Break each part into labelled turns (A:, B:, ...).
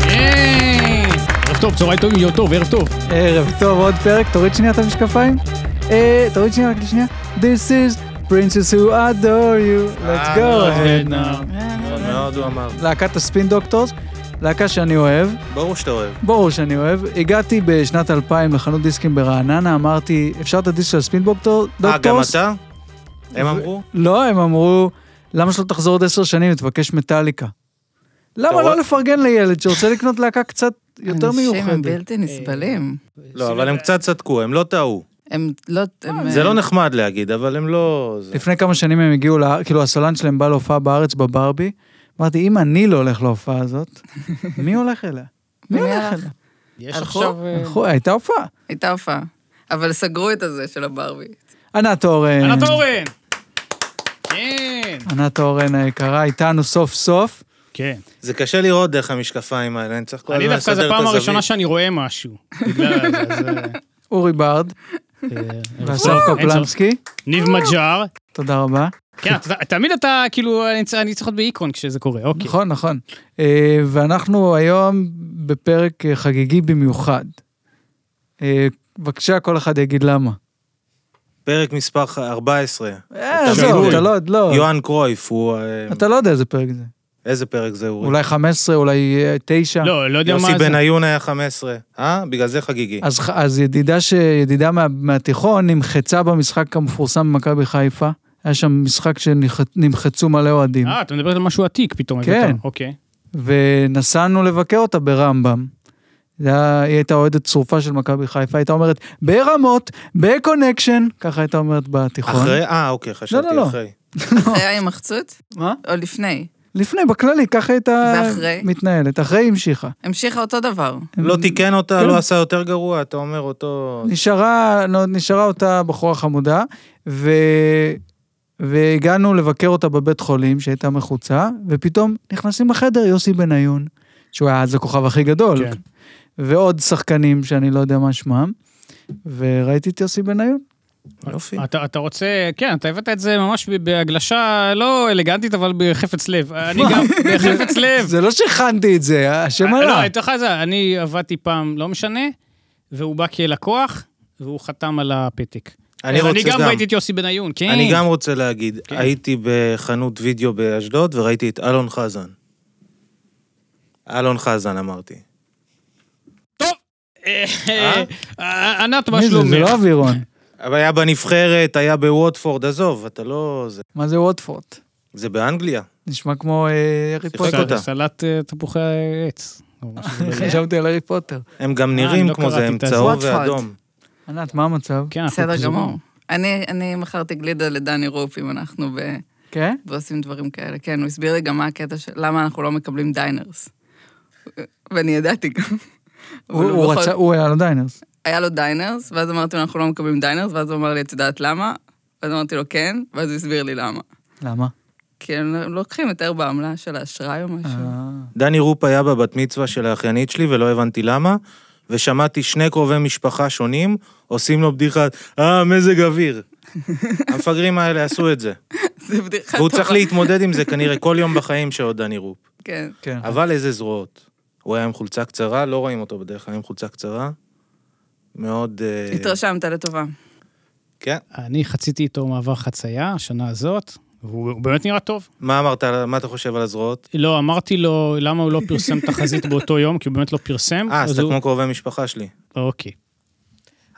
A: כן. טוב, צהריים טובים, יום טוב, ערב טוב.
B: ערב טוב, עוד פרק, תוריד שנייה את המשקפיים. אה, תוריד שנייה, רק שנייה. This is Princess who adore you, let's go.
C: אה,
B: אה,
A: ahead
C: לא,
A: now.
C: מאוד מאוד לא, הוא אמר.
B: להקת הספין דוקטורס, להקה שאני אוהב,
C: ברור שאתה אוהב. אה,
B: ברור שאני אוהב. הגעתי בשנת 2000 לחנות דיסקים ברעננה, אמרתי, אפשר את הדיסק של הספין דוקטור-
C: אה, גם
B: דוקטורס?
C: אתה? הם אמרו?
B: לא, הם אמרו, למה שלא תחזור עוד עשר שנים ותבקש מטאליקה? למה
C: רואה?
B: לא לפרגן לילד שרוצה לקנות להקה קצת יותר
D: אנשים הם
B: מיוחדת?
D: בלתי נסבלים.
C: לא, אבל הם קצת צדקו, הם לא טעו.
A: כן.
D: הם לא... הם,
C: זה
D: אה,
C: לא
B: נכון.
C: נחמד להגיד, אבל הם לא... זה-
B: לפני כמה שנים הם הגיעו, לה- כאילו הסולן שלהם בא להופעה בארץ בברבי, אמרתי, אם אני לא הולך להופעה הזאת, מי הולך אליה? מי
D: מי
B: הולך
D: הלך?
B: אליה?
A: יש
D: הלכו?
A: עכשיו... אה,
B: הלכו, הייתה הופעה.
D: הייתה הופעה. אבל סגרו את הזה של הברבי.
B: ענת אורן.
A: ענת אורן! כן.
B: ענת אורן היקרה איתנו סוף סוף.
A: כן.
C: זה קשה לראות דרך המשקפיים האלה, אני צריך כל
A: אני
C: הזמן
A: דווקא זו
C: לסדר את
A: פעם הראשונה
C: הזווית.
A: שאני רואה משהו. בגלל זה, אז,
B: אורי ברד
A: אה, אה,
B: והשר
A: אין צורך.
B: קופלנסקי,
A: ניב מג'אר.
B: תודה רבה.
A: כן, אתה- תמיד אתה, כאילו, אני צר- אני צריך להיות באיקרון כשזה קורה, אוקיי.
B: נכון, נכון. אה, ואנחנו היום בפרק אה, חגיגי במיוחד. אה, בבקשה, כל אחד יגיד למה.
C: פרק מספר ח- 14.
B: אה, עזוב,
A: שינוי.
B: אתה לא, לא,
C: יוהאן קרויף, הוא... אה,
B: אתה לא יודע איזה פרק זה.
C: איזה פרק זה, אורי?
B: אולי 15, אולי אה, 9.
A: לא, לא יודע מה זה.
C: יוסי בניון היה 15. אה? בגלל זה חגיגי.
B: אז, ח- אז ידידה, ש... ידידה מה... מהתיכון נמחצה במשחק המפורסם במכבי חיפה. היה שם משחק שנמחצו מלא אוהדים.
A: אה, אתה מדבר על משהו עתיק פתאום.
B: כן.
A: הבאת. אוקיי.
B: ונסענו לבקר אותה ברמב"ם. זה היה, היא הייתה אוהדת צרופה של מכבי חיפה, הייתה אומרת, ברמות, בקונקשן, ככה הייתה אומרת בתיכון.
C: אחרי? אה, אוקיי, חשבתי
B: נכון. לא, לא.
C: אחרי.
D: אחרי ההימחצות?
B: מה?
D: או לפני.
B: לפני, בכללי, ככה הייתה
D: ואחרי?
B: מתנהלת. אחרי היא המשיכה.
D: המשיכה אותו דבר.
C: לא תיקן אותה,
B: כן.
C: לא עשה יותר גרוע, אתה אומר אותו...
B: נשארה, לא, נשארה אותה בחורה חמודה, ו... והגענו לבקר אותה בבית חולים, שהייתה מחוצה, ופתאום נכנסים לחדר יוסי בניון, שהוא היה אז הכוכב הכי גדול,
A: כן.
B: ועוד שחקנים שאני לא יודע מה שמם, וראיתי את יוסי בניון.
C: יופי.
A: אתה אתה רוצה, כן, אתה הבאת את זה ממש ב- בהגלשה לא אלגנטית, אבל בחפץ לב. אני גם בחפץ לב.
B: זה לא שהכנתי את זה, השם
A: לא,
B: עלה.
A: אני אתן לך את זה, אני עבדתי פעם, לא משנה, והוא בא כלקוח, והוא חתם על הפתק.
C: אני
A: אז
C: רוצה
A: אני גם
C: גם.
A: ראיתי את יוסי בניון, כן.
C: אני גם רוצה להגיד,
A: כן.
C: הייתי בחנות וידאו באשדוד וראיתי את אלון חזן. אלון חזן אמרתי.
A: טוב. אה,
C: אה?
A: אה, ענת, מה
B: מי זה?
A: שלומך?
B: זה לא אווירון.
C: אבל היה בנבחרת, היה בווטפורד, עזוב, אתה לא... זה,
B: מה זה ווטפורד?
C: זה באנגליה.
B: נשמע כמו אה, הארי
C: שיחק
B: פוטר.
A: סל-
C: אותה.
A: סלט אה, תפוחי עץ. או משהו כזה.
B: חשבתי על הארי פוטר.
C: הם גם
A: אה,
C: נראים
A: אני לא
C: כמו זה,
A: קראתי
C: הם
A: את זה.
C: צהוב
D: ווטפורד.
C: ואדום.
B: ענת, מה המצב?
A: כן, אנחנו
D: בסדר
A: פזורים.
D: גמור. אני, אני מכרתי גלידה לדני רופ, אם אנחנו ב...
B: כן?
D: ועושים דברים כאלה. כן, הוא הסביר לי גם מה הקטע של... למה אנחנו לא מקבלים דיינרס. ואני ידעתי גם.
B: הוא
D: אבל
B: הוא
D: בכל-
B: רצה, הוא היה לו דיינרס.
D: היה לו דיינרס, ואז אמרתי לו, אנחנו לא מקבלים דיינרס, ואז הוא אמר לי, את יודעת למה? ואז אמרתי לו, כן, ואז הוא הסביר לי למה.
B: למה?
D: כי הם לא- לוקחים יותר בעמלה של האשראי או משהו.
B: אה.
C: דני רופ היה בבת מצווה של האחיינית שלי ולא הבנתי למה, ושמעתי שני קרובי משפחה שונים עושים לו בדיחה, אה, מזג אוויר. המפגרים האלה עשו את זה.
D: זה בדיחה
C: והוא
D: טובה.
C: צריך להתמודד עם זה כנראה כל יום בחיים שעוד דני רופ.
D: כן.
B: כן.
C: אבל איזה זרועות. הוא היה עם חולצה קצרה, לא רואים אותו בדרך כלל, היה עם חולצה קצרה. מאוד... אה,
D: התרשמת לטובה.
C: כן.
A: אני חציתי איתו מעבר חצייה, השנה הזאת, והוא הוא באמת נראה טוב.
C: מה אמרת, על- מה אתה חושב על הזרועות?
A: לא, אמרתי לו למה הוא לא פרסם תחזית באותו יום, כי הוא באמת לא פרסם.
C: אה, אז אתה
A: הוא-
C: כמו קרובי משפחה שלי.
A: אוקיי.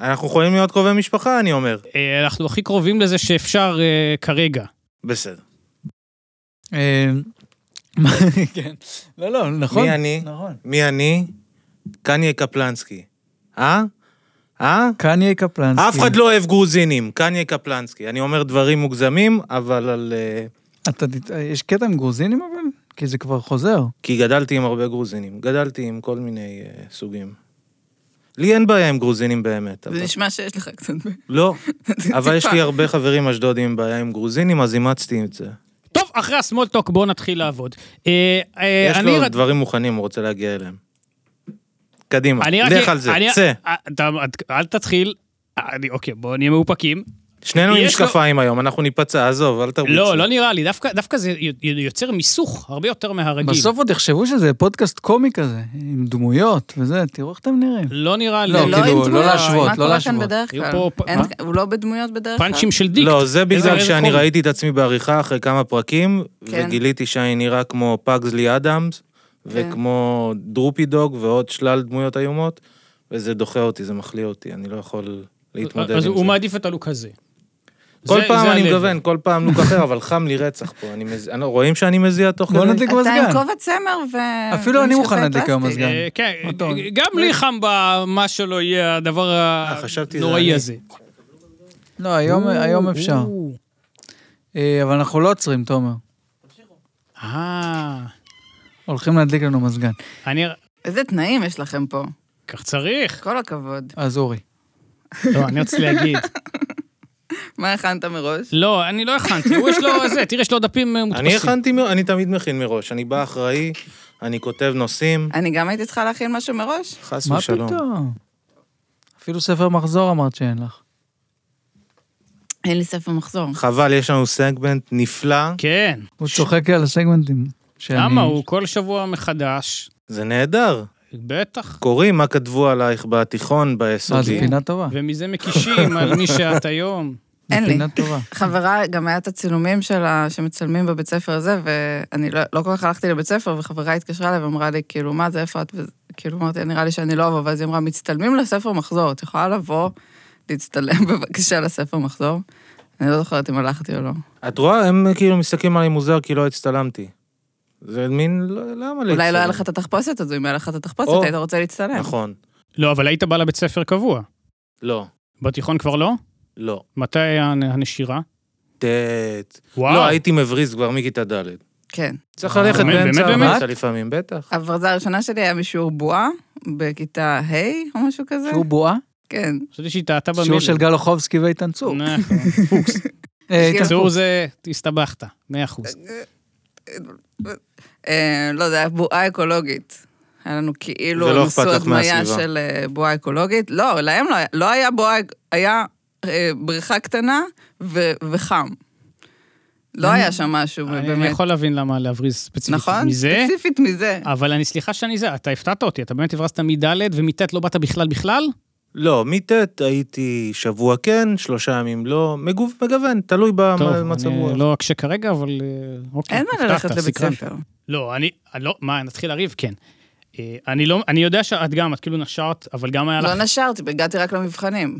C: אנחנו יכולים להיות קרובי משפחה, אני אומר.
A: אה, אנחנו הכי קרובים לזה שאפשר אה, כרגע.
C: בסדר.
B: אה, מה- כן. לא, לא, נכון.
C: מי אני?
B: נכון.
C: מי אני? קניה קפלנסקי. אה? אה?
B: קניה קפלנסקי.
C: אף אחד לא אוהב גרוזינים, קניה קפלנסקי. אני אומר דברים מוגזמים, אבל על... אה,
B: אתה תת- יש קטע עם גרוזינים אבל? כי זה כבר חוזר.
C: כי גדלתי עם הרבה גרוזינים. גדלתי עם כל מיני אה, סוגים. לי אין בעיה עם גרוזינים באמת. אבל-
D: זה נשמע שיש לך קצת...
C: לא,
D: זה
C: אבל יש
D: טיפה.
C: לי הרבה חברים אשדודים עם בעיה עם גרוזינים, אז אימצתי את זה.
A: טוב, אחרי ה-small talk בואו נתחיל לעבוד. אה, אה,
C: יש
A: אני
C: לו
A: רק-
C: דברים מוכנים, הוא רוצה להגיע אליהם. קדימה,
A: אני רק...
C: לך על זה,
A: אני-
C: צא.
A: אה, אתה- אל תתחיל. אה, אני- אוקיי, בואו נהיה מאופקים.
C: שנינו עם
A: יש לו-
C: משקפיים היום, אנחנו ניפצע, עזוב, אל תרוץ.
A: לא, לא נראה לי, דווקא- דווקא זה י- יוצר מיסוך הרבה יותר מהרגיל.
B: בסוף עוד יחשבו שזה פודקאסט קומי כזה, עם דמויות וזה, תראו איך אתם נראים.
A: לא נראה לי.
B: לא,
A: כאילו,
B: כאילו,
D: עם
B: לא
D: דמויות,
B: להשוות, לא
D: מה קורה כאן
B: להשוות.
D: בדרך
A: יהיו
D: כלל?
A: פה פ-
D: אין-
A: מה?
D: הוא לא בדמויות בדרך כלל?
A: פאנצ'ים של דיקט.
C: לא, זה בגלל
A: איזה
C: שאני
A: חום.
C: ראיתי את עצמי בעריכה אחרי כמה פרקים,
D: כן.
C: וגיליתי שאני נראה כמו פאגזלי אדמס,
D: כן.
C: וכמו דרופי דוג ועוד שלל דמויות איומות, וזה דוחה אותי, זה מחליא אותי, אני לא יכול להתמודד עם
A: אז
C: זה.
A: הוא מעדיף את הלוק הזה.
C: כל
A: זה-
C: פעם
A: זה
C: אני
A: הלב.
C: מגוון, כל פעם לוק אחר, אבל חם לי רצח פה. אני מז- אני- לא- רואים שאני מזיע תוך
B: בוא
C: כדי?
B: נדליק
D: אתה עם
B: מזגן.
D: כובע צמר ו...
B: אפילו אני מוכן
D: ומשקפי
B: להדליק היום
D: פלסטיק.
B: מזגן.
A: אה, כן,
B: מה טוב.
A: גם לי חם במה שלא יהיה הדבר
C: אה, חשבתי זה
A: הנוראי
C: אני.
A: הזה.
B: לא, היום- היום אפשר. אה, אבל אנחנו לא עוצרים, תומר.
A: אה,
B: הולכים להדליק לנו מזגן.
A: אני...
D: איזה תנאים יש לכם פה?
A: כך צריך.
D: כל הכבוד.
B: אז אורי.
A: לא, אני רציתי להגיד.
D: מה הכנת מראש?
A: לא, אני לא הכנתי, הוא יש לו זה, תראה, יש לו דפים אה, מודפסים.
C: אני הכנתי, מ- אני תמיד מכין מראש, אני בא אחראי, אני כותב נושאים,
D: אני גם הייתי צריכה להכין משהו מראש?
C: חס
B: מה
C: ושלום.
B: פתאום? אפילו ספר מחזור אמרת שאין לך.
D: אין לי ספר מחזור.
C: חבל, יש לנו סגמנט נפלא,
A: כן.
B: הוא צוחק לי על הסגמנטים. שאני-
A: למה? הוא כל שבוע מחדש.
C: זה נהדר.
A: בטח.
C: קוראים מה כתבו עלייך בתיכון,
B: אה, זו
C: ביסודי.
B: פינה טובה.
A: ומזה מקישים על מי שאת היום.
B: זו
D: אין לי.
B: פינה טובה.
D: חברה, גם היה את הצילומים שלה שמצלמים בבית ספר הזה, ואני לא, לא כל כך הלכתי לבית ספר, וחברה התקשרה אליי ואמרה לי, כאילו, מה זה, איפה את? וכאילו אמרתי, נראה לי שאני לא אבוא, ואז היא אמרה, מצטלמים לספר מחזור, את יכולה לבוא להצטלם בבקשה לספר מחזור? אני לא זוכרת אם הלכתי או לא.
C: את רואה, הם כאילו מסתכלים עליי מוזר כי לא הצטלמתי. זה מין, לא- למה להצטלם?
D: אולי לא היה לך את התחפושת הזו, אם היה לך את התחפושת,
C: או.
D: היית רוצה להצטלם.
C: נכון.
A: לא, אבל היית בא לבית ספר קבוע.
C: לא,
A: בתיכון כבר לא?
C: לא.
A: מתי היה הנ- הנשירה?
C: טט.
A: וואו. אה,
C: לא, הייתי מבריז כבר מכיתה ד'.
D: כן.
C: צריך ללכת
A: באמת,
C: באמצע
A: באמת,
C: המסע
B: באמת?
C: לפעמים, בטח.
D: הברזה הראשונה שלי היה משיעור בועה, בכיתה ה' או משהו כזה.
B: שיעור בועה?
D: כן.
A: חשבתי שהיא טעתה במילה.
B: שיעור של גל אוחובסקי ואיתן צור.
A: נכון.
B: אה, איתן
A: צור
B: צור.
A: זה, הסתבכת, מאה אחוז.
D: אה, לא, זה היה בועה אקולוגית. היה לנו כאילו,
C: ולא
D: הם
C: אכפת
D: עשו
C: לך
D: הדמיה
C: מהסביבה.
D: של אה, בועה אקולוגית. לא, להם לא היה, לא היה בועה, אק- היה אה, בריכה קטנה ו- וחם. לא היה שם משהו,
A: אני
D: באמת.
A: יכול להבין למה להבריז ספציפית
D: נכון?
A: מזה. אה,
D: ספציפית מזה.
A: אבל אני, סליחה שאני זה, אתה הפתעת אותי, אתה באמת הברזת מד' ומט' לא באת בכלל בכלל?
C: לא, מט' הייתי שבוע כן, שלושה ימים לא, מגוב- מגוון, תלוי במצב
A: אני
C: רוח.
A: לא אקשה כרגע, אבל אה, אוקיי,
D: אין מה
A: הפתעת,
D: ללכת לבית
A: סקרנת.
D: ספר.
A: לא, אני, לא, מה, נתחיל לריב? כן. אה, אני לא, אני יודע שאת גם, את כאילו נשרת, אבל גם היה לך...
D: לא נשרתי, הגעתי רק למבחנים.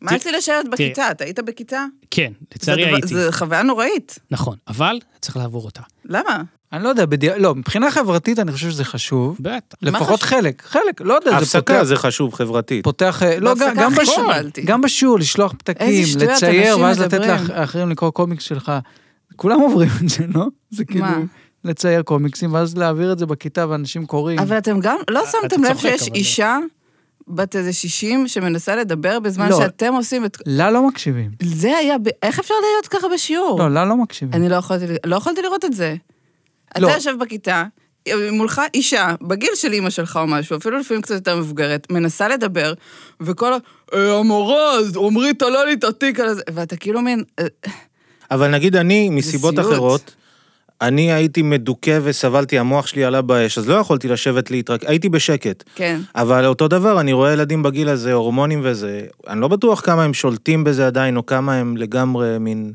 D: מה
A: תראה-
D: רציתי לשבת
A: תראה.
D: בכיתה? אתה היית בכיתה?
A: כן, לצערי
D: זה דבר-
A: הייתי.
D: זה חוויה נוראית.
A: נכון, אבל צריך לעבור אותה.
D: למה?
B: אני לא יודע, בדיע- לא, מבחינה חברתית אני חושב שזה חשוב.
A: בטח.
D: מה
B: לפחות
D: חשוב?
B: חלק, חלק, לא יודע, זה פותח...
C: הפסקה זה חשוב חברתית.
B: פותח, אה, לא, גם-
D: בהפסקה
B: גם
D: הכי
B: בשיעור,
D: קיבלתי.
B: גם בשיעור, לשלוח פתקים,
D: איזה שטויות,
B: לצייר,
D: אנשים
B: ואז לתת
D: מדברים.
B: לאח- לאחרים לקרוא קומיקס שלך. כולם עוברים את זה, לא? זה כאילו,
D: מה?
B: לצייר קומיקסים, ואז להעביר את זה בכיתה ואנשים קוראים.
D: אבל אתם גם, לא
B: אה,
A: אתה
D: שמתם לב
A: צוחק,
D: שיש
A: אבל-
D: אישה בת איזה 60 שמנסה לדבר בזמן
B: לא.
D: שאתם עושים את...
B: לה לא מקשיבים.
D: זה היה, ב- איך אפשר להיות ככה בשיעור?
B: לא, לה לא מקשיבים.
D: אני לא יכולתי, ל- לא יכולתי לראות את זה. אתה
B: לא.
D: יושב בכיתה, מולך אישה, בגיל של אימא שלך או משהו, אפילו לפעמים קצת יותר מבוגרת, מנסה לדבר, וכל ה... "אה, המורה, אז עמרי תלה לי את התיק על זה, ואתה כאילו מין... אה,
C: אבל נגיד אני, מסיבות
D: סיוט.
C: אחרות, אני הייתי מדוכא וסבלתי, המוח שלי עלה באש, אז לא יכולתי לשבת להתרק... הייתי בשקט.
D: כן.
C: אבל אותו דבר, אני רואה ילדים בגיל הזה, הורמונים וזה, אני לא בטוח כמה הם שולטים בזה עדיין, או כמה הם לגמרי מין...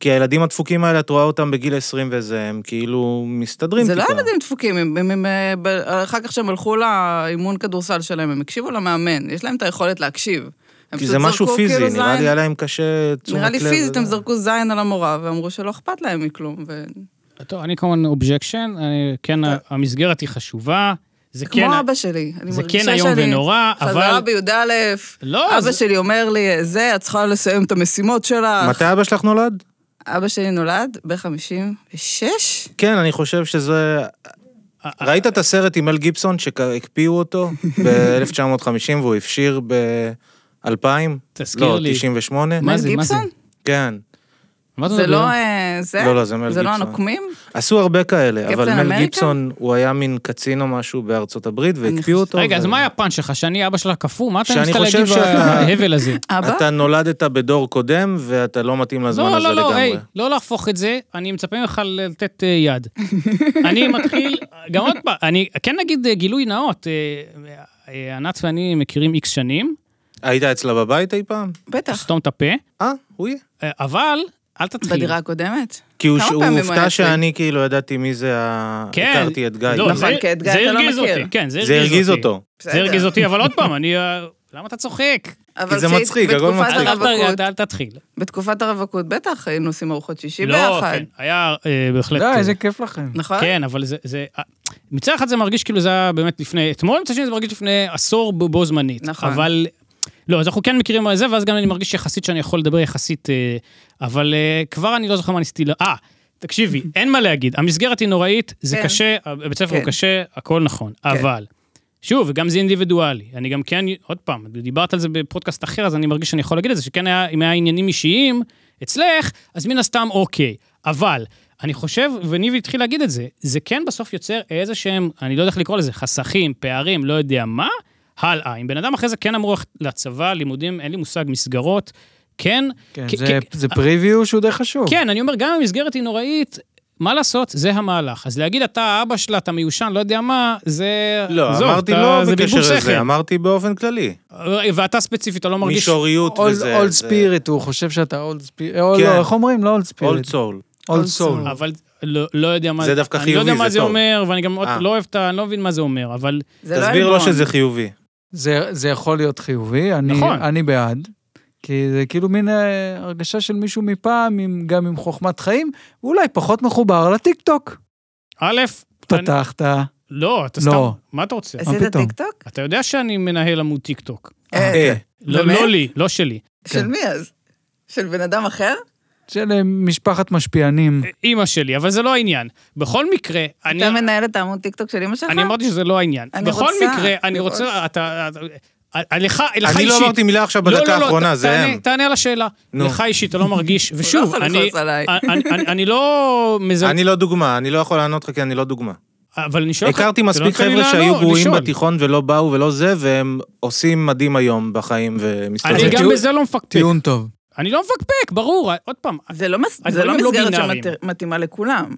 C: כי הילדים הדפוקים האלה, את רואה אותם בגיל 20 וזה, הם כאילו מסתדרים
D: זה לא
C: טיפה.
D: ילדים דפוקים, הם, הם, הם, אה, ב- אחר כך שהם הלכו לאימון כדורסל שלהם, הם הקשיבו למאמן, יש להם את היכולת להקשיב. הם
C: כי
D: פשוט
C: זה משהו
D: זרקו
C: פיזי,
D: כאילו
C: נראה לי
D: זין-
C: היה להם קשה תשומת לב. אה,
D: נראה לי פיזית
C: וזה.
D: הם זרקו זין על המורה, ואמרו שלא אכפת להם מכלום. ו...
A: טוב, אני כמובן אובג'קשן, כן, המסגרת היא חשובה. זה כן...
D: אה, כמו אבא שלי, אני
A: זה
D: מרגישה
A: כן
D: שאני...
A: איום ונורא, אבל-
D: חברה בי"א,
A: לא,
D: אבא
A: זה-
D: שלי אומר לי, זה, את צריכה לסיים את המשימות שלך.
C: מתי אבא שלך נולד?
D: אבא שלי נולד ב-56?
C: כן, אני חושב שזה... ראית את הסרט עם מל גיבסון שהקפיאו אותו ב-1950 והוא הפשיר ב-2000?
A: תזכיר לי.
C: לא, 98?
A: מה זה?
D: גיבסון?
C: כן.
A: מה אתה
D: זה
A: מדבר?
D: לא אה, זה?
C: לא, לא, זה מל
D: זה לא
C: גיבסון.
D: הנוקמים?
C: עשו הרבה כאלה, אבל
D: קפטן
C: מל
D: אמריקה?
C: גיבסון, הוא היה מין קצין או משהו בארצות הברית, והקפיאו
D: חושבת-
C: אותו.
A: רגע,
C: ו-
A: אז מה היה הפאנץ' שלך? שאני אבא שלך קפוא? מה אתה
C: שאני
A: ניסית
C: חושב
A: להגיד
C: שאתה-
A: בהבל הזה?
D: אבא?
C: אתה נולדת בדור קודם, ואתה לא מתאים לזמן
A: לא,
C: הזה
A: לא, לא,
C: לגמרי.
A: היי, לא להפוך את זה, אני מצפה ממך לתת אה, יד. אני מתחיל, גם עוד פעם, אני כן נגיד אה, גילוי נאות, אה, אה, ענת ואני מכירים איקס שנים,
C: היית אצלה בבית אי פעם?
D: בטח.
A: סתום את הפה,
C: אה, הוא יהיה.
A: אה, אבל אל תתחיל.
D: בדירה הקודמת.
C: כי הוא
D: כמה
C: הוא
D: פעמים הוא היה
C: הופתע
D: אצלי?
C: שאני כאילו ידעתי מי זה ה...
A: כן.
C: הכרתי את גיא.
A: לא,
D: נכון,
A: זה-
D: כי את גיא
A: זה
D: אתה לא
A: הרגיז
D: מכיר.
A: אותי, כן, זה
C: זה הרגיז אותו.
A: זה הרגיז אותי, אבל עוד פעם, אני... אה, למה אתה צוחק?
D: אבל
C: זה
D: כשהיית-
C: מצחיק, הכל
D: בתקופת
A: אל-
C: מצחיק.
A: אל- אל-
D: הרווקות-
A: אל תתחיל.
D: בתקופת הרווקות בטח היינו עושים ארוחות שישי
A: לא,
D: ביחד.
A: כן, היה אה, בהחלט...
B: די,
A: אה,
B: איזה כיף לכם.
D: נכון?
A: כן, אבל זה... זה- אה, מצד אחד זה מרגיש כאילו זה היה באמת לפני אתמול, מצד שני זה מרגיש לפני עשור ב- בו זמנית.
D: נכון.
A: אבל... לא, אז אנחנו כן מכירים על זה, ואז גם אני מרגיש יחסית שאני יכול לדבר יחסית, אה, אבל אה, כבר אני לא זוכר מה ניסיתי... ל- אה, תקשיבי, אין מה להגיד. המסגרת היא נוראית, זה
D: כן.
A: קשה, הבית ספר הוא
D: כן.
A: קשה, הכל נכון. אבל, שוב, וגם זה אינדיבידואלי. אני גם כן, עוד פעם, דיברת על זה בפודקאסט אחר, אז אני מרגיש שאני יכול להגיד את זה, שכן היה, אם היה עניינים אישיים אצלך, אז מן הסתם אוקיי. אבל, אני חושב, וניבי התחיל להגיד את זה, זה כן בסוף יוצר איזה שהם, אני לא יודע איך לקרוא לזה, חסכים, פערים, לא יודע מה, הלאה. אם בן אדם אחרי זה כן אמור ללכת לצבא, לימודים, אין לי מושג, מסגרות, כן.
B: כן,
A: כי-
B: זה-
A: כי-
B: זה פריוויו שהוא די חשוב.
A: כן, אני אומר, גם אם המסגרת היא נוראית, מה לעשות, זה המהלך. אז להגיד, אתה האבא שלה, אתה מיושן, לא יודע מה, זה...
C: לא,
A: עזוב,
C: אמרתי
A: אתה-
C: לא
A: זה בלבול
C: בקשר
A: שכל.
C: לזה, אמרתי באופן כללי.
A: ואתה ספציפית, אתה לא מרגיש...
C: מישוריות כן. וזה.
B: אולד
C: זה-
B: ספיריט, הוא חושב שאתה אולד ספיריט. לא,
C: כן.
B: איך אומרים? לא אולד
C: אולד
B: ספיריט.
C: סול.
B: אולד
D: Old
B: סול.
D: soul.
A: אבל לא, לא יודע מה
C: זה דווקא
A: אני לא
C: חיובי,
A: יודע מה
C: זה
A: זה
C: טוב.
A: אומר, ואני גם עוד
C: אה.
A: לא אוהב את ה... אני לא מבין מה זה אומר, אבל...
D: זה לא
C: תסביר לו
D: עלבון.
C: שזה חיובי.
B: זה, זה יכול להיות חיובי, אני,
A: נכון.
B: נכון. אני בעד. כי זה כאילו מין אה, הרגשה של מישהו מפעם, עם, גם עם חוכמת חיים, ואולי פחות מחובר לטיקטוק.
A: א', אני-
B: פתחת.
A: לא, אתה
B: לא.
A: סתם... מה אתה רוצה?
B: מה
D: עשית
B: פתאום?
D: טיקטוק?
A: אתה יודע שאני מנהל עמוד טיקטוק.
D: אה,
C: אה, כן,
A: לא,
D: באמת?
A: לא לי, לא שלי.
D: של מי אז? של בן אדם אחר?
B: של אה, משפחת משפיענים.
A: אימא שלי, אבל זה לא העניין. בכל מקרה, אני...
D: אתה מנהל את העמוד טיקטוק של אמא שלך?
A: אני אמרתי שזה לא העניין.
D: אני
A: בכל
D: רוצה
A: מקרה, אני
D: לראות.
A: רוצה... אתה... אתה- לך לך אישית.
C: אני לא אמרתי מילה עכשיו
A: לא,
C: בדקה
A: לא, לא,
C: האחרונה,
A: ת-
C: זה
A: תענה-
C: הם.
A: תענה על השאלה.
C: נו.
A: לך אישית, אתה לא מרגיש, ושוב,
D: יכול
A: אני- אה,
D: לכעוס עליי.
A: אני- אני- אני לא מזלזל,
C: אני לא דוגמה, אני לא יכול לענות לך כי אני לא דוגמה.
A: אבל אני שואל אותך...
C: הכרתי
A: אתה לא
C: מספיק
A: נותן לי
C: חבר'ה שהיו
A: לענות,
C: גרועים
A: לשאול.
C: בתיכון ולא באו ולא זה, והם עושים מדהים היום בחיים ומסתובבים.
A: אני
B: אז
A: גם
B: טיעון-
A: בזה לא מפקפק.
B: טיעון טוב.
A: אני לא מפקפק, ברור, עוד פעם,
D: זה לא מס- זה
A: הדברים
D: לא
A: הם לא
D: מסגרת
A: בינאריים.
D: שמתאימה לכולם.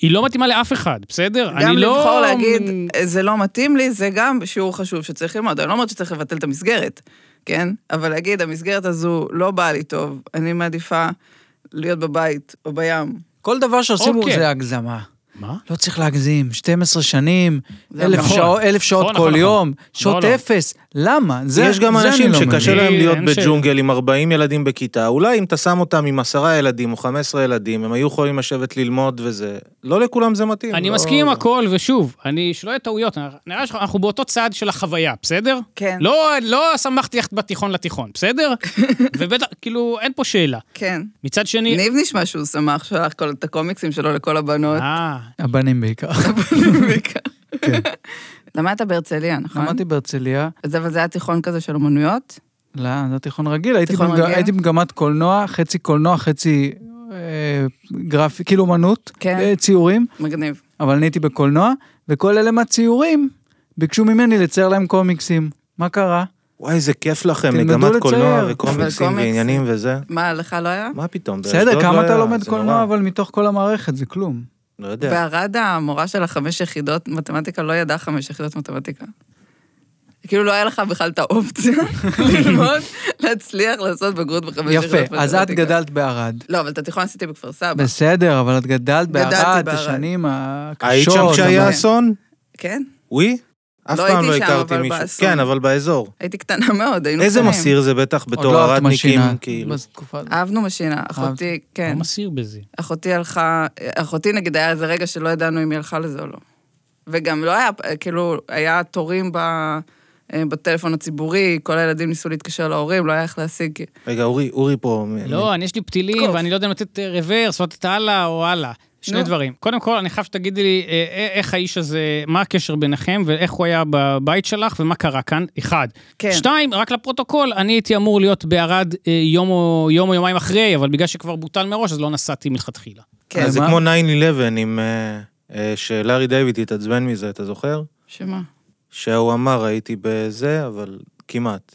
A: היא לא מתאימה לאף אחד, בסדר?
D: גם
A: אני לא-
D: לבחור להגיד, "אה, זה לא מתאים לי, זה גם שיעור חשוב שצריך ללמוד. אני לא אומרת שצריך לבטל את המסגרת, כן? אבל להגיד, המסגרת הזו לא באה לי טוב, אני מעדיפה להיות בבית או בים.
B: כל דבר שעושים הוא
A: אוקיי.
B: זה הגזמה.
A: מה?
B: לא צריך להגזים, 12 שנים,
D: זה
B: אלף
A: נכון.
B: שעות- אלף
A: נכון,
B: שעות
A: נכון,
B: כל
A: נכון.
B: יום, שעות
A: לא, לא.
B: אפס. למה? זה
C: יש גם
B: זה
C: אנשים
B: אני לא
C: שקשה
B: מבין.
C: להם
A: אני-
C: להיות
A: אין שאלה.
C: בג'ונגל עם 40 ילדים בכיתה, אולי אם אתה שם אותם עם 10 ילדים או 15 ילדים, הם היו יכולים לשבת ללמוד וזה. לא לכולם זה מתאים.
A: אני
C: לא-
A: מסכים עם הכל, ושוב, אני, שלא יהיו טעויות, נראה שאנחנו באותו צד של החוויה, בסדר?
D: כן.
A: לא, לא שמחתי ללכת בתיכון לתיכון, בסדר? ובטח, כאילו, אין פה שאלה.
D: כן.
A: מצד שני...
D: ניב נשמע שהוא שמח, שלח כל- את הקומיקסים שלו לכל הבנות.
A: אה,
B: הבנים בעיקר.
D: בעיקר. למדת בהרצליה, נכון?
B: אה. כן. למדתי בהרצליה,
D: אז אבל זה היה תיכון כזה של אומנויות?
B: לא, זה תיכון רגיל, הייתי,
D: תיכון
B: במג...
D: רגיל?
B: הייתי במגמת קולנוע, חצי קולנוע, חצי אה, גרפי, כאילו אומנות,
D: כן.
B: אה, ציורים,
D: מגניב.
B: אבל אני הייתי בקולנוע, וכל אלה מהציורים ביקשו ממני לצייר להם קומיקסים. מה קרה?
C: וואי, איזה כיף לכם,
B: תלמדו
C: מגמת
B: לצייר.
C: קולנוע
D: אבל
C: וקומיקסים
D: קומיקס-
C: ועניינים וזה.
D: מה, לך לא היה?
C: מה פתאום? באשדוד
B: בסדר,
C: לא
B: כמה אתה
C: היה,
B: לומד
C: זה
B: קולנוע,
C: נורא.
B: אבל מתוך כל המערכת זה כלום.
C: לא
B: כן.
C: יודע.
D: בערד המורה של החמש יחידות מתמטיקה לא ידעה חמש יחידות מתמטיקה. כאילו לא היה לך בכלל את האופציה ללמוד, להצליח לעשות בגרות בחמש יחידות מתמטיקה.
B: יפה, אז את גדלת בערד.
D: לא, אבל את התיכון עשיתי בכפר סבא.
B: בסדר, אבל את גדלת
D: גדלתי
B: בערד,
D: בערד.
B: השנים הקשות.
C: היית שם כשהיה
B: אבל-
C: אסון?
D: כן,
C: וואי? אף
D: לא
C: פעם
D: הייתי
C: לא
D: שם,
C: הכרתי
D: אבל
C: מישהו.
D: באסון.
C: כן, אבל באזור.
D: הייתי קטנה מאוד, היינו
C: איזה
D: קטנים.
C: מסיר זה בטח
B: עוד
C: בתור
B: לא את
C: הרדניקים,
B: משינה,
C: כאילו.
B: בתקופה הזאת.
D: אהבנו משינה, אחותי,
A: לא
D: כן.
A: מסיר בזה.
D: אחותי הלכה, אחותי נגיד היה איזה רגע שלא ידענו אם היא הלכה לזה או לא. וגם לא היה, כאילו, היה תורים ב... אה, בטלפון הציבורי, כל הילדים ניסו להתקשר להורים, לא היה איך להשיג.
C: רגע, אורי, אורי פה. מ-
A: לא, אני יש לי פתילים,
D: קוף.
A: ואני לא יודע אם לתת אה, רוורס, או לתת הלאה או הלאה. שני
D: נו.
A: דברים. קודם כל, אני חייב שתגידי לי אה, אה, איך האיש הזה, מה הקשר ביניכם, ואיך הוא היה בבית שלך, ומה קרה כאן, אחד.
D: כן.
A: שתיים, רק לפרוטוקול, אני הייתי אמור להיות בערד אה, יום או יום או יומיים אחרי, אבל בגלל שכבר בוטל מראש, אז לא נסעתי מלכתחילה.
D: כן,
C: אז זה
B: מה?
C: כמו 9-11 עם... אה, אה, שלארי דיוויד התעצבן מזה, אתה זוכר?
D: שמה?
C: שהוא אמר, הייתי בזה, אבל כמעט.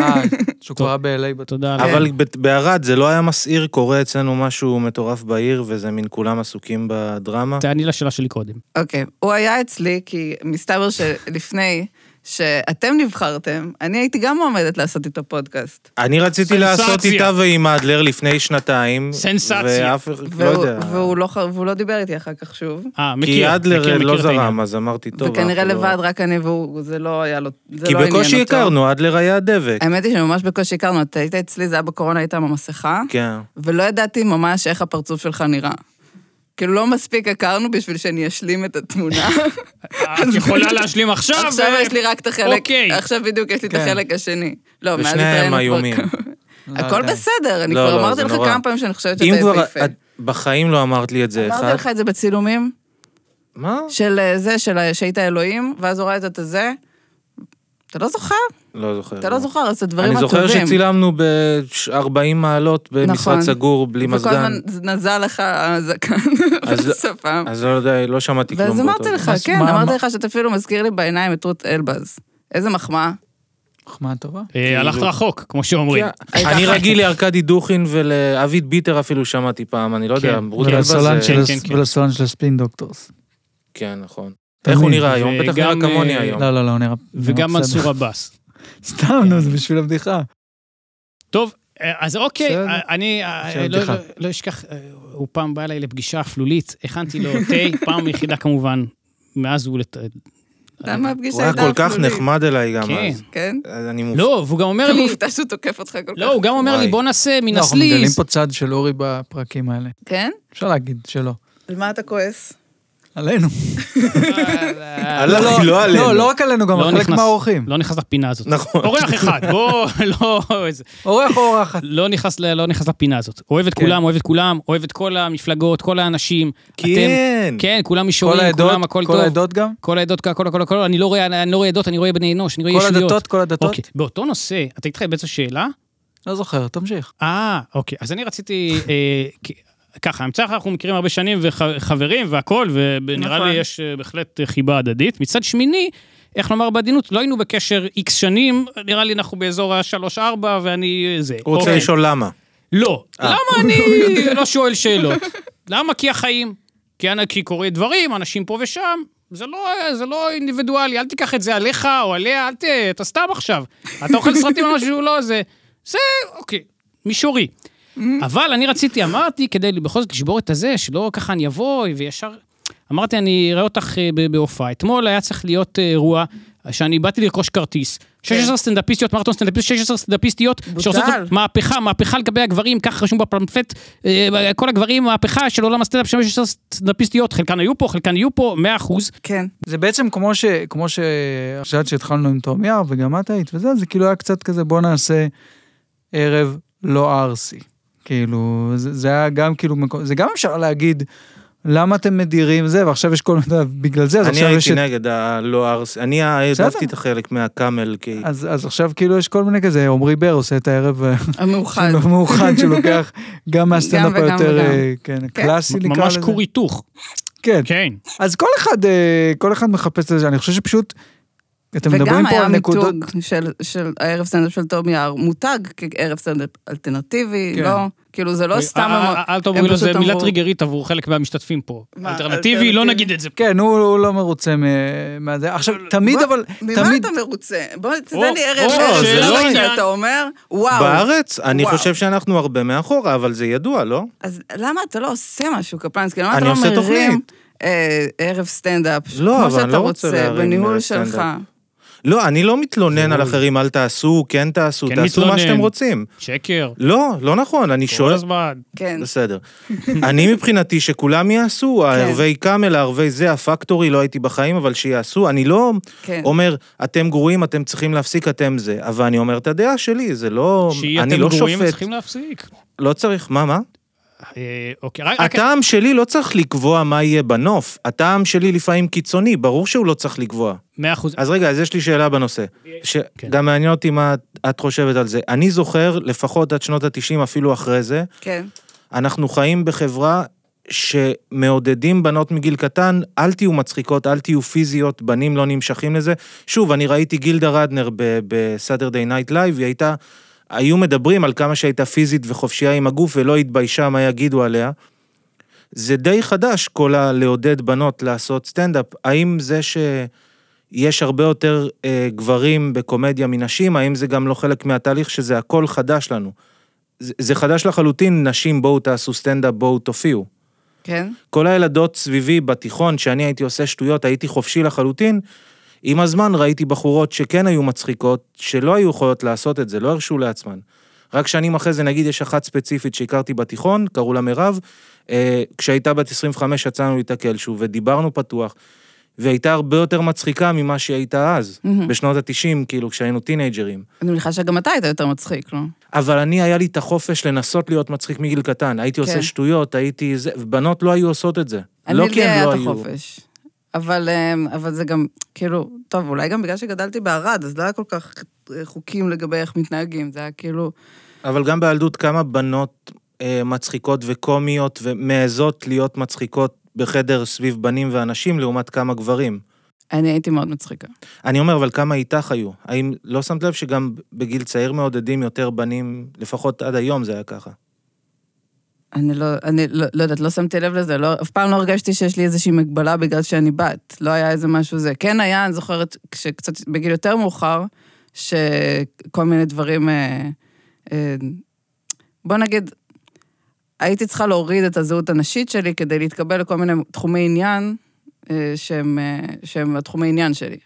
B: אה, שהוא כבר היה ב-LA בתור.
A: תודה על
D: כן.
C: אבל ב- בערד זה לא היה מסעיר, קורה אצלנו משהו מטורף בעיר, וזה מין כולם עסוקים בדרמה.
A: תעני לשאלה שלי קודם.
D: אוקיי, הוא היה אצלי, כי מסתבר שלפני שאתם נבחרתם, אני הייתי גם מועמדת לעשות איתו פודקאסט.
C: אני רציתי
A: סנסציה.
C: לעשות איתה ועם אדלר לפני שנתיים.
A: סנסציה.
C: ואף אחד, לא
D: והוא-
C: יודע.
D: והוא לא ח- והוא לא דיבר איתי אחר כך שוב.
A: אה, מכיר,
C: כי
A: מכיר,
C: אדלר
A: מכיר
C: לא
A: את העניין.
C: זרם, אז אמרתי, טוב,
D: וכנראה
C: אנחנו לא-
D: לבד, רק אני והוא, זה לא היה לו, זה לא
C: כי
D: עניין אותו.
C: בקושי הכרנו, אדלר היה הדבק.
D: האמת היא שממש בקושי הכרנו, אתה היית אצלי, זה היה בקורונה, היית עם המסכה,
C: כן.
D: ולא ידעתי ממש איך הפרצוף שלך נראה. כאילו, לא מספיק הכרנו בשביל שאני אשלים את התמונה.
A: את יכולה להשלים
C: לא,
A: עכשיו? אה,
D: עכשיו
A: ו-
D: יש לי רק את החלק,
A: אוקיי.
D: עכשיו בדיוק יש לי את
B: כן.
D: החלק השני. לא, מאז
C: ושניהם
D: התראינו כבר
C: איומים.
D: כמה-
B: לא
D: הכל
B: יודע.
D: בסדר, אני
C: לא,
D: כבר
C: לא,
D: אמרתי
C: זה
D: לך
C: נורא.
D: כמה פעמים שאני חושבת
C: אם
D: שאתה
C: כבר,
D: יפהפה.
C: את בחיים לא אמרת לי את זה אחד.
D: אמרתי לך את זה בצילומים
C: מה?
D: של אה, זה, של ה- שהיית אלוהים, ואז הורדת את הזה. אתה לא זוכר?
C: לא זוכר.
D: אתה לא זוכר, אז את הדברים
C: אני
D: הטובים.
C: זוכר שצילמנו ב-40 מעלות במשרד
D: נכון.
C: סגור בלי
D: וכל הזמן
C: מזגן.
D: נזל לך הזקן
C: אז-
D: בשפם.
C: אז לא יודע, לא שמעתי כלום.
D: ואז
C: באותו
D: אמרתי לך,
B: מה-
D: כן,
B: מה-
D: אמרתי
B: מה-
D: לך שאתה אפילו מזכיר לי בעיניים את רות אלבז. איזה מחמאה.
B: מחמאה טובה.
D: כאילו-
A: אה, הלכת רחוק, כמו שאומרים.
C: כן, אני רגיל לארקדי דוכין ולאבי ביטר אפילו שמעתי פעם, אני לא יודע,
A: כן,
C: רות אלבז אה,
B: ולסולן
C: זה...
B: של-
A: כן, כן, כן.
B: ולסולן של הספין דוקטורס.
C: כן, נכון.
B: תמיד.
C: איך הוא נראה היום? בטח נראה
A: וגם,
C: כמוני
A: אה,
C: כן, היום.
B: לא, לא, לא, הוא נראה...
A: וגם
B: נראה בסדר.
A: מנסור עבאס.
B: סתם, נו, זה בשביל הבדיחה.
A: טוב, אה, אז אוקיי,
B: בסדר.
A: אה, אני אה,
B: עכשיו
A: לא-
B: בדיחה.
A: לא- לא אשכח, אה, הוא פעם בא אליי לפגישה אפלולית, הכנתי לו תה, פעם יחידה כמובן, מאז הוא... לת-
D: למה הפגישה
C: הוא היה
D: הייתה
C: כל כך
D: אפלולית?
C: נחמד אליי גם
A: כן.
C: אז.
D: כן?
C: אז אני מופתע.
A: לא, והוא גם אומר
D: אתה
A: לי,
D: מופתע שהוא תוקף אותך כל כך.
A: לא, הוא גם אומר לי,
C: וואי.
A: בוא נעשה מן
B: לא, אנחנו מגלים
A: הסליז.
B: פה צד של אורי בפרקים האלה.
D: כן?
B: אפשר להגיד שלא.
D: על מה אתה כועס?
B: עלינו.
C: עליי, לא עלינו.
B: לא, לא רק עלינו, גם
A: אה, לא
B: על חלק
A: נכנס-
B: מהאורחים.
A: לא נכנס לפינה הזאת.
C: נכון.
A: אורח אחד, בוא, לא... איזה-
B: אורח או אורחת.
A: לא נכנס, ל- לא נכנס לפינה הזאת. אוהב את
B: כן.
A: כולם, אוהב את כולם, אוהב את כל המפלגות, כל האנשים.
C: כן.
A: אתם, כן, כולם
B: כל
A: מישורים,
B: העדות,
A: כולם, הכל
B: כל
A: טוב.
B: העדות גם?
A: כל העדות, כל, כל, כל, כל, אני לא רואה, אני לא רואה עדות, אני רואה בני אנוש, אני רואה
B: כל
A: ישויות.
B: הדתות, כל הדתות?
A: אוקיי, באותו נושא, אתה הייתי לך באיזו שאלה?
B: לא זוכר, תמשיך.
A: אה, אוקיי, אז אני רציתי... אה, כי- ככה, המצאה אנחנו מכירים הרבה שנים וחברים והכול, ונראה
D: נכון.
A: לי יש אה, בהחלט אה, חיבה הדדית. מצד שמיני, איך לומר בעדינות, לא היינו בקשר איקס שנים, נראה לי אנחנו באזור ה-3-4 ואני אה, זה.
C: הוא רוצה
A: אוקיי.
C: לשאול למה.
A: לא. למה אני לא שואל שאלות? למה? כי החיים. כי, אנ- כי קורה דברים, אנשים פה ושם. זה לא, זה לא אינדיבידואלי, אל תיקח את זה עליך או עליה, אל ת... אתה סתם עכשיו. אתה אוכל סרטים על משהו שהוא לא זה. זה, אוקיי, מישורי. אבל אני רציתי, אמרתי, כדי בכל זאת לשבור את הזה, שלא ככה אני אבוא וישר... אמרתי, אני אראה אותך אה, ב- בהופעה. אתמול היה צריך להיות אה, אירוע שאני באתי לרכוש כרטיס. 16 סטנדאפיסטיות, מרתון סטנדאפיסט, 16 סטנדאפיסטיות שרוצות
D: כן. בוטל.
A: מהפכה, מהפכה לגבי הגברים, כך רשום בפלמפט, אה, כל הגברים, מהפכה של עולם הסטנדאפ, שם יש סטנדאפיסטיות, חלקן היו פה, חלקן יהיו פה, 100 אחוז.
D: כן.
B: זה בעצם כמו ש... כמו ש... עכשיו שהתחלנו עם תומיה, וגם את היית וזה, זה כאילו היה קצת כזה, בוא נעשה ערב לא ערסי. כאילו, זה, זה היה גם כאילו, מקום- זה גם אפשר להגיד, למה אתם מדירים זה, ועכשיו יש כל מיני, בגלל זה, אז
C: אני
B: עכשיו יש
C: הייתי
B: את...
C: נגד הלא ארס... אני העדפתי את החלק מהקאמל, כי...
B: אז, אז עכשיו כאילו יש כל מיני כזה, עמרי בר עושה את הערב אה,
D: המאוחד.
B: המאוחד שלוקח גם מהסטנדאפ
D: וגם
B: היותר,
D: וגם.
B: אה, כן, קלאסי נקרא לזה.
A: ממש כור היתוך.
B: כן,
A: כן.
B: אז כל אחד, אה, כל אחד מחפש את זה, אני חושב שפשוט, אתם מדברים פה
D: וגם היה
B: על נקודות...
D: מיתוג של- של הערב סטנדאפ של תום יער, מותג כערב סטנדאפ אלטרנטיבי,
B: כן.
D: לא? כאילו, זה לא סתם...
A: אה,
D: אמר-
A: אה, אל תאמרי לו,
D: הם
A: זה
D: פשוט
A: מילה
D: אמרו-
A: טריגרית עבור חלק מהמשתתפים פה.
D: מה,
A: אלטרנטיבי, לא
D: אלטרנטיבי?
A: נגיד את זה.
B: כן, הוא, הוא לא מרוצה מ- מה זה. עכשיו, תמיד,
D: בוא,
B: אבל,
D: ממה
B: תמיד,
D: אתה מרוצה? בוא,
A: או,
D: תן לי ערב
A: או,
D: ערב
C: זה לא
D: סטנדאפ
A: עניין.
D: שאתה אומר, וואו.
C: בארץ? אני
D: וואו.
C: חושב שאנחנו הרבה מאחורה, אבל זה ידוע, לא?
D: אז למה אתה לא עושה משהו, קפלנסקי? למה אתה
C: אני
D: לא
C: עושה
D: מרים
C: תוכנית.
D: אה, ערב סטנדאפ,
C: לא, אבל
D: כמו
C: אני
D: שאתה
C: לא רוצה
D: רוצה,
C: להרים, אה,
D: בניהול
C: סטנדאפ.
D: שלך?
C: לא, אני לא מתלונן על אחרים, אל תעשו, כן תעשו,
A: כן
C: תעשו
A: מתלונן.
C: מה שאתם רוצים.
A: שקר.
C: לא, לא נכון, אני
A: כל
C: שואל...
A: הזמן.
D: כן.
C: בסדר. אני מבחינתי שכולם יעשו,
A: כן.
C: הערבי קאמל, הערבי זה, הפקטורי, לא הייתי בחיים, אבל שיעשו. אני לא
D: כן.
C: אומר, אתם גרועים, אתם צריכים להפסיק, אתם זה. אבל אני אומר את הדעה שלי, זה לא...
A: שיהיה
C: אני
A: אתם
C: לא
A: גרועים,
C: שופט.
A: צריכים להפסיק.
C: לא צריך, מה, מה?
A: אה, אוקיי, רק... רק-
C: הטעם שלי לא צריך לקבוע מה יהיה בנוף, הטעם שלי לפעמים קיצוני, ברור שהוא לא צריך לקבוע.
A: מאה אחוז.
C: אז רגע, אז יש לי שאלה בנושא,
A: כן.
C: שגם מעניין אותי מה את- את חושבת על זה. אני זוכר, לפחות עד שנות ה-90, אפילו אחרי זה,
D: כן.
C: אנחנו חיים בחברה שמעודדים בנות מגיל קטן, אל תהיו מצחיקות, אל תהיו פיזיות, בנים לא נמשכים לזה. שוב, אני ראיתי גילדה רדנר בסאטרדיי נייט לייב, היא הייתה, היו מדברים על כמה שהייתה פיזית וחופשייה עם הגוף ולא התביישה מה יגידו עליה. זה די חדש, כל הלעודד בנות לעשות סטנדאפ. האם זה שיש הרבה יותר אה, גברים בקומדיה מנשים, האם זה גם לא חלק מהתהליך שזה הכל חדש לנו? זה, זה חדש לחלוטין, נשים בואו תעשו סטנדאפ, בואו תופיעו.
D: כן?
C: כל הילדות סביבי בתיכון, שאני הייתי עושה שטויות, הייתי חופשי לחלוטין, עם הזמן ראיתי בחורות שכן היו מצחיקות, שלא היו יכולות לעשות את זה, לא הרשו לעצמן. רק שנים אחרי זה, נגיד, יש אחת ספציפית שהכרתי בתיכון, קראו לה מירב, אה, כשהייתה בת 25 יצאנו להתקל שוב, ודיברנו פתוח, והייתה הרבה יותר מצחיקה ממה שהיא הייתה אז,
D: מהמם.
C: בשנות ה-90, כאילו, כשהיינו טינג'רים.
D: אני מניחה שגם אתה היית יותר מצחיק, לא?
C: אבל אני, היה לי את החופש לנסות להיות מצחיק מגיל קטן. הייתי
D: כן.
C: עושה שטויות, הייתי זה, ובנות לא היו עושות את זה. לא
D: אני
C: כי
D: לי
C: הן
D: היה
C: לא
D: את
C: היו.
D: החופש. אבל, אמ, אבל זה גם, כאילו, טוב, אולי גם בגלל שגדלתי בערד, אז לא היה כל כך אה, חוקים לגבי איך מתנהגים, זה היה כאילו...
C: אבל גם בילדות, כמה בנות אה, מצחיקות וקומיות ומעזות להיות מצחיקות בחדר סביב בנים ואנשים, לעומת כמה גברים.
D: אני הייתי מאוד מצחיקה.
C: אני אומר, אבל כמה איתך היו? האם לא שמת לב שגם בגיל צעיר מעודדים יותר בנים, לפחות עד היום זה היה ככה?
D: אני לא, אני לא, לא יודעת, לא שמתי לב לזה, לא, אף פעם לא הרגשתי שיש לי איזושהי מגבלה בגלל שאני בת. לא היה איזה משהו זה. כן היה, אני זוכרת, כשקצת, בגיל יותר מאוחר, שכל מיני דברים... אה, אה, בוא נגיד, הייתי צריכה להוריד את הזהות הנשית שלי כדי להתקבל לכל מיני תחומי עניין אה, שהם, אה, שהם התחומי עניין שלי.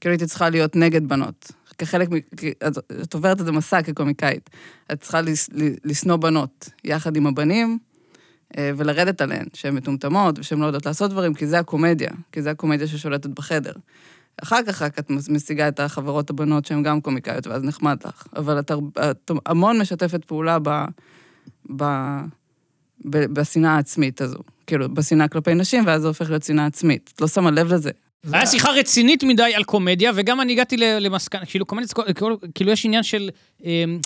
D: כאילו הייתי צריכה להיות נגד בנות. כחלק מ... כי את- את עוברת איזה מסע כקומיקאית. את צריכה לס- ל- לשנוא בנות יחד עם הבנים, אה, ולרדת עליהן, שהן מטומטמות ושהן לא יודעות לעשות דברים, כי זה הקומדיה, כי זה הקומדיה ששולטת בחדר. אחר כך רק את מס- משיגה את החברות הבנות שהן גם קומיקאיות, ואז נחמד לך. אבל את, הר- את המון משתפת פעולה ב... ב... ב... בשנאה העצמית הזו. כאילו, בשנאה כלפי נשים, ואז זה הופך להיות שנאה עצמית. את לא שמה לב לזה.
A: היה שיחה רצינית מדי על קומדיה, וגם אני הגעתי ל- למסקנה, כאילו קומדיה, זה כל- כאילו- כאילו יש עניין של... אמ,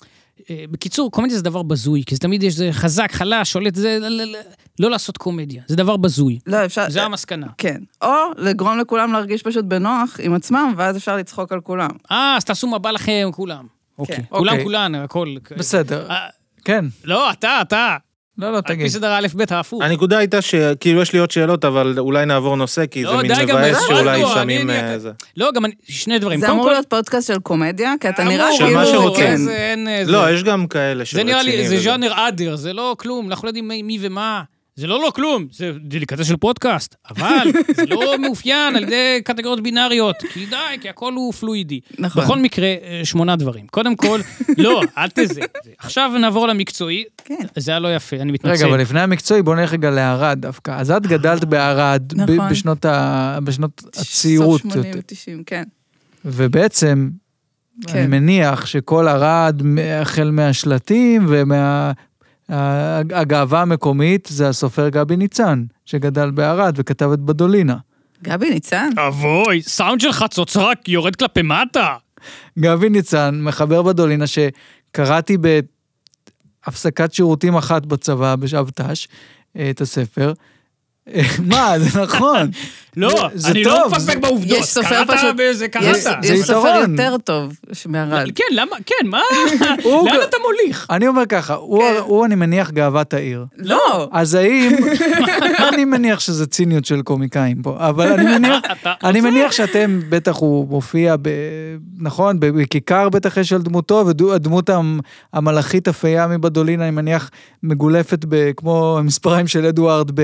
A: אה, בקיצור, קומדיה זה דבר בזוי, כי זה תמיד יש זה חזק, חלש, שולט, זה... ל- ל- ל- לא לעשות קומדיה, זה דבר בזוי.
D: לא, אפשר...
C: אה,
A: זה המסקנה.
D: כן. או לגרום לכולם להרגיש פשוט בנוח עם עצמם, ואז אפשר לצחוק על כולם.
A: אה, אז תעשו מה בא לכם, כולם.
C: כן.
A: אוקיי. כולם,
B: אוקיי.
A: כולן, הכל.
B: בסדר,
A: אה,
B: כן.
A: לא, אתה, אתה.
B: לא,
D: אה,
B: לא,
A: על פי
B: תגיד.
A: סדר האלף-בית ההפוך.
C: הנקודה הייתה שכאילו יש לי עוד שאלות, אבל אולי נעבור נושא, כי
A: לא,
C: זה מין
A: די, גם
C: מבאס
A: הבנו,
C: שאולי
A: אני-
C: שמים...
A: אני-
C: אה, זה.
A: לא, גם אני- שני דברים.
D: זה
A: קודם
D: אמור
A: כל-
D: להיות פודקאסט של קומדיה, כי אתה
A: אמור,
D: נראה
A: אמור,
C: של
D: כאילו...
C: מה
A: אמור,
C: שרוצים.
A: אה,
D: כן.
A: זה אין, אה, זה-
C: לא, יש גם כאלה
A: זה נראה לי,
C: שרציניים
A: זה
C: וזה.
A: ז'אנר אדיר, זה לא כלום, אנחנו לא יודעים מי- מי ומה. זה לא לא כלום, זה דליקטה של פודקאסט, אבל זה לא מאופיין על ידי קטגוריות בינאריות, כי די, כי הכל הוא פלואידי.
D: נכון.
A: בכל מקרה, אה, שמונה דברים. קודם כל, לא, אל תזה. עכשיו נעבור למקצועי,
D: כן.
A: זה היה לא יפה, אני מתנצל.
B: רגע, אבל לפני המקצועי, בוא נלך רגע לערד דווקא. אז את גדלת בערד ב-
D: נכון.
B: בשנות ה- בשנות הצעירות.
D: סוף 80, 90, כן.
B: ובעצם,
D: כן.
B: אני מניח שכל ערד, מ- החל מהשלטים ומה... ה- הגאווה המקומית זה הסופר גבי ניצן, שגדל בערד וכתב את בדולינה.
D: גבי ניצן?
A: אה, אבוי, סאונד של חצוצרק יורד כלפי מטה.
B: גבי ניצן, מחבר בדולינה, שקראתי בהפסקת שירותים אחת בצבא בשבת"ש, אה, את הספר. אה, מה, זה נכון.
A: לא,
B: זה- זה
A: אני לא
B: טוב,
A: מפקפק
B: זה-
A: בעובדות.
D: יש סופר
A: קראת
D: פשוט-
A: באיזה, קראת.
D: יש
B: זה
D: יש סופר
B: יתרון.
D: יותר טוב מערד.
A: כן, למה, כן, מה?
B: הוא-
A: לאן אתה מוליך?
B: אני אומר ככה, הוא,
D: כן.
B: הוא, אני מניח, גאוות העיר.
D: לא!
B: אז האם... אני מניח שזה ציניות של קומיקאים פה, אבל אני מניח...
A: אתה-
B: אני מניח שאתם, בטח הוא מופיע, ב, נכון, ב- בכיכר בטח יש על דמותו, והדמות המ- המלאכית הפייה מבדולין, אני מניח, מגולפת ב, כמו המספריים של אדוארד, ב,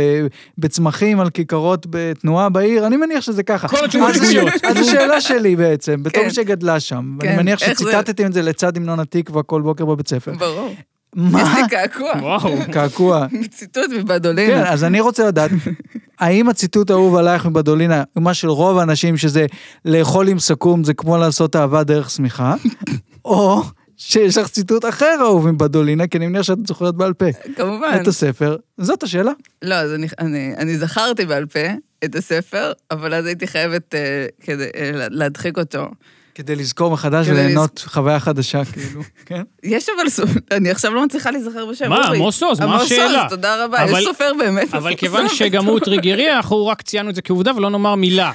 B: בצמחים על כיכרות בתנועה בעיר, אני מניח שזה ככה.
A: כל התשובות
B: אז הש-
A: שגויות.
B: אז השאלה שלי בעצם, בתור
D: כן.
B: מי שגדלה שם,
D: כן,
B: אני מניח
D: איך זה-
B: שציטטתם את זה לצד המנון התקווה כל בוקר בבית ספר.
D: ברור. יש
B: מה?
D: לי קעקוע.
A: וואו.
B: קעקוע.
D: ציטוט
B: כן,
D: מבדולינה.
B: אז אני רוצה לדעת, האם הציטוט האהוב עלייך מבדולינה, מה של רוב האנשים שזה לאכול עם סכו"ם זה כמו לעשות אהבה דרך שמיכה, או שיש לך ציטוט אחר אהוב מבדולינה, כי אני מניח שאת זוכרת בעל פה.
D: כן. כמובן.
B: את הספר, זאת השאלה.
D: לא, אז אני, אני, אני זכרתי בעל פה את הספר, אבל אז הייתי חייבת אה, כדי, אה, לה- להדחיק אותו.
B: כדי לזכור מחדש
D: כדי
B: וליהנות חוויה חדשה, כאילו, כן?
D: יש אבל, סופ- אני עכשיו לא מצליחה להיזכר בשם.
A: מה,
D: אורי.
A: עמוס עוז, מה
D: עמוס
A: השאלה?
D: עוז, תודה רבה,
A: אבל-
D: יש סופר באמת.
A: אבל
D: מפורסם.
A: כיוון שגם הוא טריגרי, אנחנו רק ציינו את זה כעובדה ולא נאמר מילה.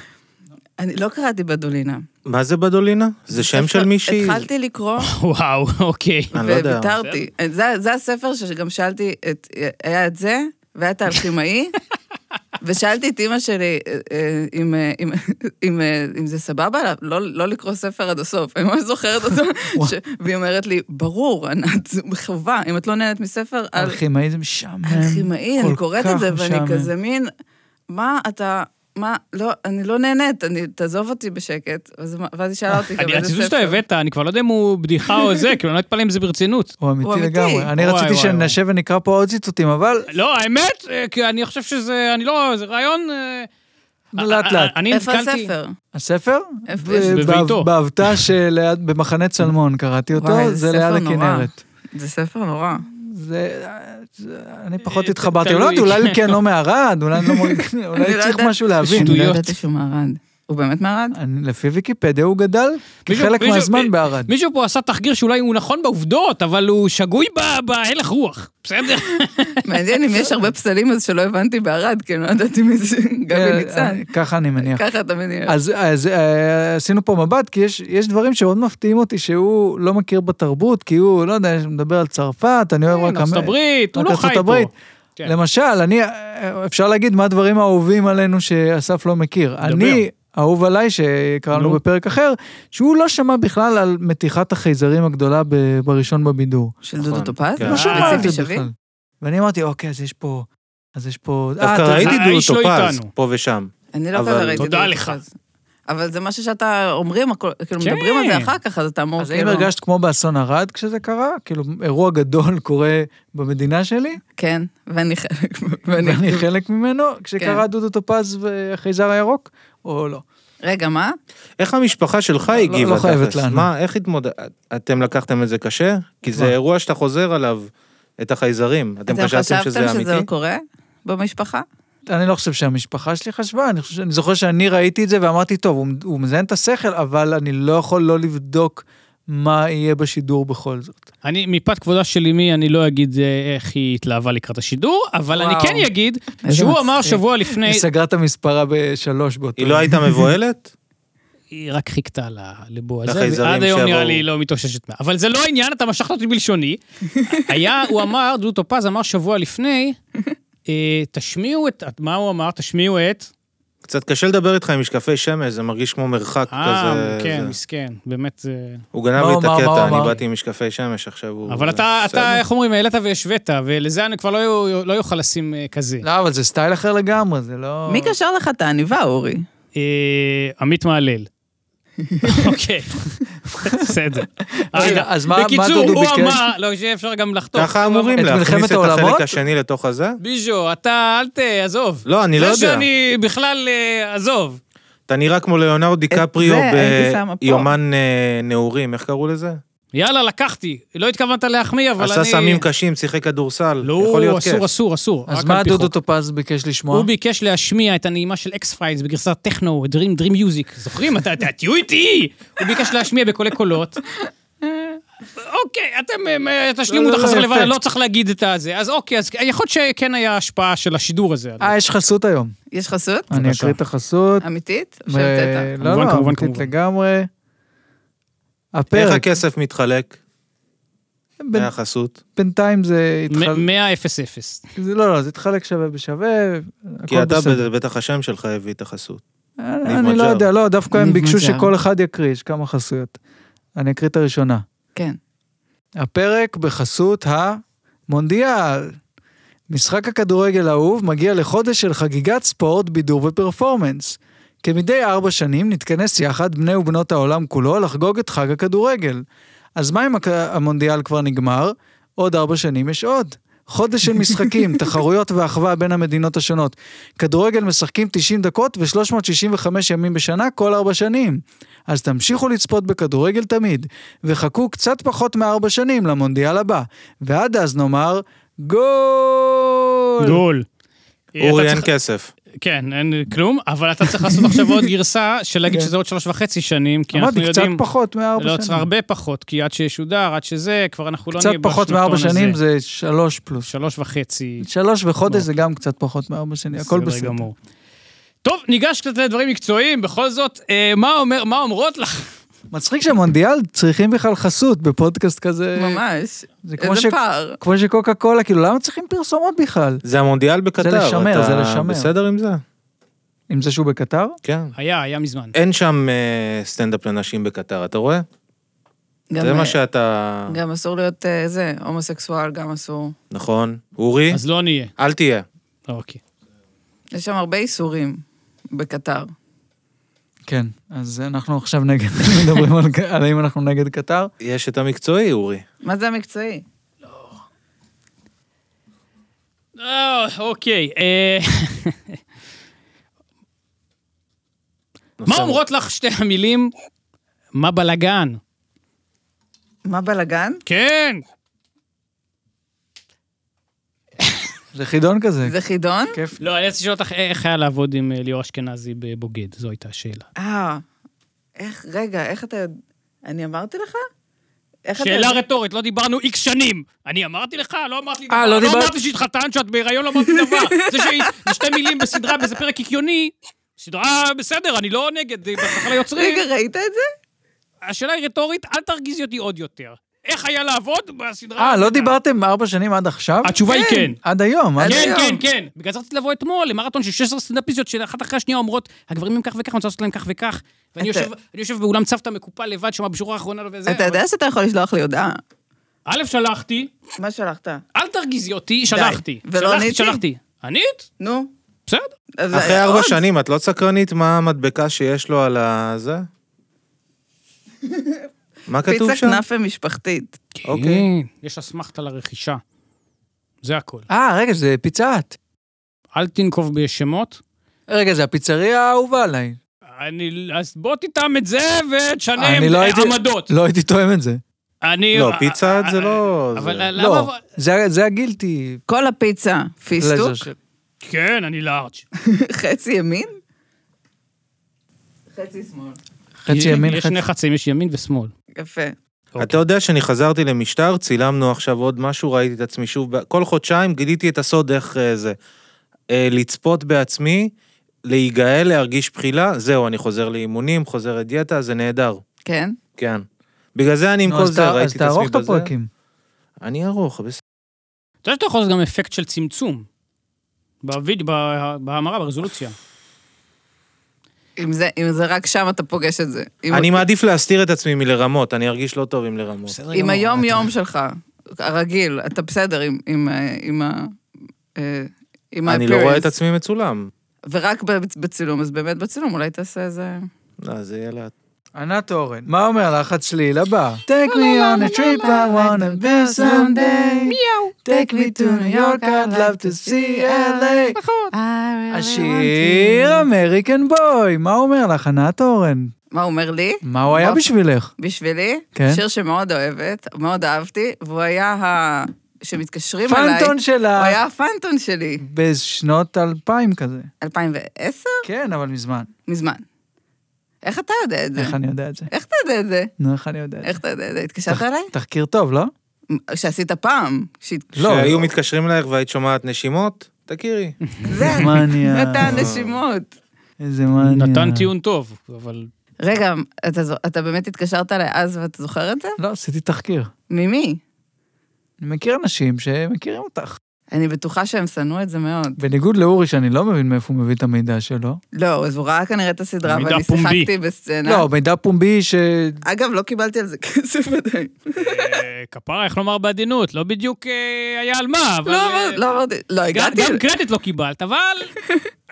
D: אני לא קראתי בדולינה.
C: מה זה בדולינה? זה שם של מישהי?
D: התחלתי לקרוא.
A: וואו, אוקיי.
C: אני לא יודע.
B: אה,
D: וויתרתי. אה, זה- זה הספר שגם שאלתי, את- היה את זה, והיה את האלכימאי, ושאלתי את אימא שלי אה, אה, אם, אה, אם- אם, אה, אם זה סבבה לה, לא, לא לקרוא ספר עד הסוף. אני ממש זוכרת אותו, ש... והיא אומרת לי, ברור, ענת, זו חובה, אם את לא נהנית מספר,
A: אה,
D: אל-
B: אלכימאי זה משעמם.
D: אלכימאי,
B: כן,
D: אני
B: כל
D: קוראת
B: כך
D: את זה, ואני
B: משעמם.
D: כזה מין, מה אתה... מה, לא, אני לא נהנית, אני, תעזוב אותי בשקט. אז מה- ואז היא שאלה אותי גם
A: אני
D: איזה
A: הציטוט
D: ספר.
A: שאתה הבאת, אני כבר לא יודע אם הוא בדיחה או זה, כאילו, אני לא אתפלא אם זה ברצינות.
B: הוא אמיתי
D: הוא אמיתי.
B: לגמרי. אני
A: וואי,
B: רציתי
A: וואי, וואי.
B: שנשב ונקרא פה עוד ציטוטים, אבל
A: לא, האמת, אה, כי אני חושב שזה, אני לא, זה רעיון... אה,
B: לאט
A: אה,
B: לאט.
A: אה, אני
D: איפה
A: נתקלתי-
D: הספר?
B: הספר?
D: איפה
B: ב-
D: יש?
A: בביתו.
B: באב- באבטה שליד, במחנה צלמון קראתי
D: וואי,
B: אותו,
D: זה
B: זה
D: ספר
B: ליד
D: נורא.
B: הכנרת.
D: זה ספר נורא.
B: זה, זה- אני פחות
A: אה,
B: התחברתי,
A: תלוי.
B: אולי אולי כי אני לא מערד, אולי אני לא מור- אולי
D: אני לא
B: צריך
D: יודעת.
B: משהו להבין.
D: אני לא
A: שטויות.
D: ידעתי שהוא מערד. הוא באמת מערד?
B: אני- לפי ויקיפדיה הוא גדל
A: מישהו-
B: כחלק
A: מישהו-
B: מהזמן
A: מ-
B: בערד.
A: מישהו פה עשה תחקיר שאולי הוא נכון בעובדות, אבל הוא שגוי ב- בהלך רוח, בסדר?
D: מעניין אם יש הרבה פסלים אז שלא הבנתי בערד, כי אני לא ידעתי מי זה גבי
B: כן,
D: ניצן.
B: אני- ככה אני מניח.
D: ככה אתה מניח.
B: אז, אז אה, עשינו פה מבט, כי יש, יש דברים שמאוד מפתיעים אותי שהוא לא מכיר בתרבות, כי הוא, לא יודע, מדבר על צרפת, אני אוהב רק...
A: כן, ארצות
B: אמ-
A: הברית, הוא
B: רק
A: לא
B: ארצות
A: חי פה.
B: הברית.
A: כן.
B: למשל, אני, אה, אפשר להגיד מה הדברים האהובים עלינו שאסף לא מכיר. אני, אהוב עליי, שקראנו
A: נו.
B: בפרק אחר, שהוא לא שמע בכלל על מתיחת החייזרים הגדולה ב- בראשון בבידור.
D: אה, של
C: נכון,
D: דודו טופז?
C: כן.
B: לא שמע על
D: וציפי
B: זה
D: שביט?
B: בכלל. ואני אמרתי, אוקיי, אז יש פה... אז יש פה... אה,
C: דווקא
B: אתה-
C: ראיתי דודו
A: האיש לא
C: טופז,
A: איתנו.
C: פה ושם.
D: אני לא
C: אבל-
D: כזה ראיתי
A: תודה
D: דודו
A: לך.
D: טופז. אבל זה משהו שאתה אומרים, הכל- כאילו
A: כן.
D: מדברים על זה אחר כך, אז אתה אמור
B: אז האם
D: כאילו...
B: הרגשת כמו באסון ערד כשזה קרה? כאילו, אירוע גדול קורה במדינה שלי,
D: כן, ואני חלק... ואני-
B: ואני חלק ממנו, כשקרה דודו טופז והחייזר הירוק, או לא?
D: רגע, מה?
C: איך המשפחה שלך
B: לא-
C: הגיבה?
B: לא חייבת
C: תכלס?
B: לנו.
C: מה, איך התמודד... אתם לקחתם את זה קשה? כי זה
B: מה?
C: אירוע שאתה חוזר עליו, את החייזרים. אתם חשבתם שזה
D: חשבתם שזה
C: אמיתי?
D: קורה במשפחה?
B: אני לא חושב שהמשפחה שלי חשבה, אני, חושב, אני זוכר שאני ראיתי את זה ואמרתי, טוב, הוא, הוא מזיין את השכל, אבל אני לא יכול לא לבדוק מה יהיה בשידור בכל זאת.
A: אני, מפאת כבודה של אמי, אני לא אגיד אה, איך היא התלהבה לקראת השידור, אבל אני
D: וואו.
A: כן אגיד שהוא
D: מצחיק.
A: אמר שבוע לפני,
B: היא סגרה את המספרה בשלוש באותו...
C: היא לא הייתה מבוהלת?
A: היא רק חיכתה ל- לבועז,
C: לחייזרים
A: ועד היום נראה
C: שיבואו.
A: לי היא לא מתאוששת מה. אבל זה לא העניין, אתה משכת אותי בלשוני. היה, הוא אמר, דודו טופז אמר שבוע לפני, אה, תשמיעו את, מה הוא אמר? תשמיעו את...
C: קצת קשה לדבר איתך עם משקפי שמש, זה מרגיש כמו מרחק
A: אה,
C: כזה.
A: כן,
C: זה.
A: מסכן, באמת זה...
C: הוא גנב
B: מה
C: לי
B: הוא
C: את
B: אמר? מה הוא
C: הקטע, אני
B: אמר?
C: באתי עם משקפי שמש, עכשיו הוא...
A: אבל אתה,
C: בסדר.
A: אתה, איך אומרים, העלית והשווית, ולזה אני כבר לא יהיו- לא יוכל לשים אה, כזה.
B: לא, אבל זה סטייל אחר לגמרי, זה לא...
D: מי קשר לך את העניבה, אורי?
A: אה, עמית מהלל. אוקיי, בסדר.
B: רגע, אז מה- מה
A: בקיצור,
B: דודו
A: הוא
B: ביקש?
A: אמר, לא, שאפשר גם לחתוך.
C: ככה
A: הוא
C: אמורים
A: אמר,
B: את
C: להכניס
B: מלחמת
C: את
B: העולמות?
C: החלק השני לתוך הזה?
A: ביז'ו, אתה, אל ת... עזוב.
C: לא, אני לא
A: זה
C: יודע.
A: שאני בכלל, אה, עזוב.
C: אתה נראה כמו ליאונרד דיקפריו
D: זה הייתי שמה פה.
C: ביומן אה, נעורים, איך קראו לזה?
A: יאללה, לקחתי. לא התכוונת להחמיא, אבל אני...
C: עשה סמים קשים, שיחק כדורסל, יכול
A: לא,
C: להיות כיף.
A: אסור, אסור, אסור.
B: אז
A: רק
B: מה
A: על פי
B: דודו
A: חוק.
B: טופז ביקש לשמוע?
A: הוא ביקש להשמיע את הנעימה של אקס פריילס בגרסת טכנו, דרים דרים מיוזיק. זוכרים? אתה, אתה- תהיו איתי! הוא ביקש להשמיע בקולי קולות. אוקיי, אתם אה, אה, תשלימו את
B: לא, לא,
A: החסר
B: יפה.
A: לבד, אני לא צריך להגיד את הזה. אז אוקיי, אז יכול להיות שכן היה השפעה של השידור הזה.
B: אה, יש חסות היום.
D: יש חסות?
B: אני
A: בבקשה.
B: אקריא את החסות.
D: אמיתית? או
B: ו-
D: שהמצאת?
B: לא,
A: כמובן,
B: לא,
A: כמובן,
B: אמיתית
A: כמובן.
B: לגמרי.
C: איך
B: הפרק,
C: הכסף מתחלק?
B: בין-
C: מהחסות?
B: בינתיים זה התחלק,
A: 100 0 0
B: זה- לא, לא, זה התחלק שווה בשווה,
C: כי
B: הכל
C: אתה
B: בסדר.
C: בטח השם שלך הביא את החסות. ניב
B: אני לא
C: מג'אר.
B: יודע, לא, דווקא הם
D: ניב
B: ביקשו
D: מג'אר.
B: שכל אחד יקריא, יש כמה חסויות. אני אקריא את הראשונה.
D: כן.
B: הפרק בחסות המונדיאל. משחק הכדורגל האהוב מגיע לחודש של חגיגת ספורט, בידור ופרפורמנס. כמדי ארבע שנים נתכנס יחד בני ובנות העולם כולו לחגוג את חג הכדורגל. אז מה אם הכ- המונדיאל כבר נגמר? עוד ארבע שנים יש עוד. חודש של משחקים, תחרויות ואחווה בין המדינות השונות. כדורגל משחקים 90 דקות ו-365 ימים בשנה כל 4 שנים. אז תמשיכו לצפות בכדורגל תמיד, וחכו קצת פחות מארבע שנים למונדיאל הבא. ועד אז נאמר, גול!
A: גול.
C: אורי
A: אתה
C: אין
A: צריך-
C: כסף.
A: כן, אין כלום, אבל אתה צריך לעשות עכשיו עוד גרסה של להגיד
B: כן.
A: שזה עוד שלוש וחצי שנים, כי אנחנו
B: אמרתי, קצת
A: יודעים...
B: פחות מארבע
A: לא,
B: שנים.
A: צריך הרבה פחות, כי עד שישודר, עד שזה, כבר אנחנו לא
B: קצת
A: נהיה
B: פחות מארבע
A: בשנתון
B: שנים
A: הזה.
B: זה שלוש פלוס.
A: שלוש וחצי.
B: שלוש וחודש
A: בוא.
B: זה גם קצת פחות מארבע שנים, הכל
A: לא. בסדר
B: בסדר.
A: גמור. טוב, ניגש קצת לדברים מקצועיים, בכל זאת, אה, מה אומר- מה אומרות לך?
B: מצחיק שמונדיאל צריכים בכלל חסות בפודקאסט כזה.
D: ממש.
B: אה, זה כמו ש-
D: איזה פער.
B: כמו שקוקה קולה, כאילו, למה צריכים פרסומות בכלל?
C: זה המונדיאל בקטר.
B: לשמר,
C: אתה
B: זה לשמר.
C: בסדר עם זה?
B: עם זה שהוא בקטר?
C: כן.
A: היה, היה מזמן.
C: אין שם אה, סטנדאפ לנשים בקטר, אתה רואה?
D: גם,
C: זה
D: אה,
C: מה שאתה...
D: גם אסור להיות אה, זה, הומוסקסואל, גם אסור.
C: נכון. אורי,
A: אז לא נהיה.
C: אל תהיה.
A: אוקיי.
D: יש שם הרבה איסורים בקטר.
B: כן. אז אנחנו עכשיו נגד, מדברים על- על האם אנחנו נגד קטר.
C: יש את המקצועי, אורי.
D: מה זה המקצועי?
A: אה, אוקיי. אה, מה
C: נושא-
A: אומרות לך שתי המילים? מה בלאגן?
D: מה בלאגן?
A: כן.
B: זה כן. חידון כזה.
D: זה חידון?
B: כיף.
A: לא, אני רציתי לשאול אותך איך היה לעבוד עם אה, ליאור אשכנזי בבוגד, זו הייתה השאלה.
D: אה, איך, רגע, איך אתה יודע... אני אמרתי לך? איך אתה
A: שאלה
D: יודע-
A: רטורית, לא דיברנו איקס שנים. אני אמרתי לך? לא אמרת לי דבר.
B: אה, לא דיברת?
A: לא אמרת לי שהתחתנת, שאת בהיריון, לא אמרת לי דבר. זה שהיא- זה שתי מילים בסדרה, באיזה פרק קיקיוני. סדרה בסדר, אני לא נגד, זה בהצלחה ליוצרים.
D: רגע, ראית את זה?
A: השאלה היא רטורית, אל תרגיזי אותי עוד יותר. איך היה לעבוד בסדרה?
B: אה, לא
A: האחרונה?
B: דיברתם ארבע שנים עד עכשיו?
A: התשובה היא כן.
B: עד היום. עד-
D: עד
A: כן, כן,
D: היום.
A: כן. בגלל זה רציתי לבוא אתמול למרתון של 16 סטנדאפיסטיות, שאחת אחרי השנייה אומרות, הגברים הם כך וכך, אני רוצה לעשות להם כך וכך. ואני
D: אתה-
A: יושב- אני יושב באולם צוותא מקופל לבד, שם בשורה האחרונה וזה.
D: אתה יודע שאתה יכול לשלוח לי הודעה?
A: א', שלחתי,
D: מה שלחת?
A: אל תרגיזי אותי, שלחתי.
D: ולא
A: שלחתי,
D: עניתי?
A: שלחתי. ענית?
D: נו.
A: בסדר.
D: אז
C: אחרי
D: זה-
C: ארבע
D: עוד?
C: שנים, את לא סקרנית מה המדבקה שיש לו על ה... זה? מה כתוב
D: פיצה
C: שם?
D: כנאפה משפחתית.
C: אוקיי.
A: כן. יש אסמכתה לרכישה. זה הכל.
B: אה, רגע, זה פיצת.
A: אל תנקוב בשמות.
B: רגע, זה הפיצריה האהובה עליי.
A: אני, אז בוא תטעם את זה ותשנה
B: אני לא הייתי-
A: עמדות.
B: לא הייתי תואם את זה.
A: אני...
C: לא, פיצה את זה לא-
A: אבל
C: זה-
B: לא,
A: למה...
B: זה- זה הגילטי.
D: כל הפיצה, פיסטוק,
B: לזר ש-
A: כן, אני לארג'.
D: חצי ימין? חצי שמאל.
B: חצי ימין,
A: יש
B: חצי...
A: שני חצים, יש ימין ושמאל.
D: יפה.
B: אוקיי.
C: אתה יודע שאני חזרתי למשטר, צילמנו עכשיו עוד משהו, ראיתי את עצמי שוב, ב- כל חודשיים גיליתי את הסוד איך אה, זה. אה, לצפות בעצמי, להיגאל, להרגיש בחילה, זהו, אני חוזר לאימונים, חוזר לדיאטה, זה נהדר,
D: כן?
C: כן. בגלל זה אני עם
B: נו,
C: כל
B: אז
C: זה,
B: ת-
C: ראיתי את
B: אז תערוך
C: עצמי
B: את
C: בזה.
B: הפרקים.
C: אני ארוך, בסדר.
A: אתה יודע שאתה יכול לעשות גם אפקט של צמצום. בוויד- בה- בהמרה, ברזולוציה.
D: אם זה, אם זה רק שם אתה פוגש את זה. אם,
C: אני מעדיף להסתיר את עצמי מלרמות, אני ארגיש לא טוב עם לרמות.
D: אם היום-יום שלך, הרגיל, אתה בסדר עם, עם, אה, עם ה... אה, עם
C: אני לא רואה את
D: ה-appearance.
C: עצמי מצולם.
D: ורק בצ- בצילום, אז באמת בצילום, אולי תעשה איזה...
C: לא, זה יהיה לאט.
B: ענת אורן, מה אומר לך הצליל הבא? Take me on a trip I wanna be someday. Take me to New York I'd love to see LA.
D: נכון.
B: השיר אמריקן בוי, מה אומר לך ענת אורן?
D: מה הוא אומר לי?
B: מה הוא היה
D: מה?
B: בשבילך?
D: בשבילי?
B: כן.
D: שיר שמאוד אוהבת, מאוד אהבתי, והוא היה ה... שמתקשרים אליי.
B: פנטון
D: הוא
B: שלה
D: היה הפנטון שלי.
B: בשנות 2000 כזה.
D: 2010?
B: כן, אבל מזמן.
D: מזמן. איך אתה יודע את זה?
B: איך אני יודע את זה?
D: איך אתה יודע את זה?
B: נו, איך אני יודע את זה?
D: איך אתה יודע את זה? התקשרת אליי?
B: תחקיר טוב, לא?
D: שעשית פעם. ש-
B: לא.
C: כשהיו מתקשרים אלייך והיית שומעת נשימות, תכירי.
D: זה,
B: מניאק.
D: נתן נשימות.
B: איזה מניאק.
A: נתן טיעון טוב, אבל...
D: רגע, אתה זו- אתה באמת התקשרת אליי אז ואתה זוכר את זה?
B: לא, עשיתי תחקיר.
D: ממי?
B: אני מכיר אנשים שמכירים אותך.
D: אני בטוחה שהם שנאו את זה מאוד.
B: בניגוד לאורי, שאני לא מבין מאיפה הוא מביא את המידע שלו.
D: לא, אז הוא ראה כנראה את הסדרה,
A: מידע
D: ואני
A: פומבי.
D: שיחקתי בסצנה.
B: לא, מידע פומבי ש...
D: אגב, לא קיבלתי על זה כסף עדיין.
A: אה, כפרה, איך לומר בעדינות? לא בדיוק אה, היה על מה, אבל...
D: לא
A: אה,
D: אמר- לא אמרתי, לא,
A: גם-
D: הגעתי.
A: גם קרדיט לא קיבלת, אבל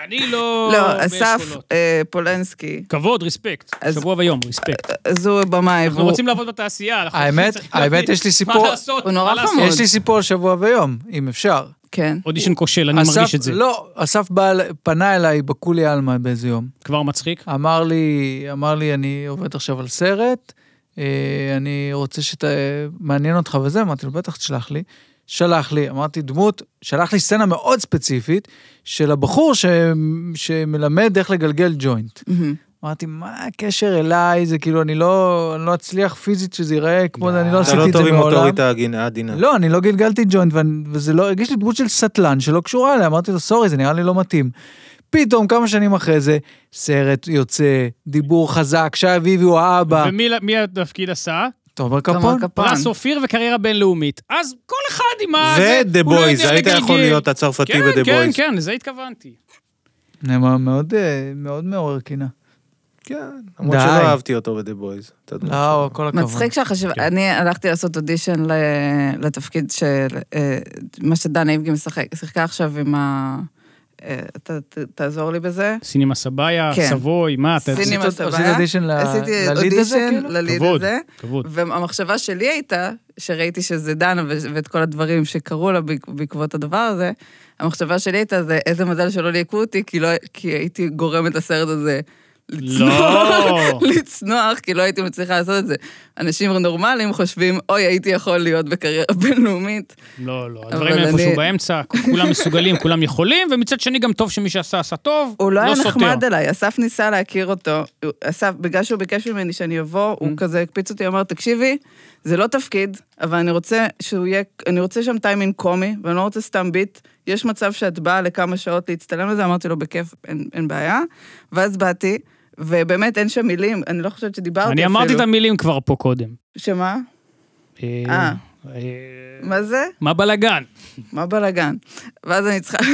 A: אני לא...
D: לא, אסף
A: באשכולות.
D: אה, פולנסקי,
A: כבוד, ריספקט.
D: אז-
A: שבוע ויום, ריספקט.
D: אז הוא במאי,
A: אנחנו
D: והוא...
A: רוצים לעבוד בתעשייה. אנחנו
B: האמת-
A: צריכים-
B: האמת, יש לי סיפור-
A: מה לעשות?
D: הוא נורא
A: מה לעשות?
D: חמוד.
B: יש לי סיפור על שבוע ויום, אם אפשר.
D: כן.
A: אודישן כושל, אני
B: אסף-
A: מרגיש את זה.
B: לא, אסף בא אל- פנה אליי בקולי עלמא באיזה יום.
A: כבר מצחיק.
B: אמר לי, אמר לי, אני עובד עכשיו על סרט, אה, אני רוצה שת... מעניין אותך וזה, אמרתי לו, בטח תשלח לי. שלח לי, אמרתי, דמות, שלח לי סצנה מאוד ספציפית של הבחור ש... שמלמד איך לגלגל ג'וינט.
D: מהמם.
B: אמרתי, מה הקשר אליי? זה כאילו, אני לא, אני לא אצליח פיזית שזה ייראה כמו, אני לא
C: אתה
B: עשיתי
C: לא
B: את
C: טוב
B: זה
C: עם
B: מעולם.
C: אוטוריטה עגינה- עדינה.
B: לא, אני לא גלגלתי ג'וינט, ואני- וזה לא, הרגיש לי דמות של סטלן שלא קשורה אליה, אמרתי לו, סורי, זה נראה לי לא מתאים. פתאום, כמה שנים אחרי זה, סרט יוצא, דיבור חזק, שי אביבי הוא האבא,
A: ומי מי התפקיד עשה?
B: תומר
D: תומר
B: קפון.
D: קפון.
A: פרס אופיר וקריירה בינלאומית. אז כל אחד עם ה... זה,
C: ודה
A: הוא לא
C: בויז,
A: יודע
C: היית
A: לגלגל.
C: יכול להיות הצרפתי
A: כן,
C: בדה
A: כן,
C: בויז.
A: כן, לזה התכוונתי.
B: זה מאוד- מאוד אה, מאוד מעורר קינה.
C: כן, למרות
B: די.
C: שלא אהבתי אותו בדה בויז. אתה יודע.
B: לא, כל הכבוד.
D: מצחיק שהחשיבה,
A: כן.
D: אני הלכתי לעשות אודישן ל- לתפקיד של אה, מה שדנה איבגי משחק, שיחקה עכשיו עם ה... אה, ת- ת- תעזור לי בזה.
A: סינימה סבאיה,
D: כן.
A: סבוי, מה, אתה...
D: סינימה-
B: עשית-
D: סבבה.
B: עשית אודישן ל-
D: עשיתי
B: לליד הזה,
D: אודישן
B: כאילו?
D: לליד
A: כבוד,
D: הזה,
A: כבוד.
D: והמחשבה שלי הייתה, שראיתי שזה דנה ו- ואת כל הדברים שקרו לה בעק- בעקבות הדבר הזה, המחשבה שלי הייתה זה איזה מזל שלא ליהקו אותי, כי לא- כי הייתי גורמת לסרט הזה. לצנוח,
A: לא.
D: לצנוח, כי לא הייתי מצליחה לעשות את זה. אנשים נורמליים חושבים, אוי, הייתי יכול להיות בקריירה בינלאומית.
A: לא, לא,
D: אבל
A: הדברים איפשהו
D: אני-
A: באמצע, כולם מסוגלים, כולם יכולים, ומצד שני גם טוב שמי שעשה, עשה טוב,
D: הוא לא היה
A: סותר.
D: נחמד אליי, אסף ניסה להכיר אותו. הוא- אסף, בגלל שהוא ביקש ממני שאני אבוא,
A: Mm.
D: הוא כזה הקפיץ אותי, אמר, תקשיבי, זה לא תפקיד, אבל אני רוצה שהוא יהיה, אני רוצה שם טיימינג קומי, ואני לא רוצה סתם ביט. יש מצב שאת באה לכמה שעות להצטלם לזה, אמרתי לו, בכיף, אין, אין בעיה. ואז באתי, ובאמת אין שם מילים, אני לא חושבת שדיברתי
A: אני
D: אפילו.
A: אמרתי את המילים כבר פה קודם.
D: שמה?
A: אה,
D: אה.
A: אה,
D: מה זה?
A: מה בלאגן?
D: מה בלאגן? ואז אני צריכה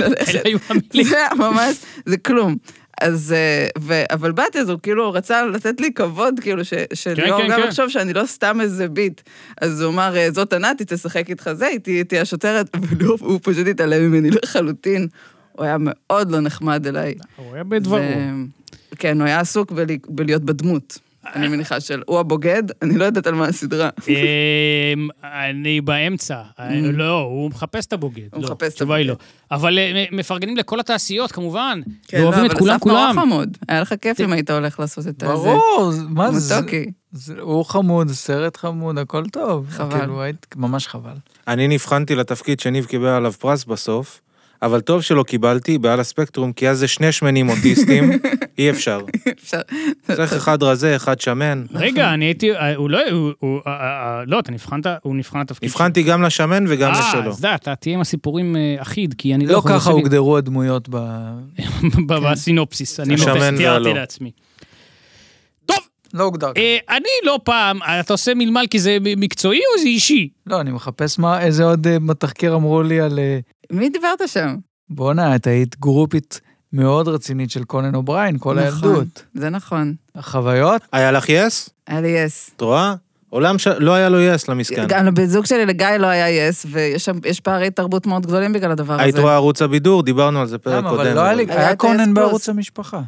A: אלה
D: ללכת.
A: היו המילים.
D: זה היה ממש, זה כלום. אז, אה, ו, אבל באתי, אז הוא כאילו רצה לתת לי כבוד, כאילו, ש, שליאור
A: כן,
D: גם
A: כן.
D: יחשוב שאני לא סתם איזה ביט. אז הוא אמר, אה, זאת ענת, היא תשחק איתך זה, היא תהיה- תהיה השוטרת, וליאור, הוא פשוט התעלם ממני לחלוטין. הוא היה מאוד לא נחמד אליי.
A: הוא היה בדברו.
D: ו- כן, הוא היה עסוק בלי, בלהיות בדמות. אני מניחה של, הוא הבוגד, אני לא יודעת על מה הסדרה.
A: אמ, אני באמצע. אה, לא, הוא מחפש את הבוגד.
D: Mm. הוא
A: לא,
D: מחפש את
A: התשובה היא
D: הבוגד.
A: לא. אבל אה, מ- מפרגנים לכל התעשיות, כמובן.
D: כן, לא,
A: ואוהבים את
D: אבל
A: כולם,
D: אסף נורא
A: כולם.
D: חמוד. היה לך כיף אם היית הולך לעשות את הזה.
B: ברור, זה- מה זה?
D: מתוקי.
B: זה- הוא חמוד, סרט חמוד, הכל טוב.
D: חבל.
B: כאילו, היית- ממש חבל.
C: אני נבחנתי לתפקיד שניב קיבל עליו פרס בסוף, אבל טוב שלא קיבלתי בעל הספקטרום, כי אז זה שני שמנים אוטיסטים, אי אפשר.
D: אפשר-
C: צריך אחד רזה, אחד שמן.
A: רגע, אני הייתי, אה, הוא לא, הוא- הוא, אה, אה, לא, אתה נבחנת, הוא נבחן לתפקיד.
C: נבחנתי גם לשמן וגם
A: אה,
C: לשלו.
A: אז די, אתה תהיה עם הסיפורים אה, אחיד, כי אני לא...
B: לא
A: יכול
B: ככה
A: לעשות לי-
B: הוגדרו הדמויות ב...
A: ב- בסינופסיס, אני
C: השמן
A: מחפש- תיארתי
C: והלא.
A: לעצמי. טוב,
B: לא הוגדר.
A: אה, אני לא פעם, אתה עושה מלמל כי זה מקצועי או זה אישי?
B: לא, אני מחפש מה, איזה עוד אה, בתחקיר אמרו לי על... אה,
D: מי דיברת שם?
B: בואנה, את היית גרופית מאוד רצינית של קונן אובריין, כל
D: נכון,
B: הילדות.
D: זה נכון.
B: החוויות?
C: היה לך יס?
D: היה לי יס.
C: את רואה? עולם ש... לא היה לו יס למסכן.
D: גם לבן זוג שלי, לגיא, לא היה יס, ויש שם, יש פערי תרבות מאוד גדולים בגלל הדבר הזה.
C: היית רואה ערוץ הבידור, דיברנו על זה פרק
B: למה,
C: קודם.
B: אבל לא היה לי...
D: היה
B: היה
D: את
B: קונן
D: ה-S+.
B: בערוץ המשפחה.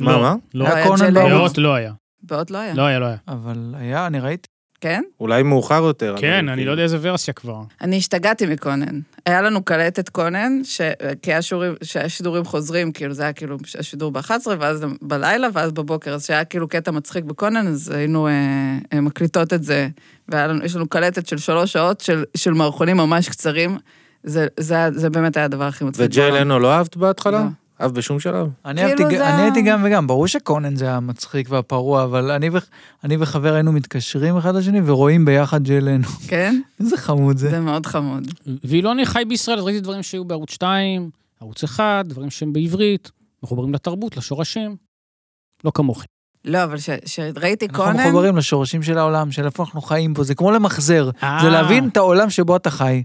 C: מה,
A: לא,
C: מה?
A: לא.
D: היה
B: היה
D: את
B: קונן
D: שלי.
B: בערוץ...
A: לראות לא היה.
D: באות לא היה.
A: לא היה, לא היה.
B: אבל היה, אני ראיתי.
D: כן?
C: אולי מאוחר יותר.
A: כן,
C: אבל-
A: אני לא יודע איזה ורסיה כבר.
D: אני השתגעתי מקונן. היה לנו קלטת קונן, ש... כי היה שיעורים- שהיה שידורים חוזרים, כאילו, זה היה כאילו השידור ב-11, ואז בלילה, ואז בבוקר, אז שהיה כאילו קטע מצחיק בקונן, אז היינו אה, אה, מקליטות את זה. ויש לנו קלטת של שלוש שעות של, של מערכונים ממש קצרים. זה, זה, היה- זה באמת היה הדבר הכי מצחיק.
C: וג'יי
D: בעולם.
C: לנו לא אהבת בהתחלה?
D: לא.
C: אהבת בשום שלב?
B: אני
D: כאילו
B: אהבתי ג-
D: זה
B: אני
D: ה-
B: הייתי גם וגם, ברור שקונן זה המצחיק והפרוע, אבל אני ו- אני וחבר היינו מתקשרים אחד לשני ורואים ביחד ג'לנו.
D: כן?
B: איזה חמוד זה.
D: זה מאוד חמוד.
A: וילוני חי בישראל, אז ראיתי דברים שהיו בערוץ 2, ערוץ 1, דברים שהם בעברית, מחוברים לתרבות, לשורשים. לא כמוכם.
D: לא, אבל כשראיתי
B: אנחנו
D: קונן,
B: מחוברים לשורשים של העולם, של איפה אנחנו חיים פה, זה כמו למחזר.
A: אה.
B: זה להבין את העולם שבו אתה חי.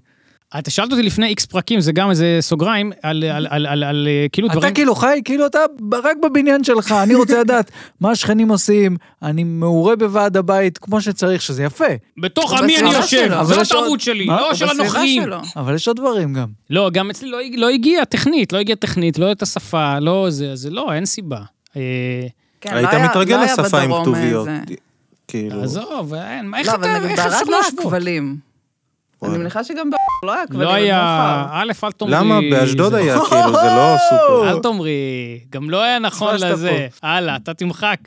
A: אתה שאלת אותי לפני איקס פרקים, זה גם איזה סוגריים, על, על, על, על, על אה, כאילו
B: אתה
A: דברים...
B: כאילו חי, כאילו אתה ב- רק בבניין שלך, אני רוצה לדעת מה השכנים עושים, אני מעורה בוועד הבית כמו שצריך, שזה יפה.
A: בתוך
D: הוא
A: עמי אני
D: בסביבה
A: יושב,
D: שלו.
B: אבל
A: זו
B: יש עוד-
A: התרבות שלי,
B: מה?
A: לא
B: הוא
A: של
D: אה, בסביבה
A: הנוכרים.
D: שלו.
B: אבל יש עוד דברים גם.
A: לא, גם אצלי לא, לא הגיע טכנית, לא הגיע טכנית, לא את השפה, לא זה, זה לא, אין סיבה. אה,
D: כן,
C: היית
D: לא היה-
C: מתרגל
D: לא היה
C: לשפה עם
D: בדרום אה,
C: כתוביות.
D: איזה-
C: כאילו,
A: עזוב, אין, מה, איך
D: לא, אבל
A: אתה,
D: נגיד
A: איך
D: בערד
A: אפשר
D: לא היה
A: להשוות?
D: כבלים. אני
C: וואלה.
D: מניחה שגם בערד לא היה כבלים.
A: לא
D: עד
A: היה,
D: מאוחר.
A: א', אל תאמרי...
C: למה? באשדוד
A: זה- נכון.
C: היה, כאילו, זה לא סופר.
A: אל תאמרי, גם לא היה נכון
B: פספסת
A: לזה. הלאה, אתה תמחק.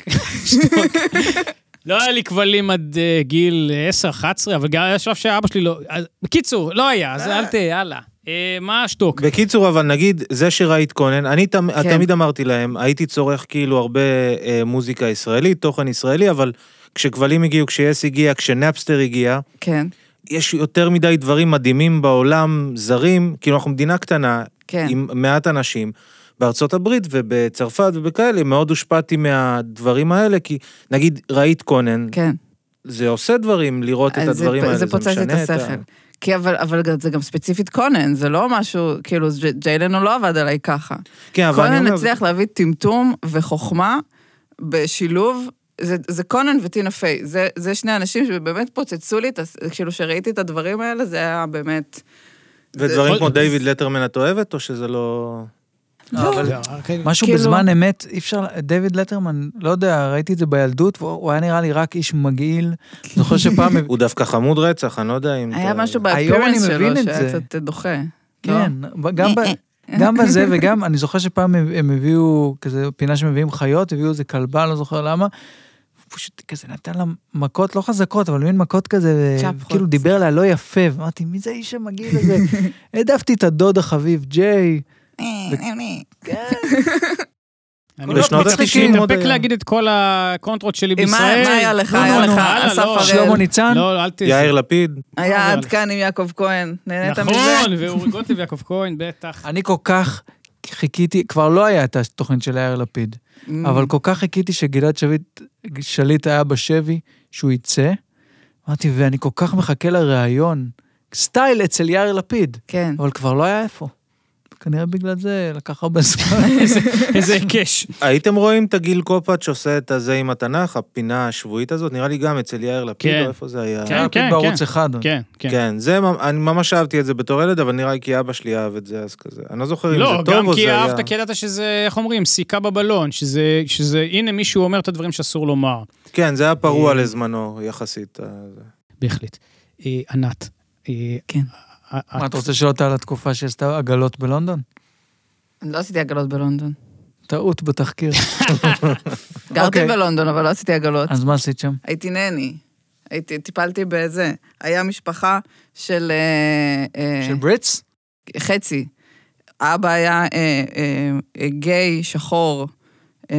A: לא היה לי כבלים עד אה, גיל 10-11, אבל גם היה שלב שאבא שלי לא... אז- בקיצור, לא היה, אז אל תהיה, הלאה. אה, מה השטוק?
C: בקיצור, אבל נגיד, זה שראית קונן, אני תמ-
D: כן.
C: תמיד אמרתי להם, הייתי צורך כאילו הרבה אה, מוזיקה ישראלית, תוכן ישראלי, אבל כשכבלים הגיעו, כשיס הגיע, כשנפסטר הגיע,
D: כן,
C: יש יותר מדי דברים מדהימים בעולם, זרים, כאילו אנחנו מדינה קטנה,
D: כן.
C: עם מעט אנשים. בארצות הברית ובצרפת ובכאלה, מאוד הושפעתי מהדברים האלה, כי נגיד ראית קונן,
D: כן.
C: זה עושה דברים לראות את
D: אז זה-
C: הדברים האלה,
D: זה
C: זה
D: פוצץ את
C: משנה את ה...
D: השכל. כי אבל, אבל זה גם ספציפית קונן, זה לא משהו, כאילו, ג'- ג'יילן הוא לא עבד עליי ככה.
C: כן, אבל אני
D: קונן
C: אומר-
D: הצליח להביא טמטום וחוכמה בשילוב, זה, זה קונן וטינה פיי, זה, זה שני אנשים שבאמת פוצצו לי, את הס- כאילו, כשראיתי את הדברים האלה, זה היה באמת...
C: ודברים
A: זה-
C: כמו דיוויד לטרמן את אוהבת, או שזה לא...
D: לא,
A: אבל-
B: משהו
D: כאילו-
B: בזמן אמת, אי אפשר, דויד לטרמן, לא יודע, ראיתי את זה בילדות, והוא הוא היה נראה לי רק איש מגעיל. זוכר שפעם...
C: הוא דווקא חמוד רצח, אני לא יודע אם...
D: היה
C: אתה-
D: משהו
B: היום אני
D: באפירנס
B: מבין
D: שלו,
B: את
D: שהיה
B: זה.
D: קצת דוחה. לא? אה.
B: כן, גם ב... גם בזה וגם, אני זוכר שפעם הם הם הביאו כזה פינה שמביאים חיות, הביאו איזה כלבה, לא זוכר למה. הוא פשוט כזה נתן לה מכות, לא חזקות, אבל מין מכות כזה,
D: צ'פחות.
B: כאילו דיבר עליה לא יפה, ואמרתי, מי זה האיש המגעיל הזה? העדפתי את הדוד החביב, ג'יי.
D: אה,
A: אני
C: בשנות
A: לא מצליח
C: ה-תשעים עוד
A: להתאפק
C: היה.
A: להגיד את כל הקונטרות שלי
D: אה, מה-
A: בישראל.
D: מה היה לך?
A: נו,
D: היה
A: נו,
D: לך
A: הלאה,
D: אסף
A: לא.
D: הראל.
B: שלמה ניצן?
A: לא, אל ת...
C: יאיר לפיד?
D: היה
B: נכון.
A: אבל-
D: עד כאן עם יעקב כהן, נהנית מזה?
A: נכון, ואורי גוטליב ויעקב כהן, בטח.
B: אני כל כך חיכיתי, כבר לא היה את התוכן של יאיר לפיד,
D: Mm,
B: אבל כל כך חיכיתי שגלעד שביט, שליט היה בשבי, שהוא יצא. אמרתי, ואני כל כך מחכה לראיון. סטייל אצל יאיר לפיד,
D: כן.
B: אבל כבר לא היה איפה. כנראה בגלל זה לקח הרבה זמן.
A: איזה היקש.
C: הייתם רואים את הגיל קופאץ' שעושה את הזה עם התנ"ך, הפינה השבועית הזאת? נראה לי גם אצל יאיר לפיד,
A: כן.
C: או איפה זה היה?
A: כן, כן,
B: בערוץ אחד.
A: כן, כן.
C: כן, זה, ממ- אני ממש אהבתי את זה בתור ילד, אבל נראה לי כי אבא שלי אהב את זה אז כזה. אני לא זוכר אם
A: לא,
C: זה טוב
A: גם
C: או זה
A: כי
C: היה...
A: אהבת, כי ידעת שזה, איך אומרים, סיכה בבלון, שזה, שזה, הנה מישהו אומר את הדברים שאסור לומר.
C: כן, זה היה פרוע
A: אה,
C: לזמנו, יחסית. אה, זה.
A: בהחלט. אה, ענת. אה,
D: כן.
A: אה,
B: מה,
A: את-
B: אתה רוצה לשאול אותה על התקופה שעשתה עגלות בלונדון?
D: אני לא עשיתי עגלות בלונדון.
B: טעות בתחקיר.
D: גרתי
B: אוקיי.
D: בלונדון, אבל לא עשיתי עגלות.
B: אז מה עשית שם?
D: הייתי נני. הייתי, טיפלתי בזה. היה משפחה של... אה, אה,
B: של בריטס?
D: חצי. אבא היה אה, אה, אה, גיי, שחור, אה,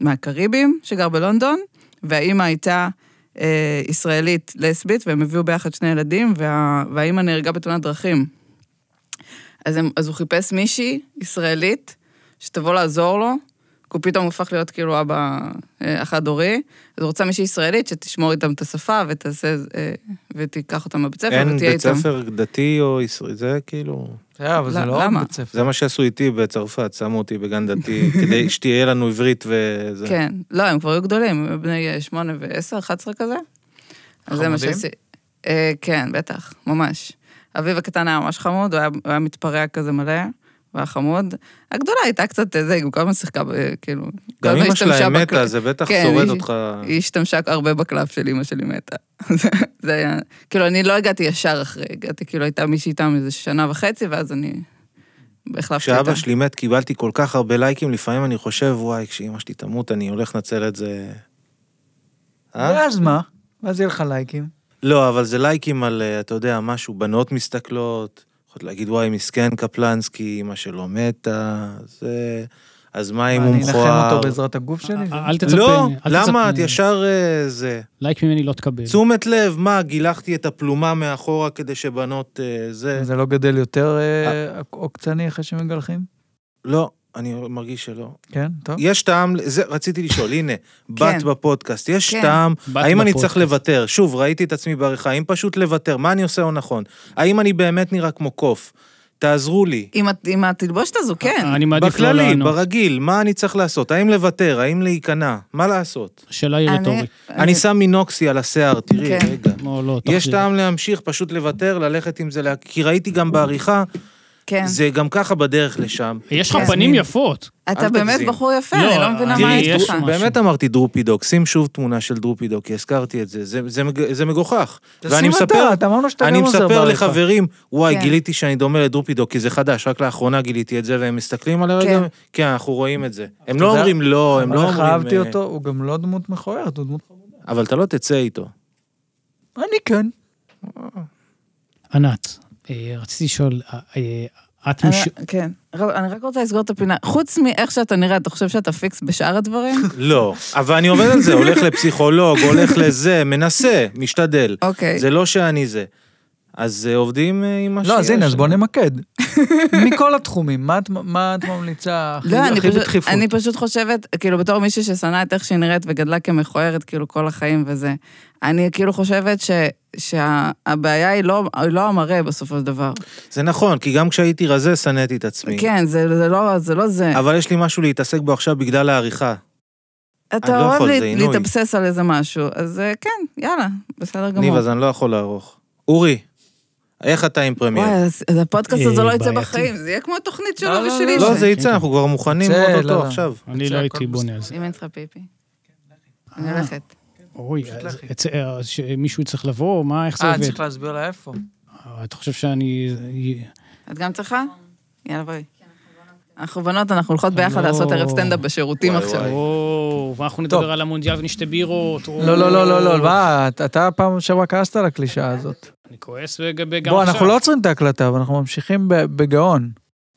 D: מהקריבים, שגר בלונדון, והאימא הייתה אה, ישראלית לסבית, והם הביאו ביחד שני ילדים, וה, והאימא נהרגה בתאונת דרכים. אז, הם, אז הוא חיפש מישהי ישראלית שתבוא לעזור לו, כי הוא פתאום הפך להיות כאילו אבא אה, חד-הורי, אז הוא רוצה מישהי ישראלית שתשמור איתם את השפה ותעשה, אה, ותיקח אותם לבית ספר
C: אין
D: ותהיה
C: בית
D: איתם.
C: ספר דתי או ישראל, זה כאילו...
B: אה, אבל זה
D: ל-
B: לא
D: למה?
B: בית ספר.
C: זה מה שעשו איתי בצרפת, שמו אותי בגן דתי, כדי שתהיה לנו עברית וזה.
D: כן, לא, הם כבר היו גדולים, הם בני אה, שמונה ועשר, אחת עשרה כזה. אז זה מה
B: חמודים?
D: שעשיתי. אה, כן, בטח, ממש. אביו הקטן היה ממש חמוד, הוא היה, הוא היה מתפרע כזה מלא, הוא היה חמוד. הגדולה הייתה קצת אה, זה, היא כל הזמן שיחקה, ב- כאילו... כל
C: גם
D: הזמן
C: אמא
D: השתמשה
C: שלה מתה,
D: בקל-
C: זה בטח
D: כן,
C: שורד
D: היא-
C: אותך.
D: היא השתמשה הרבה בקלף של אמא שלי מתה. זה היה... כאילו, אני לא הגעתי ישר אחרי, הגעתי, כאילו, הייתה מישהי איתם איזה שנה וחצי, ואז אני... החלפתי אותה.
C: כשאבא שלי מת קיבלתי כל כך הרבה לייקים, לפעמים אני חושב, וואי, כשאימא שלי תמות אני הולך לנצל את זה. אה?
B: ואז מה? ואז יהיה לך לייקים.
C: לא, אבל זה לייקים על, אה, אתה יודע, משהו, בנות מסתכלות, יכולת להגיד, וואי, מסכן קפלנסקי, אימא שלו מתה, זה... אז מה אם הוא
B: אני אנחם
C: מכוער?
B: אותו בעזרת הגוף שלי?
A: אה, אל תצפה.
C: לא,
A: אל תצפה.
C: למה? את ישר אה, זה.
A: לייק ממני לא תקבל.
C: תשומת לב, מה, גילחתי את הפלומה מאחורה כדי שבנות אה, זה...
B: זה לא גדל יותר אה, עוקצני אחרי שמגלחים?
C: לא, אני מרגיש שלא.
B: כן, טוב.
C: יש טעם, זה רציתי לשאול, הנה, בת בפודקאסט, יש
D: כן.
C: טעם,
A: בת
C: האם אני
A: בפודקאסט.
C: צריך לוותר? שוב, ראיתי את עצמי בעריכה, האם פשוט לוותר, מה אני עושה לא נכון? האם אני באמת נראה כמו קוף? תעזרו לי.
D: עם הת- עם התלבושת הזו, כן.
A: אני מעדיף לא
C: בכללי,
A: לענות.
C: ברגיל, מה אני צריך לעשות? האם לוותר? האם להיכנע? מה לעשות?
A: השאלה היא
D: אני-
A: רטורית.
C: אני שם מינוקסי על השיער, תראי,
D: כן.
C: רגע.
A: או לא,
C: יש
A: תחזיר.
C: טעם להמשיך, פשוט לוותר, ללכת עם זה, לה- כי ראיתי גם בעריכה,
D: כן.
C: זה גם ככה בדרך לשם.
A: יש לך
D: כן.
A: פנים יפות.
D: אתה
C: אל
D: באמת
C: תגזים.
D: בחור יפה,
A: לא,
D: אני לא מבינה
A: תראי,
D: מה יש
A: יש
D: לך.
A: משהו.
C: באמת אמרתי דרופידוק, שים שוב תמונה של דרופידוק, כי הזכרתי את זה, זה, זה, מג- זה מגוחך. ואני
B: תשים
C: מספר,
B: אתה, אתה אמרנו שאתה
C: אני
B: גם עוזר
C: מספר
B: בעריכה.
C: לחברים, וואי,
D: כן.
C: גיליתי שאני דומה לדרופידוק, כי זה חדש, רק לאחרונה גיליתי את זה, והם מסתכלים על הרגע,
D: כן.
C: כן, אנחנו רואים את זה. הם
B: אתה
C: לא
B: יודע,
C: אומרים לא, הם
B: אבל
C: לא
B: איך
C: אומרים...
B: אהבתי
C: אה,
B: אותו, הוא גם לא דמות מכוערת, הוא דמות...
C: אבל אתה לא תצא איתו.
B: אני כן.
A: ענת, אה, רציתי לשאול, אה, אה, את
D: אני-
A: מש...
D: כן. ר- אני רק רוצה לסגור את הפינה. חוץ מאיך שאתה נראה, אתה חושב שאתה פיקס בשאר הדברים?
C: לא, אבל אני עובד על זה, הולך לפסיכולוג, הולך לזה, מנסה, משתדל.
D: אוקיי.
C: זה לא שאני זה. אז אה, עובדים אה, עם מה שיש.
B: לא, אז הנה, אז בוא נמקד. מכל התחומים, מה את- מה את ממליצה הכי
D: לא, אני
B: הכי
D: פשוט-
B: בדחיפות?
D: אני פשוט חושבת, כאילו, בתור מישהי ששנאה את איך שהיא נראית וגדלה כמכוערת, כאילו, כל החיים וזה, אני כאילו חושבת ש- שהבעיה היא לא היא לא המראה בסופו של דבר.
C: זה נכון, כי גם כשהייתי רזה, שנאתי את עצמי.
D: כן, זה זה לא זה. לא זה.
C: אבל יש לי משהו להתעסק בו עכשיו בגלל העריכה. אני
D: אתה
C: לא
D: אוהב
C: יכול,
D: לה-
C: זה עינוי.
D: להתאבסס על איזה משהו, אז אה, כן, יאללה, בסדר גמור.
C: ניב, אז אני לא יכול לערוך. אורי, איך אתה עם
D: וואי,
C: פרמייר?
D: אז אז הפודקאסט
A: אה,
D: הזה לא יצא
A: בעייתי.
D: בחיים, זה יהיה כמו התוכנית
B: לא,
D: שלו
B: לא,
D: ושלי.
C: לא,
D: ש-
C: זה יצא, אנחנו כבר מוכנים
B: זה, לא,
C: אוטוטו
B: לא.
C: עכשיו.
A: אני
B: זה
A: לא
B: הכל
A: הייתי בונה על זה.
D: אם אין לך פיפי.
C: אה.
D: אני הולכת.
A: אוי, אז אצ- אה, שמישהו צריך לבוא, מה, איך זה
B: אה, אני
A: עובד?
B: צריך להסביר לה איפה.
A: אה, אתה חושב שאני... אה,
D: את גם צריכה? יאללה, בואי. כן, אנחנו בנות, אנחנו הולכות ביחד
A: לא.
D: לעשות ערב סטנדאפ בשירותים
C: וואי,
D: עכשיו.
C: וואי.
A: או, ואנחנו
B: טוב.
A: נדבר על המונדיאל ונשתה בירות. או-
B: לא, לא, לא, לא, לא, מה, אתה- אתה פעם שעברה כעסת על הקלישאה הזאת.
A: אני כועס לגבי גם
B: בוא,
A: עכשיו.
B: אנחנו לא עוצרים את ההקלטה, אבל אנחנו ממשיכים ב- בגאון.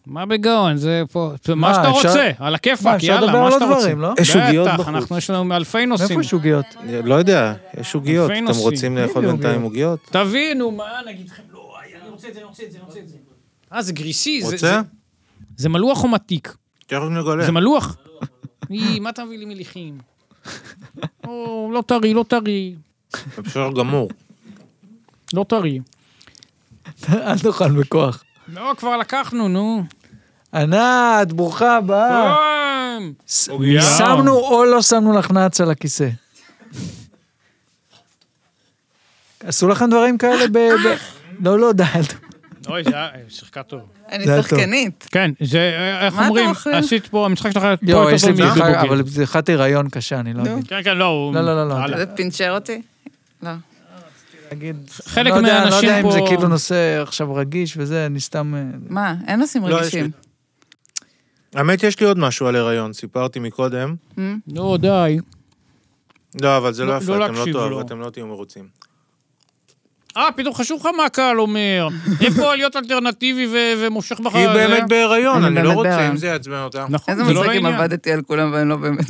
A: מה בגאון? זה פה...
B: מה,
A: מה שאתה
B: אפשר-
A: רוצה, על
B: מה,
A: הכיפאק,
B: אפשר לדבר
A: יאללה,
B: על
A: מה
B: עוד
A: שאתה רוצה.
B: דברים, לא?
C: יש עוגיות
A: בטח,
C: בחוץ.
A: אנחנו יש לנו אלפי נושאים.
B: איפה יש עוגיות?
C: לא יודע, יש עוגיות.
A: אלפי
C: אתם
A: נושאים.
C: רוצים לאכול
B: הנה
C: בינתיים עוגיות?
A: תבינו, מה נגיד לכם? לא, אני רוצה את זה, אני רוצה את זה, אני רוצה את זה. אה, זה גרישי. זה-
C: רוצה?
A: זה- זה מלוח או מתיק?
C: אתם יכולים לגולל.
A: זה מלוח. אי, מה אתה מביא לי מליחים? או, לא טרי, לא טרי,
C: זה בסדר גמור.
A: לא טרי.
B: אל תאכל בכוח.
A: לא, כבר לקחנו, נו.
B: ענת, ברוכה
A: אה.
B: הבאה.
A: טוב.
B: ס-
A: עוגיה.
B: שמנו או לא שמנו לך נץ על הכיסא. עשו לכם דברים כאלה ב... ב- לא, לא, די. אל ת-
A: אוי, זה היה, אה, שיחקה טוב.
D: אני
B: זה היה
D: שחקנית.
A: כן, זה, אה, איך
D: מה אתה
A: אומרים,
D: אוכל?
A: עשית פה, המשחק שלך היה פה
B: יואו,
A: יותר
B: יש לי
A: טוב מיהודי
B: בדיחה,
A: בוגר.
B: אבל בדיחת הריון קשה, אני לא
D: נו.
B: אגיד.
A: כן, כן, לא, הוא...
B: לא, לא, לא, לא.
A: הלאה.
D: זה פינצ'ר אותי? לא.
B: נגיד,
A: חלק
B: אני לא יודע-
A: מהאנשים
B: אני לא יודע אם
A: פה-
B: זה כאילו נושא עכשיו רגיש וזה, אני סתם... אה,
D: מה, אין נושאים
C: לא, יש
D: רגישים.
C: האמת, יש לי עוד משהו על הריון, סיפרתי מקודם.
D: Hmm?
A: לא, די.
C: לא, אבל זה
A: לא-
C: לא
A: לא
C: יפה, אתם לא
A: להקשיב
C: תאהבו,
A: לו.
C: אתם לא תהיו מרוצים.
A: אה, פתאום חשוב לך מה הקהל אומר. איפה להיות אלטרנטיבי ו- ומושך בך...
C: כי היא
A: אה, זה?
C: באמת בהיריון,
D: אני
C: אני לא
D: באמת
C: רוצה,
D: בהיריון.
C: אם זה יעצבן אותה.
A: נכון,
D: איזה
A: זה לא
D: מצחיקים
A: לעניין.
D: עבדתי על כולם ואני לא באמת...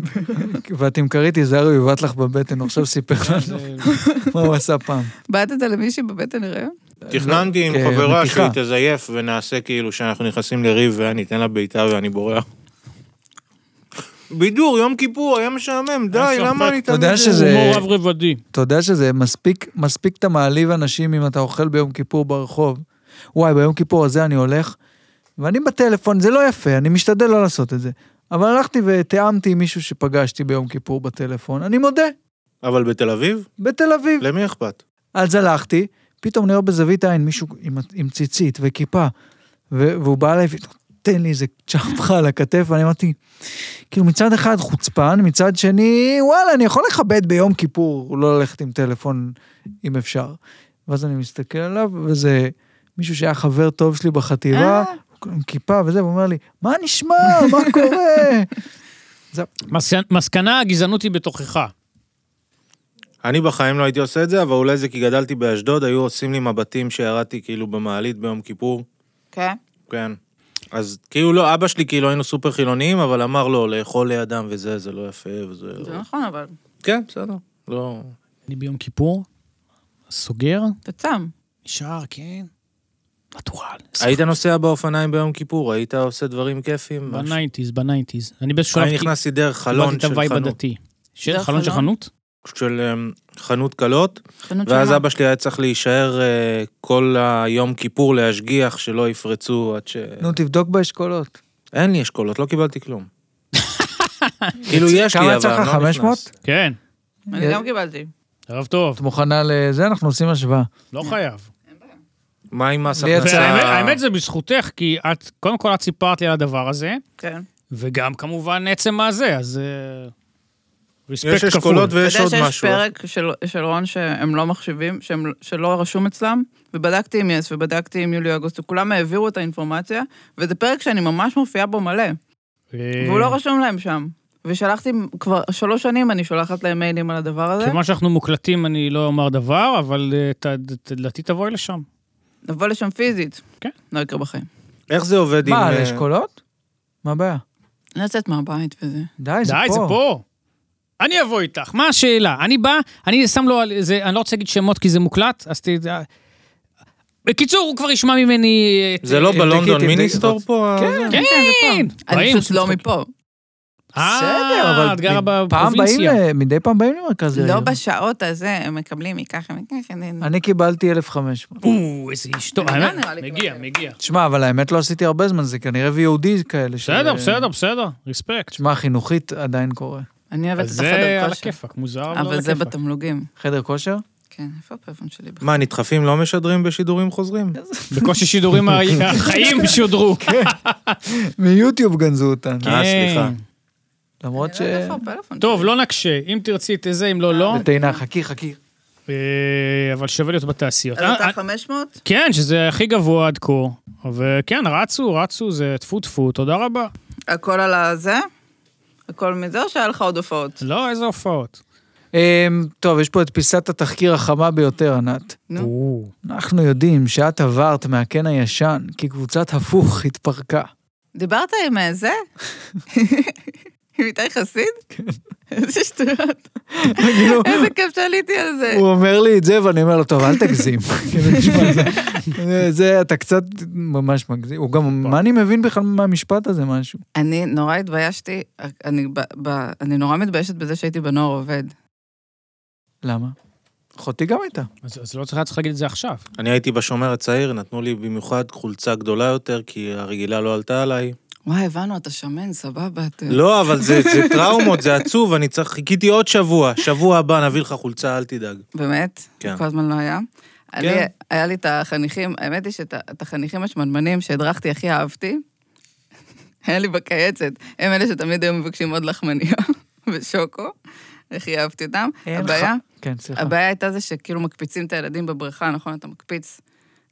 B: ואת עם כרית, היזהרו, יובט לך בבטן, הוא עכשיו סיפר לנו מה הוא עשה פעם.
D: בעטת למישהי בבטן הריון?
C: תכננתי עם
B: לא,
C: חברה
B: כמתיחה.
C: שהיא תזייף ונעשה כאילו שאנחנו נכנסים לריב ואני אתן לה בעיטה ואני בורח. בידור, יום כיפור, היה משעמם, די,
A: שם
C: למה
A: פרק.
C: אני
B: אתה יודע
C: תמיד...
B: שזה-
A: הומור רב רבדי.
B: אתה יודע שזה מספיק, מספיק אתה מעליב אנשים אם אתה אוכל ביום כיפור ברחוב. וואי, ביום כיפור הזה אני הולך, ואני בטלפון, זה לא יפה, אני משתדל לא לעשות את זה. אבל הלכתי ותיאמתי עם מישהו שפגשתי ביום כיפור בטלפון, אני מודה,
C: אבל בתל אביב?
B: בתל אביב.
C: למי אכפת?
B: אז הלכתי, פתאום אני רואה בזווית העין מישהו עם, עם ציצית וכיפה, ו, והוא בא אליי ונותן לי איזה צ'פחה על הכתף, ואני אמרתי, כאילו מצד אחד חוצפן, מצד שני, וואלה, אני יכול לכבד ביום כיפור, לא ללכת עם טלפון אם אפשר. ואז אני מסתכל עליו, וזה מישהו שהיה חבר טוב שלי בחטיבה,
D: אה.
B: עם כיפה וזה, והוא אומר לי, מה נשמע? מה קורה?
A: מס- מסקנה, הגזענות היא בתוכך.
C: אני בחיים לא הייתי עושה את זה, אבל אולי זה כי גדלתי באשדוד, היו עושים לי מבטים שירדתי כאילו במעלית ביום כיפור.
D: כן.
C: כן. אז כאילו לא, אבא שלי כאילו היינו סופר חילוניים, אבל אמר לו, לאכול לידם וזה, זה לא יפה וזה...
D: זה נכון, אבל
C: כן, בסדר. לא...
A: אני ביום כיפור, סוגר,
D: אתה צם.
A: נשאר, כן. נטורל.
C: היית נוסע באופניים ביום כיפור, היית עושה דברים כיפים? משהו?
A: בניינטיז, בניינטיז. אני באיזשהו שלב
C: אני נכנסתי דרך
A: קיבלתי
C: חלון
A: את
C: של
A: הווייב
C: חנות,
A: הדתי. של
D: דרך
A: חלון של
D: חלון?
A: חנות?
C: של אמ, חנות קלות,
D: חנות
C: ואז
D: שלמה.
C: אבא שלי היה צריך להישאר אה, כל היום כיפור להשגיח שלא יפרצו עד ש...
B: נו, תבדוק באשכולות.
C: אין לי אשכולות, לא קיבלתי כלום. כאילו יש לי,
B: כמה
C: אבל אני לא
B: יצא לך,
C: נכנס.
B: 500?
A: כן,
D: אני גם קיבלתי.
A: ערב טוב,
B: את מוכנה לזה? אנחנו עושים השוואה.
A: לא חייב.
C: מה עם מס
B: לי יצא-
C: הכנסה?
A: והאמת- האמת זה בזכותך, כי את, קודם כל את סיפרת לי על הדבר הזה,
D: כן.
A: וגם כמובן עצם מה זה, אז... אה, רספקט
C: יש
A: כפול.
C: אשכולות ויש
D: אתה
C: עוד
D: יודע שיש
C: משהו.
D: פרק של, של רון שהם לא מחשיבים, שהם, שלא רשום אצלם, ובדקתי עם יס ובדקתי עם יולי אוגוסט, וכולם העבירו את האינפורמציה, וזה פרק שאני ממש מופיעה בו מלא,
A: אה,
D: והוא לא רשום להם שם. ושלחתי, כבר שלוש שנים אני שולחת להם מיילים על הדבר הזה,
A: כיוון שאנחנו מוקלטים אני לא אומר דבר, אבל אה, ת- ת- לדעתי תבואי לשם.
D: נבוא לשם פיזית.
A: כן.
D: לא יקרה בחיים.
C: איך זה עובד עם...
B: מה, על
C: אה,
B: אשכולות? מה הבעיה?
D: לצאת מהבית וזה.
B: די, זה פה.
A: די, זה פה. אני אבוא איתך, מה השאלה? אני בא, אני שם לו על זה, אני לא רוצה להגיד שמות כי זה מוקלט, אז ת... בקיצור, הוא כבר ישמע ממני את...
C: זה לא
B: תבדקי,
C: בלונדון
B: תבדקי.
C: מיניסטור פה?
B: אה, כן.
A: כן,
D: כן, זה פה. אני
A: באים,
D: פשוט לא
A: עושים
D: מפה.
A: אה,
B: בסדר, אבל
A: את גרה
B: מ- פעם באים,
A: בפרובינציה.
B: ל- מדי פעם באים למרכז
A: אה,
B: העיר.
D: לא בשעות הזה, הם מקבלים מככה כן, מככה.
B: אני קיבלתי 1,500.
A: או, איזה איש טוב.
D: לא
A: האמת,
D: נראה לי
A: מגיע,
D: כבר.
A: מגיע.
B: תשמע, אבל האמת לא עשיתי הרבה זמן, זה כנראה VOD כאלה. ש-
A: בסדר, בסדר, בסדר, רספקט.
B: תשמע, חינוכית עדיין קורה.
D: אני אוהבת
A: אז
D: את
A: זה
D: החדר
A: על
D: כושר.
A: הכיפאק, מוזר, אבל לא על
D: אבל זה
A: הכיפאק.
D: בתמלוגים.
B: חדר כושר?
D: כן, איפה הפרפון שלי בכלל?
C: מה, נדחפים לא משדרים בשידורים חוזרים?
B: כן.
A: בקושי שידורים
D: כן.
A: ה- החיים שודרו.
B: מיוטיוב גנזו אותנו.
C: אה, סליחה.
A: כן.
B: למרות ש...
D: אני לא יודעת איפה הפלאפון
A: טוב,
D: שלי.
A: לא נקשה, אם תרצי את זה, אם לא,
D: אה,
A: לא.
B: בטעינה, חכי, חכי.
A: אה, אבל שווה להיות בתעשיות.
D: אז
A: אה,
D: אתה 500?
A: כן, שזה הכי גבוה עד כה. וכן, רצו, רצו, זה טפו טפו, תודה רבה.
D: הכל על הזה? הכל מזה, או שהיה לך עוד הופעות?
A: לא, איזה הופעות.
B: אמ, טוב, יש פה את פיסת התחקיר החמה ביותר, ענת.
D: נו.
B: אנחנו יודעים שאת עברת מהקן הישן, כי קבוצת הפוך התפרקה.
D: דיברת עם אה, זה? עם איתי חסיד? איזה שטויות.
B: כאילו,
D: איזה כיף שעליתי על זה.
B: הוא אומר לי את זה, ואני אומר לו, טוב, אל תגזים. כאילו, תשמע, זה- זה- זה, אתה קצת ממש מגזים. הוא גם, מה אני מבין בכלל מהמשפט הזה, משהו?
D: אני נורא התביישתי, אני ב- ב- אני נורא מתביישת בזה שהייתי בנוער עובד.
B: למה? אחותי גם הייתה.
A: אז אז לא צריך היה צריך להגיד את זה עכשיו.
C: אני הייתי בשומר הצעיר, נתנו לי במיוחד חולצה גדולה יותר, כי הרגילה לא עלתה עליי.
D: וואי, הבנו, אתה שמן, סבבה. אתה-
C: לא, אבל זה זה טראומות, זה עצוב, אני צריך... חיכיתי עוד שבוע, שבוע הבא נביא לך חולצה, אל תדאג.
D: באמת?
C: כן.
D: כל הזמן לא היה? אני, היה לי את החניכים, האמת היא שאת את החניכים השמנמנים שהדרכתי הכי אהבתי, היה לי בקייצת. הם אלה שתמיד היו מבקשים עוד לחמניה ושוקו, הכי אהבתי אותם.
B: אין
D: הבעיה,
B: לך- כן, סליחה.
D: הבעיה הייתה זה שכאילו מקפיצים את הילדים בבריכה, נכון? אתה מקפיץ.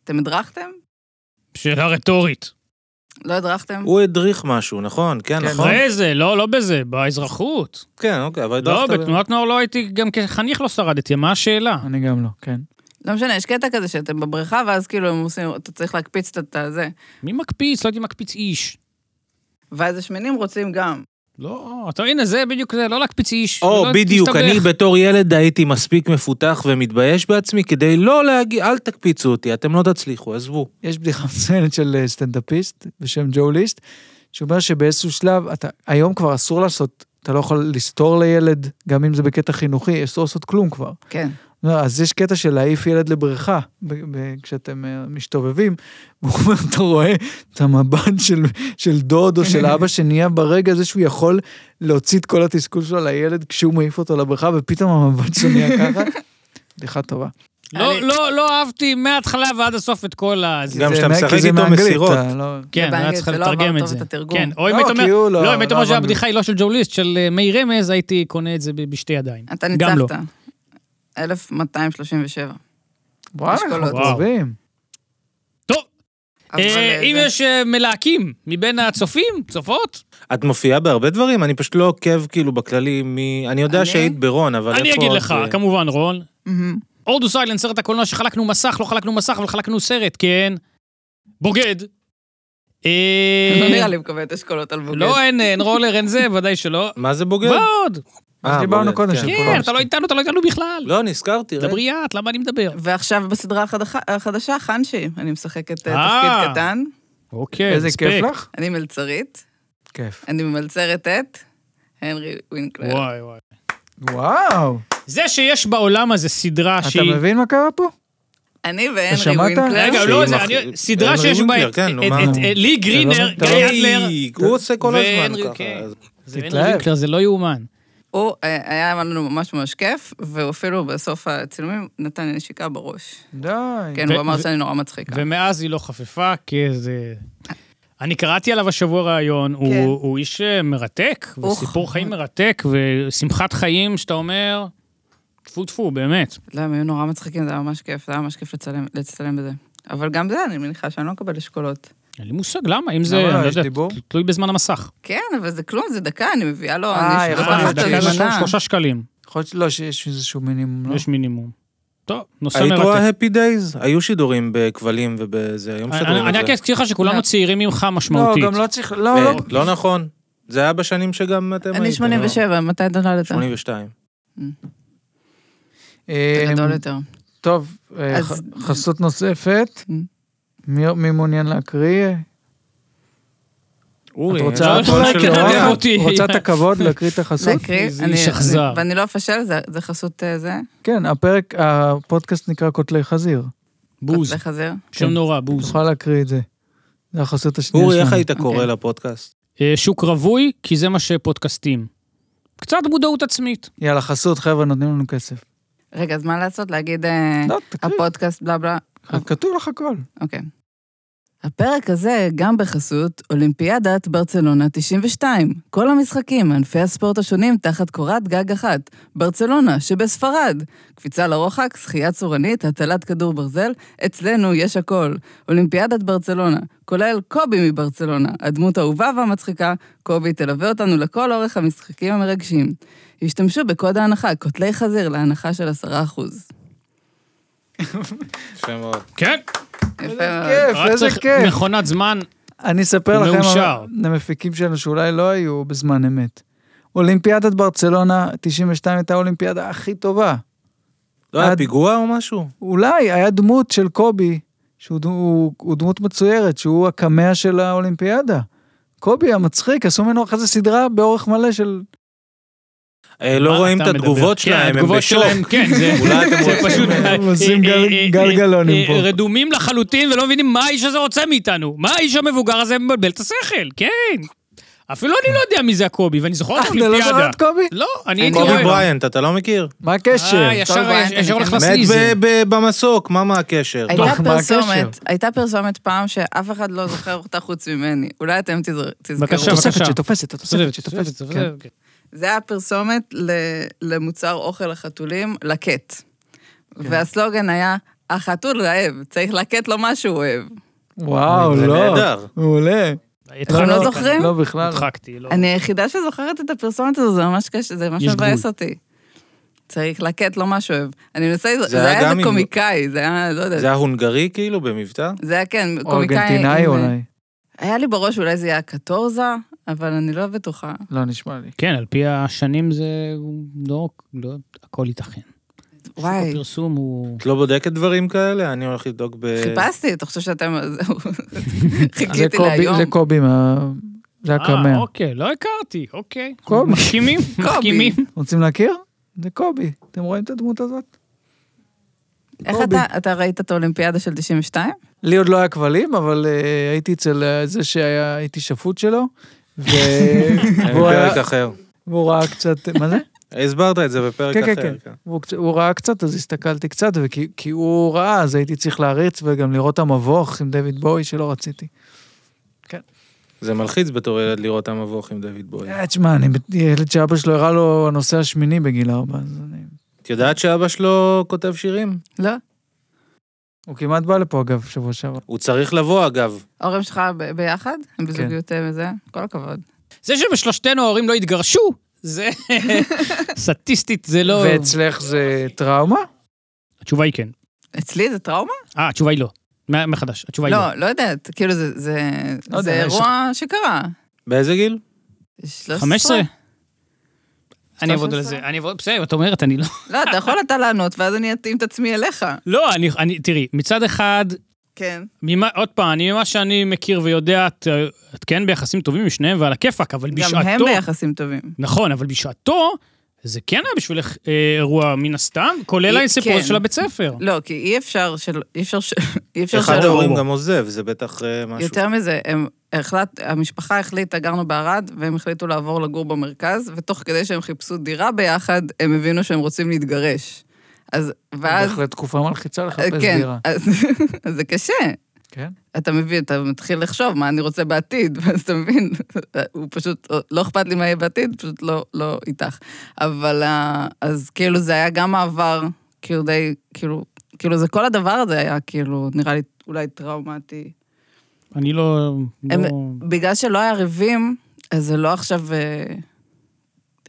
D: אתם הדרכתם?
A: שאלה רטורית.
D: לא הדרכתם?
C: הוא הדריך משהו, נכון? כן,
B: כן.
C: נכון?
A: אחרי זה, לא, לא בזה, באזרחות.
C: כן, אוקיי, אבל
A: לא,
C: הדרכת... ב-
A: בתנועת נוער לא הייתי, גם כחניך לא שרדתי, מה השאלה?
B: אני גם לא, כן.
D: לא משנה, יש קטע כזה שאתם בבריכה, ואז כאילו הם עושים, אתה צריך להקפיץ את- את הזה.
A: מי מקפיץ? לא הייתי מקפיץ איש.
D: ואז השמנים רוצים גם.
A: לא, אתה הנה, זה בדיוק זה, לא להקפיץ איש.
C: או,
A: לא
C: בדיוק,
A: תסתבך.
C: אני בתור ילד הייתי מספיק מפותח ומתבייש בעצמי כדי לא להגיד, אל תקפיצו אותי, אתם לא תצליחו, עזבו.
B: יש בדיחה מצוינת של אה, סטנדאפיסט בשם ג'ו ליסט, שאומר שבאיזשהו שלב, אתה, היום כבר אסור לעשות, אתה לא יכול לסתור לילד, גם אם זה בקטע חינוכי, אסור לעשות כלום כבר.
D: כן.
B: לא, אז יש קטע של להעיף ילד לבריכה, ב- ב- כשאתם אה, מסתובבים, והוא אומר, אתה רואה את המבט של, של דוד או של אבא שנהיה ברגע הזה שהוא יכול להוציא את כל התסכול שלו לילד כשהוא מעיף אותו לבריכה, ופתאום המבט שלו נהיה ככה. בדיחה טובה.
A: לא,
D: אני-
A: לא, לא אהבתי מההתחלה ועד הסוף את כל ה...
B: זה
C: גם כשאתה
B: מה- כי
C: משחק
B: זה
C: איתו
B: מאנגלית,
C: מסירות.
B: אתה לא-
A: כן,
D: זה
A: היה
D: באנגלית,
A: צריך
D: זה לא
A: לתרגם
D: עבר
A: את
D: טוב
A: זה.
D: את התרגום.
A: כן, או אם
B: לא,
A: היית
B: כי
A: אומר,
B: הוא לא-
A: לא, אם היית
B: לא
A: אומר
B: הבנתי.
A: שהבדיחה היא לא של ג'ו ליסט, של אה, מאיר רמז, הייתי קונה את זה ב- בשתי ידיים.
D: אתה
A: גם לא.
D: ניצחת. 1237.
B: וואלה,
D: אשכולות.
A: אה,
B: אנחנו טובים.
A: טוב,
D: אבל,
A: אה,
D: אה,
A: אם
D: זה-
A: יש אה, מלהקים מבין הצופים, צופות,
C: את מופיעה בהרבה דברים? אני פשוט לא עוקב כאילו בכללי מי... אני יודע
D: אני?
C: שהיית ברון, אבל איפה...
A: אני אגיד
C: עוד,
A: לך,
C: אה,
A: כמובן, רון,
D: מהמם.
A: הורדו סיילנד, סרט הקולנוע שחלקנו מסך, לא חלקנו מסך, אבל חלקנו סרט, כן. בוגד. אה,
D: לא נראה לי מקבל את אשכולות על בוגד.
A: לא, אין, אין רולר, אין זה, ודאי שלא.
C: מה זה בוגד?
A: ועוד.
B: מה
C: אה,
B: שדיברנו
C: בולט,
B: קודם,
C: כן.
B: שכולם-
A: כן, אתה לא איתנו, אתה לא איתנו בכלל.
C: לא, נזכרתי, רגע.
A: דברי את, למה אני מדבר?
D: ועכשיו בסדרה החדשה- החדשה, חנשי, אני משחקת אה,
A: אה.
D: תפקיד קטן,
A: אוקיי,
B: איזה כיף לך?
D: אני מלצרית,
B: כיף.
D: אני ממלצרת את הנרי וינקלר.
A: וואי וואי.
B: וואו,
A: זה שיש בעולם הזה סדרה
B: אתה
A: שהיא...
B: מבין מה קרה פה?
D: אני
B: אתה שמעת?
D: והנרי וינקלר.
A: רגע,
C: שהיא
A: לא, זה
C: מח-
A: אני- סדרה
C: הנרי
A: שיש בה
C: וינקלר,
A: את-
C: כן, נו,
A: את-
C: מה?
A: את- את לי גרינר,
B: אתה
A: גיא
B: לא-
A: אדלר.
C: היי, אה, הוא עושה כל הזמן
A: והנרי,
C: ככה.
A: כן.
C: אז-
A: זה הנרי
B: תתלהב.
A: וינקלר, זה לא יאומן.
D: הוא אה, היה לנו ממש ממש כיף, והוא אפילו בסוף הצילומים נתן לי נשיקה בראש.
B: די.
D: כן,
A: ו-
D: הוא אמר
A: ו-
D: שאני נורא מצחיקה.
A: ומאז היא לא חפפה, כי זה... אני קראתי עליו השבוע ראיון, הוא,
D: כן.
A: הוא איש אה, מרתק,
D: אוח.
A: וסיפור חיים מרתק, ושמחת חיים שאתה אומר, טפו טפו, באמת.
D: לא, הם היו נורא מצחיקים, זה היה ממש כיף, זה היה ממש כיף לצלם- לצלם בזה. אבל גם זה, אני מניחה שאני לא אקבל אשכולות.
A: אין לי מושג למה, אם זה,
B: למה לא?
A: אני לא
B: יש
A: יודע,
B: דיבור?
A: תל- תלוי בזמן המסך.
D: כן, אבל זה כלום, זה דקה, אני מביאה לו,
B: אה,
D: אני
A: אה,
B: יכול
D: שוכחת
B: להיות
D: את
A: דקה זה
D: הזמנה.
A: שלושה שקלים,
B: יכול להיות שלא, שיש איזשהו מינימום, לא?
A: יש מינימום. טוב, נושא
C: היית
A: מרתק.
C: רואה הפי דייז? היו שידורים בכבלים ובזה, היום
A: אני-
C: שדורים
A: אני
C: את
A: רק
C: זה.
A: אזכיר לך שכולנו
D: לא.
A: צעירים ממך
B: לא,
A: משמעותית.
B: גם לא צריך,
D: אה,
B: לא,
A: אה,
B: לא.
C: לא נכון. זה היה בשנים שגם אתם הייתם. לא?
D: אני 87, מתי אתה נולדת?
C: 82.
D: אתה
B: אה,
D: גדול יותר.
B: טוב, אה,
D: אז-
B: ח- חסות נוספת.
D: Mm.
B: מי מי מעוניין להקריא?
C: אורי, אה,
B: את רוצה
A: אה, לא,
B: את
A: לא,
B: אולי
A: לא,
B: כדאי?
A: לא, אותי.
B: רוצה את הכבוד להקריא את החסות?
D: להקריא,
A: איזה
D: אני-
A: איש אכזר.
D: ואני לא אפשל, זה- זה חסות אה, זה,
B: כן, הפרק, הפודקאסט נקרא קוטלי חזיר.
A: בוז,
D: כותלי חזיר.
A: שם נורא,
B: את
A: בוז.
B: יכולה להקריא את זה. זה החסות השנייה
C: אורי,
B: שלנו.
C: איך היית קורא
D: אוקיי.
C: לפודקאסט?
A: אה, שוק רווי, כי זה מה שפודקאסטים. קצת מודעות עצמית.
B: יאללה, חסות, חבר'ה, נותנים לנו כסף.
D: רגע, אז מה לעשות? להגיד אה,
B: לא, תקריא.
D: הפודקאסט בלה בלה?
B: כתוב לך הכל.
D: אוקיי. הפרק הזה גם בחסות אולימפיאדת ברצלונה 92. כל המשחקים, ענפי הספורט השונים תחת קורת גג אחת. ברצלונה שבספרד. קפיצה לרוחק, שחייה צורנית, הטלת כדור ברזל, אצלנו יש הכל. אולימפיאדת ברצלונה, כולל קובי מברצלונה, הדמות האהובה והמצחיקה, קובי תלווה אותנו לכל אורך המשחקים המרגשים. השתמשו בקוד ההנחה, קוטלי חזיר, להנחה של 10%.
C: יפה מאוד.
A: כן,
D: יפה
B: איזה
D: מאוד.
B: כיף,
A: אה, רק
B: איזה
A: צריך
B: כיף.
A: מכונת זמן.
B: אני אספר
A: הוא
B: לכם,
A: מאושר.
B: המפיקים שלנו שאולי לא היו בזמן אמת. אולימפיאדת ברצלונה, 92 הייתה האולימפיאדה הכי טובה.
C: לא היה
B: עד-
C: פיגוע או משהו?
B: אולי היה דמות של קובי, שהוא דמו- הוא- הוא דמות מצוירת, שהוא הקמע של האולימפיאדה. קובי המצחיק, עשו ממנו אחרי זה סדרה באורך מלא של...
C: אה, לא
A: מה
C: רואים
A: אתה
C: את
A: מדבר?
C: התגובות
A: כן,
C: שלהם, הם
A: התגובות
C: בשוק.
A: שלהם, כן, זה
C: אולי אתם
A: זה
C: רוצים-
A: פשוט...
B: הם עושים
A: אה,
B: גל-
A: אה, אה,
B: גלגלונים
A: אה,
B: פה.
A: רדומים לחלוטין ולא מבינים מה האיש הזה רוצה מאיתנו. מה האיש המבוגר הזה מבלבל את השכל, כן. אפילו אני לא יודע מי זה הקובי, ואני זוכר את
B: אתה לא זוכר
A: האולימפיאדה.
B: את אה, קובי?
A: לא, אני הייתי
C: קובי
A: רואה.
C: בריינט, אתה לא מכיר?
B: מה הקשר?
A: אה, ישר-
D: קובי בריינט,
A: ישר
D: אני
A: הולך
D: כן
C: מת
A: לסיזם.
C: ב- ב- במסוק, מה מה הקשר?
B: טוב,
D: הייתה
B: מה
D: פרסומת,
B: הקשר?
D: הייתה פרסומת פעם שאף אחד לא זוכר אותה חוץ ממני. אולי אתם תזר-
A: בבקשה,
D: תזכרו.
B: התוספת
A: בבקשה.
B: שתופסת, התוספת שתופסת. כן.
D: זה היה פרסומת ל- למוצר אוכל לחתולים, לקט. והסלוגן היה, החתול רעב, צריך לתת לו מה שהוא אוהב.
B: וואו,
C: זה
B: לא.
C: נהדר.
B: מעולה.
D: אתם לא
A: התחלנו-
D: זוכרים?
B: לא, בכלל. לא.
A: הדחקתי, לא.
D: אני היחידה שזוכרת את הפרסומת הזו, זה ממש קשה, זה ממש
A: יש
D: מבאס
A: גבול.
D: אותי. צריך לקט לו מה שהוא אוהב. אני מנסה,
C: היה
D: זה היה
C: גם עם-
D: איזה קומיקאי, זה היה, לא
C: זה
D: יודעת.
C: ההונגרי כאילו במבטא?
D: זה היה, כן,
B: או
D: קומיקאי.
B: ארגנטינאי
D: עם- אה,
B: אולי.
D: היה לי בראש אולי זה היה קטורזה, אבל אני לא בטוחה.
B: לא, נשמע לי.
A: כן, על פי השנים זה לא, לא, הכל ייתכן.
D: וואי.
A: שוק הפרסום הוא...
C: את לא בודקת דברים כאלה? אני הולך לבדוק ב...
D: חיפשתי, אתה חושב שאתם... זהו,
B: זה
D: חיכיתי
B: קובי,
D: להיום.
B: זה קובי, מה- זה
A: אה,
B: הקמע.
A: אוקיי, לא הכרתי, אוקיי.
B: קובי.
A: מחכימים,
D: קובי.
A: מחכימים.
B: רוצים להכיר? זה קובי. אתם רואים את הדמות הזאת?
D: איך
B: קובי.
D: אתה, אתה ראית את האולימפיאדה של 92?
B: לי עוד לא היה כבלים, אבל אה, הייתי אצל אה, זה שהיה, הייתי שפוט שלו, ו-
C: אה,
B: והוא היה-
C: בפרק אחר.
B: והוא ראה קצת, מה זה?
C: הסברת את זה בפרק
B: כן, כן,
C: אחר.
B: כן. הוא קצ- הוא ראה קצת, אז הסתכלתי קצת, וכי כי הוא ראה, אז הייתי צריך להריץ וגם לראות המבוך עם דיוויד בואי שלא רציתי.
C: זה מלחיץ בתור ילד לראות המבוך עם דוד בוי.
B: אה, תשמע, אני בת- ילד שאבא שלו הראה לו הנושא השמיני בגיל ארבע, אז אני...
C: את יודעת שאבא שלו כותב שירים?
D: לא.
B: הוא כמעט בא לפה, אגב, שבוע שעבר.
C: הוא צריך לבוא, אגב.
D: ההורים שלך ב- ביחד? הם
B: כן.
D: בזוגיות אה, וזה? כל הכבוד.
A: זה שבשלושתנו ההורים לא התגרשו, זה... סטטיסטית זה לא...
B: ואצלך זה טראומה?
A: התשובה היא כן.
D: אצלי זה טראומה?
A: אה, התשובה היא לא. מה- מחדש, התשובה היא לא.
D: לא, לא יודעת. כאילו, זה- זה
B: לא יודע,
D: זה
B: יש
D: אירוע שקרה.
C: באיזה גיל?
D: 13?
A: 15? אני אעבוד על זה. אני אעבוד, בסדר, את אומרת, אני לא...
D: לא, אתה יכול אתה לענות, ואז אני אתאים את עצמי אליך.
A: לא, אני- אני, תראי, מצד אחד,
D: כן.
A: ממה, עוד פעם, אני, ממה שאני מכיר ויודע, את, את כן ביחסים טובים עם שניהם ועל הכיפאק, אבל בשעתו...
D: גם הם ביחסים טובים.
A: נכון, אבל בשעתו, זה כן היה בשבילך אה, אירוע מן הסתם, כולל
D: אה,
A: הסיפור
D: כן.
A: של הבית ספר.
D: לא, כי אי אפשר של... אי אפשר של... אי אפשר
C: אחד
A: שלא.
D: שלא.
C: ההורים גם עוזב, זה בטח אה, משהו.
D: יותר מזה, הם החלט... המשפחה החליטה, גרנו בערד, והם החליטו לעבור לגור במרכז, ותוך כדי שהם חיפשו דירה ביחד, הם הבינו שהם רוצים להתגרש. אז... ואז...
B: בהחלט תקופה מלחיצה לחפש
D: כן,
B: דירה.
D: אז, אז זה קשה.
B: כן.
D: אתה מבין, אתה מתחיל לחשוב מה אני רוצה בעתיד, ואז אתה מבין, הוא פשוט, לא אכפת לי מה יהיה בעתיד, פשוט לא, לא איתך. אבל אה, אז כאילו זה היה גם מעבר, כאילו די, כאילו, כאילו זה כל הדבר הזה היה כאילו, נראה לי אולי טראומטי.
A: אני לא...
D: הם-
A: לא...
D: בגלל שלא היה ריבים, אז זה לא עכשיו אה,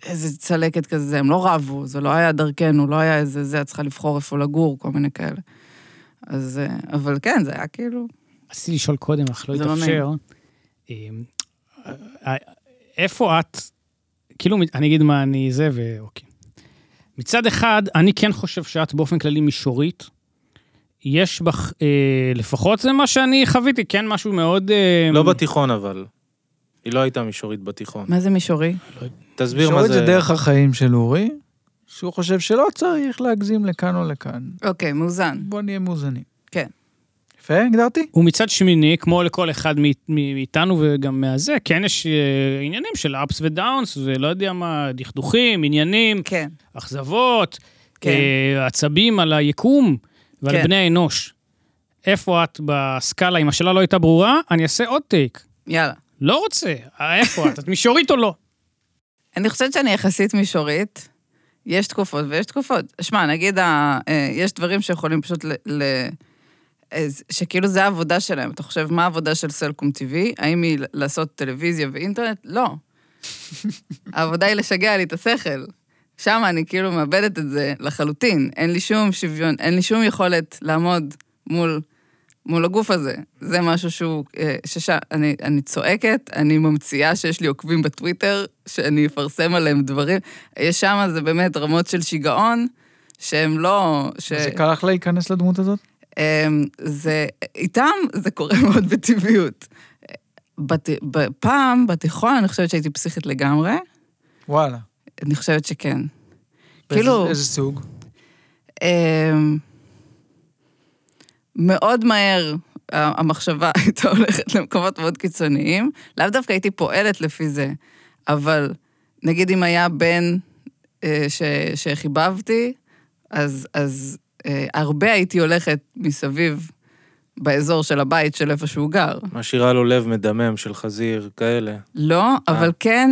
D: איזה צלקת כזה, הם לא רבו, זה לא היה דרכנו, לא היה איזה זה, את צריכה לבחור איפה לגור, כל מיני כאלה. אז, אה, אבל כן, זה היה כאילו...
A: רציתי לשאול קודם, אך לא
D: זה לא
A: התאפשר. אה, אה, איפה את, כאילו, אני אגיד מה אני זה, ואוקיי. מצד אחד, אני כן חושב שאת באופן כללי מישורית. יש בך, אה, לפחות זה מה שאני חוויתי, כן משהו מאוד... אה,
C: לא בתיכון אבל. היא לא הייתה מישורית בתיכון.
D: מה זה מישורי?
C: תסביר מה
B: שואל את
C: זה.
B: זה דרך החיים של אורי, שהוא חושב שלא צריך להגזים לכאן או לכאן.
D: אוקיי, מאוזן.
B: בוא נהיה מאוזנים.
D: כן.
B: יפה, הגדרתי?
A: ומצד שמיני, כמו לכל אחד מאית- מ- מאיתנו וגם מהזה, כן יש אה, עניינים של ups ודאונס, ולא לא יודע מה, דכדוכים, עניינים,
D: כן.
A: אכזבות,
D: כן.
A: אה, עצבים על היקום ועל
D: כן.
A: בני האנוש. איפה את בסקאלה? אם השאלה לא הייתה ברורה, אני אעשה עוד טייק.
D: יאללה.
A: לא רוצה. אה, איפה את? את מישורית או לא?
D: אני חושבת שאני יחסית מישורית. יש תקופות ויש תקופות. שמע, נגיד, ה... אה, יש דברים שיכולים פשוט ל... ל... אז- שכאילו זה העבודה שלהם. אתה חושב, מה העבודה של סלקום TV? האם היא לעשות טלוויזיה ואינטרנט? לא. העבודה היא לשגע לי את השכל. שם אני כאילו מאבדת את זה לחלוטין. אין לי שום שוויון, אין לי שום יכולת לעמוד מול, מול הגוף הזה. זה משהו שהוא... אה, ששם, אני, אני צועקת, אני ממציאה שיש לי עוקבים בטוויטר, שאני אפרסם עליהם דברים. יש שם, זה באמת רמות של שיגעון, שהם לא... ש...
B: אז זה קל לך להיכנס לדמות הזאת?
D: אמ, זה, איתם זה קורה מאוד בטבעיות. בת, ב- פעם, בתיכון, אני חושבת שהייתי פסיכית לגמרי,
B: וואלה.
D: אני חושבת שכן.
B: באיזה-
D: כאילו,
B: איזה סוג?
D: אמ, מאוד מהר ה- המחשבה הייתה הולכת למקומות מאוד קיצוניים. לאו דווקא הייתי פועלת לפי זה, אבל נגיד אם היה בן אה, ש, שחיבבתי, אז, אז אה, הרבה הייתי הולכת מסביב באזור של הבית של איפה שהוא גר.
C: משאירה לו לב מדמם של חזיר, כאלה.
D: לא,
C: אה.
D: אבל כן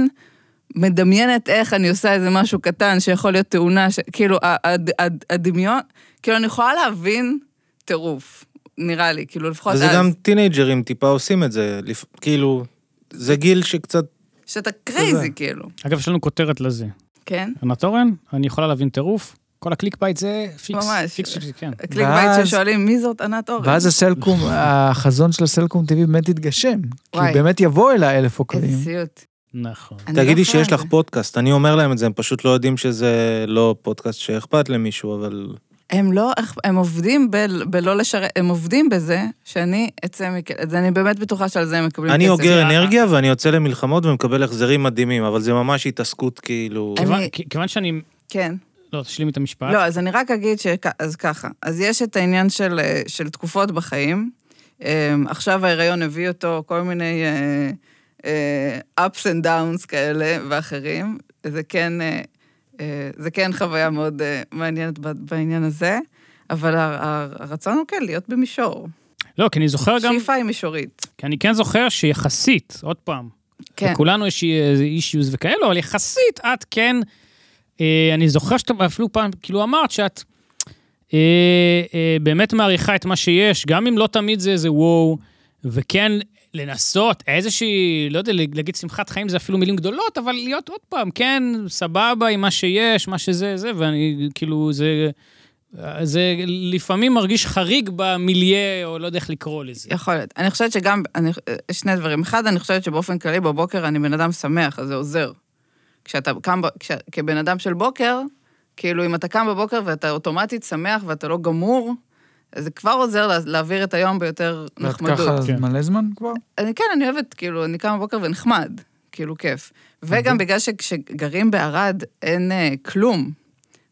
D: מדמיינת איך אני עושה איזה משהו קטן שיכול להיות תאונה, ש... כאילו, ה- הד- הד- הדמיון, כאילו, אני יכולה להבין טירוף, נראה לי, כאילו, לפחות אז,
C: וזה גם טינג'רים טיפה עושים את זה, לפ- כאילו, זה גיל שקצת...
D: שאתה קרייזי, כאילו,
A: אגב, יש לנו כותרת לזה.
D: כן?
A: ענת אורן, אני יכולה להבין טירוף. כל הקליק בייט זה פיקס.
D: ממש.
A: פיקס, פיקס, כן.
D: הקליק
B: ואז-
D: בית ששואלים, מי זאת ענת אורן?
B: ואז הסלקום, החזון של הסלקום טבעי באמת יתגשם. כי
D: וואי.
B: באמת יבוא אליה אלף עוקבים.
D: איזה סיוט.
A: נכון.
D: אני לא
C: תגידי
D: יכולה
C: שיש
D: עם
C: לך
D: זה.
C: פודקאסט, אני אומר להם את זה, הם פשוט לא יודעים שזה לא פודקאסט שאכפת למישהו, אבל...
D: הם לא, הם עובדים ב, בלא לשרת, הם עובדים בזה שאני אצא מכ... אז אני באמת בטוחה שעל זה לא הם מקבלים
C: אני
D: כסף.
C: אוגר אנרגיה ואני יוצא למלחמות ומקבל החזרים מדהימים, אבל זה ממש התעסקות כאילו...
D: אני-
A: כיוון- כ- כיוון שאני...
D: כן.
A: לא, תשלימי את המשפט.
D: לא, אז אני רק אגיד ש... אז ככה, אז יש את העניין של, אה, של תקופות בחיים. אה, עכשיו ההיריון הביא אותו כל מיני אה, אה, ups and downs כאלה ואחרים. זה כן, אה, אה, זה כן חוויה מאוד אה, מעניינת ב- בעניין הזה, אבל ה- ה- הרצון הוא כן להיות במישור.
A: לא, כי אני זוכר גם...
D: שאיפה היא מישורית.
A: כי אני כן זוכר שיחסית, עוד פעם,
D: כן.
A: לכולנו יש אישיוז וכאלו, אבל יחסית את כן, אה, אני זוכר שאתה אפילו פעם, כאילו אמרת שאת אה, אה, באמת מעריכה את מה שיש, גם אם לא תמיד זה איזה וואו, וכן לנסות איזושהי, לא יודע, להגיד שמחת חיים זה אפילו מילים גדולות, אבל להיות עוד פעם, כן, סבבה עם מה שיש, מה שזה, זה, ואני כאילו, זה... זה לפעמים מרגיש חריג במיליה, או לא יודע איך לקרוא לזה.
D: יכול להיות. אני חושבת שגם, אני, שני דברים. אחד, אני חושבת שבאופן כללי בבוקר אני בן אדם שמח, אז זה עוזר. כשאתה קם, ב- כש, כבן אדם של בוקר, כאילו, אם אתה קם בבוקר ואתה אוטומטית שמח ואתה לא גמור, אז זה כבר עוזר לה, להעביר את היום ביותר
B: ואת
D: נחמדות.
B: ככה אז
A: כן.
B: מלא זמן כבר?
D: אני כן, אני אוהבת, כאילו, אני קמה בבוקר ונחמד, כאילו, כיף. וגם בגלל שכשגרים בערד אין אה, כלום,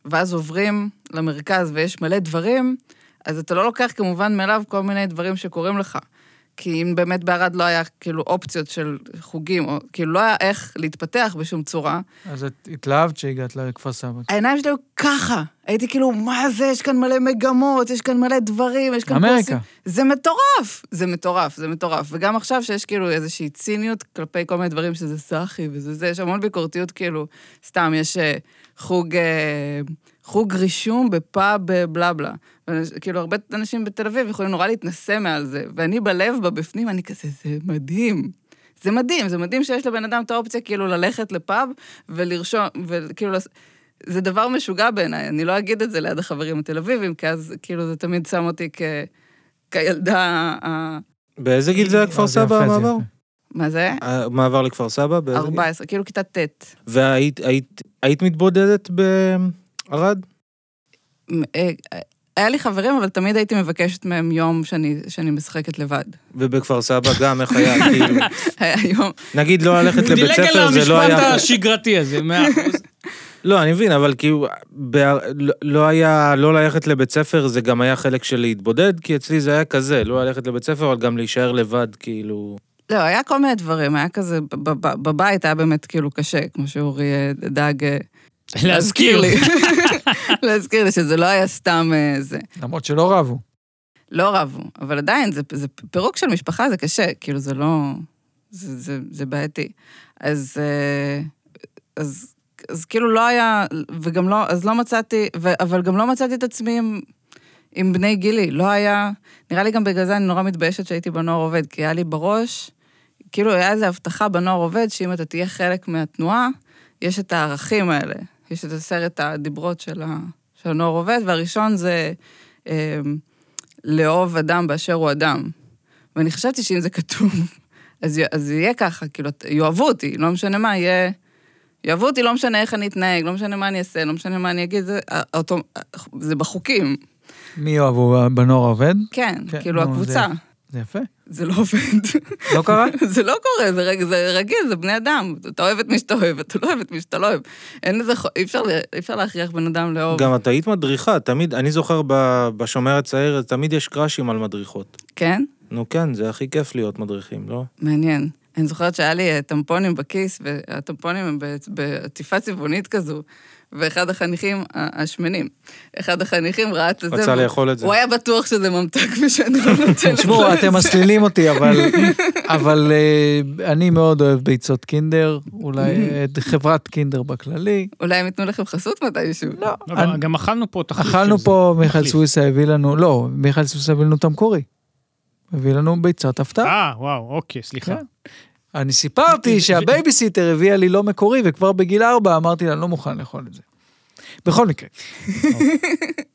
D: ואז עוברים למרכז ויש מלא דברים, אז אתה לא לוקח כמובן מאליו כל מיני דברים שקורים לך. כי אם באמת בערד לא היה כאילו אופציות של חוגים, או כאילו לא היה איך להתפתח בשום צורה,
B: אז את התלהבת שהגעת לכפר סבא.
D: העיניים שלי היו ככה. הייתי כאילו, מה זה, יש כאן מלא מגמות, יש כאן מלא דברים, יש כאן
B: אמריקה.
D: זה מטורף! זה מטורף, זה מטורף. וגם עכשיו שיש כאילו איזושהי ציניות כלפי כל מיני דברים שזה סאחי וזה זה, יש המון ביקורתיות כאילו, סתם, יש אה, חוג, אה, חוג רישום בפאב אה, בלה בלה. ואנש- כאילו, הרבה אנשים בתל אביב יכולים נורא להתנסה מעל זה, ואני בלב, בבפנים, אני כזה, זה מדהים. זה מדהים, זה מדהים שיש לבן אדם את האופציה כאילו ללכת לפאב ולרשום, כאילו, וכאילו... לס- זה דבר משוגע בעיניי, אני לא אגיד את זה ליד החברים התל אביבים, כי אז כאילו זה תמיד שם אותי כ... כילדה ה...
C: באיזה גיל זה היה כפר
B: אה, זה
C: סבא
B: יפה, זה
C: המעבר? אה,
B: יפה.
D: מה זה?
C: המעבר לכפר סבא? באיזה גיל?
D: 14, כאילו כיתה ט'.
C: והיית היית- היית מתבודדת בערד?
D: מ- אה, אה, היה לי חברים, אבל תמיד הייתי מבקשת מהם יום שאני, שאני משחקת לבד.
C: ובכפר סבא גם, איך היה? כאילו,
D: היה יום,
C: נגיד לא ללכת
A: הוא
C: לבית
A: דילג על
C: ספר, זה לא
A: המשפט
C: היה...
A: השגרתי הזה, מאה אחוז.
C: לא, אני מבין, אבל כאילו, בער- לא- לא היה, לא ללכת לבית ספר, זה גם היה חלק של להתבודד, כי אצלי זה היה כזה, לא ללכת לבית ספר, אבל גם להישאר לבד, כאילו...
D: לא, היה כל מיני דברים, היה כזה, ב- ב- ב- בבית היה באמת כאילו קשה, כמו שאורי אה, דאג אה,
A: להזכיר לי.
D: להזכיר לי שזה לא היה סתם אה, זה.
B: למרות שלא רבו.
D: לא רבו, אבל עדיין, זה, זה פירוק של משפחה, זה קשה, כאילו, זה לא... זה, זה, זה בעייתי. אז, אה, אז, אז כאילו לא היה, וגם לא, אז לא מצאתי, ו, אבל גם לא מצאתי את עצמי עם, עם בני גילי, לא היה... נראה לי גם בגלל זה אני נורא מתביישת שהייתי בנוער עובד, כי היה לי בראש, כאילו, היה איזו הבטחה בנוער עובד, שאם אתה תהיה חלק מהתנועה, יש את הערכים האלה. יש את עשרת הדיברות של, ה, של הנוער עובד, והראשון זה... אמ, לאהוב אדם באשר הוא אדם. ואני חשבתי שאם זה כתוב, אז, י- אז יהיה ככה, כאילו, ת- יאהבו אותי, לא משנה מה, יהיה... יאהבו אותי, לא משנה איך אני אתנהג, לא משנה מה אני אעשה, לא משנה מה אני אגיד, זה, האוטו- זה בחוקים.
B: מי יאהבו אה, בנוער העובד?
D: כן,
B: כן,
D: כן כאילו,
B: נו,
D: הקבוצה.
B: זה- זה יפה.
D: זה, לא עובד.
B: לא קרה?
D: זה לא קורה, זה, רג, זה רגיל, זה בני אדם. אתה אוהב את מי שאתה אוהב, אתה לא אוהב את מי שאתה לא אוהב. אין לזה... חו- אי אפשר, ל- אי אפשר להכריח בן אדם לאהוב.
C: גם את היית מדריכה, תמיד, אני זוכר ב- בשומר הצעיר, תמיד יש קראשים על מדריכות.
D: כן?
C: נו כן, זה הכי כיף להיות מדריכים, לא?
D: מעניין. אני זוכרת שהיה לי אה, טמפונים בכיס, והטמפונים הם בעצ- בעטיפה צבעונית כזו, ואחד החניכים, ה- השמנים, אחד החניכים ראה את זה.
C: רצה
D: והוא-
C: לאכול את זה.
D: הוא היה בטוח שזה ממתק ושאני לא נותנת
B: תשמעו,
D: לו את
B: אתם
D: זה.
B: מסלילים אותי, אבל, אבל אה, אני מאוד אוהב ביצות קינדר, אולי אה, את חברת קינדר בכללי.
D: אולי הם ייתנו לכם חסות מתישהו.
B: לא,
A: לא,
B: אני-
A: גם אכלנו פה תחליף של זה.
B: אכלנו פה, מיכאל
A: תחליף.
B: סוויסה הביא לנו, לא, מיכאל סוויסה הביא לנו את המקורי. הביא לנו ביצת הפתעה.
A: אה, וואו, אוקיי, סליחה.
B: כן. אני סיפרתי שהבייביסיטר הביאה לי לא מקורי, וכבר בגיל ארבע אמרתי לה, אני לא מוכן לאכול את זה. בכל מקרה.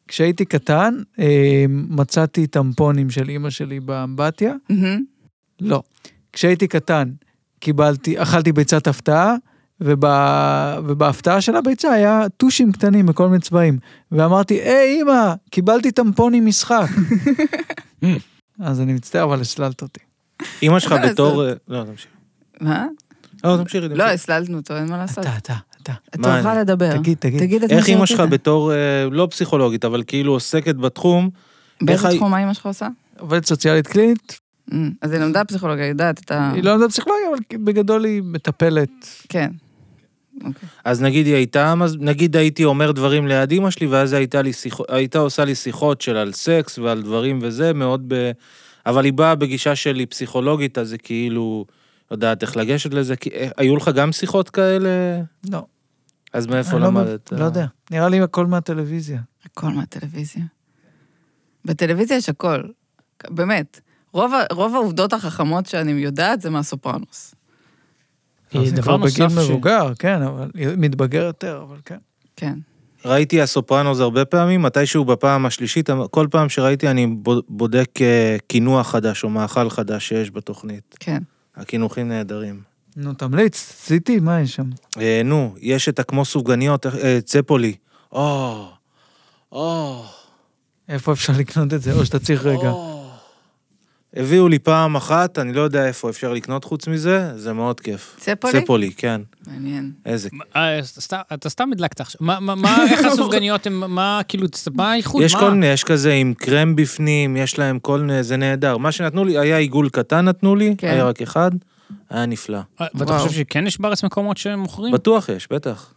B: כשהייתי קטן, אה, מצאתי טמפונים של אימא שלי באמבטיה.
D: מהמם.
B: לא. כשהייתי קטן, קיבלתי, אכלתי ביצת הפתעה, וב, ובהפתעה של הביצה היה טושים קטנים בכל מיני צבעים. ואמרתי, היי אימא, קיבלתי טמפונים משחק. אז אני מצטער, אבל הסללת אותי.
C: אמא שלך
D: מה לעשות?
C: בתור... אה, לא, תמשיך.
D: מה?
C: לא, תמשיכי.
D: לא,
C: תמשיכי.
D: הסללנו אותו, אין מה לעשות.
B: אתה, אתה, אתה.
C: מה
D: אתה תוכל
C: אני?
D: לדבר.
B: תגיד, תגיד.
D: תגיד את מה
C: איך אמא שלך
D: שרצית.
C: בתור, אה, לא פסיכולוגית, אבל כאילו עוסקת בתחום,
D: באיזה
C: איך
D: תחום מה אמא שלך עושה?
B: עובדת סוציאלית קלינית,
D: אה, אז היא למדה פסיכולוגיה, היא יודעת את ה...
B: היא לא למדה פסיכולוגיה, אבל בגדול היא מטפלת.
D: כן.
C: אז נגיד היא הייתה, אז נגיד הייתי אומר דברים ליד אמא שלי, ואז הייתה, לי שיח, הייתה עושה לי שיחות של על סקס ועל דברים וזה, מאוד ב... אבל היא באה בגישה שלי פסיכולוגית, אז זה כאילו, יודעת איך לגשת לזה, כי אה, היו לך גם שיחות כאלה?
B: לא.
C: אז מאיפה
B: אני לא
C: למדת?
B: מב- לא יודע. נראה לי הכל מהטלוויזיה.
A: אה,
D: הכל מהטלוויזיה. בטלוויזיה יש הכל, באמת. רוב, ה- רוב העובדות החכמות שאני יודעת זה מהסופרנוס.
A: אה,
B: זה
A: דבר
B: כבר
A: נוסף
B: בגיל
A: ש-
B: מבוגר, כן, אבל מתבגר יותר, אבל כן.
D: כן.
C: ראיתי הסופרנוס הרבה פעמים, מתישהו בפעם השלישית, כל פעם שראיתי אני בוד- בודק אה, קינוח חדש או מאכל חדש שיש בתוכנית.
D: כן.
C: הקינוחים נהדרים.
B: נו, תמליץ, סיטי, מה יש שם?
C: אה, נו, יש את הכמו סופגניות, אה, צפולי. אה, או, או,
B: איפה אפשר לקנות את זה? או שאתה צריך רגע.
C: או. הביאו לי פעם אחת, אני לא יודע איפה אפשר לקנות חוץ מזה, זה מאוד כיף.
D: צפולי?
C: צפולי, כן.
D: מעניין.
C: איזה
A: אה, סת- אתה סתם הדלקת עכשיו. מה, מה- מה, איך הסופגניות הן, מה, כאילו, צ- מה האיחוד?
C: יש
A: מה?
C: כל מיני, יש כזה עם קרם בפנים, יש להם כל מיני, זה נהדר. מה שנתנו לי, היה עיגול קטן נתנו לי,
D: כן.
C: היה רק אחד, היה נפלא.
A: אה, ואתה
D: וואו.
A: חושב שכן יש בארץ מקומות שמוכרים?
C: בטוח יש, בטח.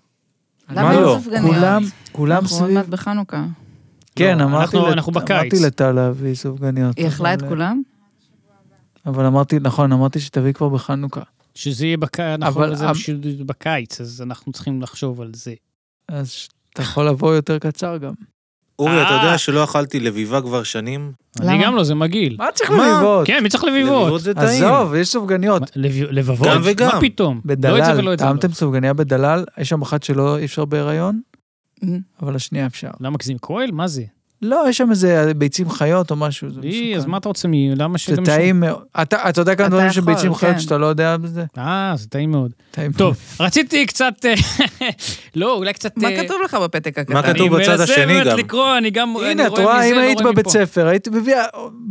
D: למה
C: לא?
D: אין סופגניות?
B: כולם, כולם
D: אנחנו עוד
B: סביב.
D: מעט נכון, בחנוכה.
B: כן,
A: לא,
B: אמרתי
A: אנחנו-
B: לת-
A: אנחנו בקיץ.
B: אמרתי לטל להביא סופגניות.
D: היא אכלה את
B: אבל-
D: כולם?
B: אבל אמרתי, נכון, אמרתי שתביא כבר בחנוכה.
A: שזה יהיה בקיץ, אנחנו
B: אבל-
A: אבל... זה בשביל- בקיץ, אז אנחנו צריכים לחשוב על זה.
B: אז ש- אתה יכול לבוא יותר קצר גם.
C: אורי, אתה
A: אה.
C: יודע שלא אכלתי לביבה כבר שנים?
A: אני
D: למה?
A: גם לא, זה מגעיל.
B: מה צריך
C: מה?
B: לביבות?
A: כן, מי צריך
C: לביבות
A: לביבות?
C: זה טעים.
B: עזוב, יש סופגניות.
A: מה, לב- לבבות?
C: גם וגם.
A: מה פתאום? לא את זה ולא
B: בדלל,
A: את זה. לא.
B: טעמתם סופגניה בדלל? יש שם אחת שלא אי אפשר בהיריון, אבל השנייה אפשר.
A: למה כזים כהל? מה זה?
B: לא, יש שם איזה ביצים חיות או משהו, זה
A: לי,
B: לא מסוכן.
A: אז מה אתה רוצה מ... למה
B: זה
A: שגם...
B: טעים מאוד. אתה אתה יודע כמה
D: אתה
B: דברים
D: יכול,
B: שביצים חיות
D: כן.
B: שאתה לא יודע בזה?
A: אה, זה טעים מאוד.
B: טעים.
A: טוב, רציתי קצת... אה, לא, אולי קצת...
D: מה
A: אה,
D: כתוב לך בפתק הקטן?
C: מה
A: אני
C: כתוב בצד השני
A: מנסה
C: גם?
A: באמת לקרוא, אני גם...
B: הנה,
A: אני
B: את
A: רואה
B: רואה,
A: מזה,
B: אם
A: לא
B: היית
A: רואה מפה.
B: בבית ספר, היית מביאה,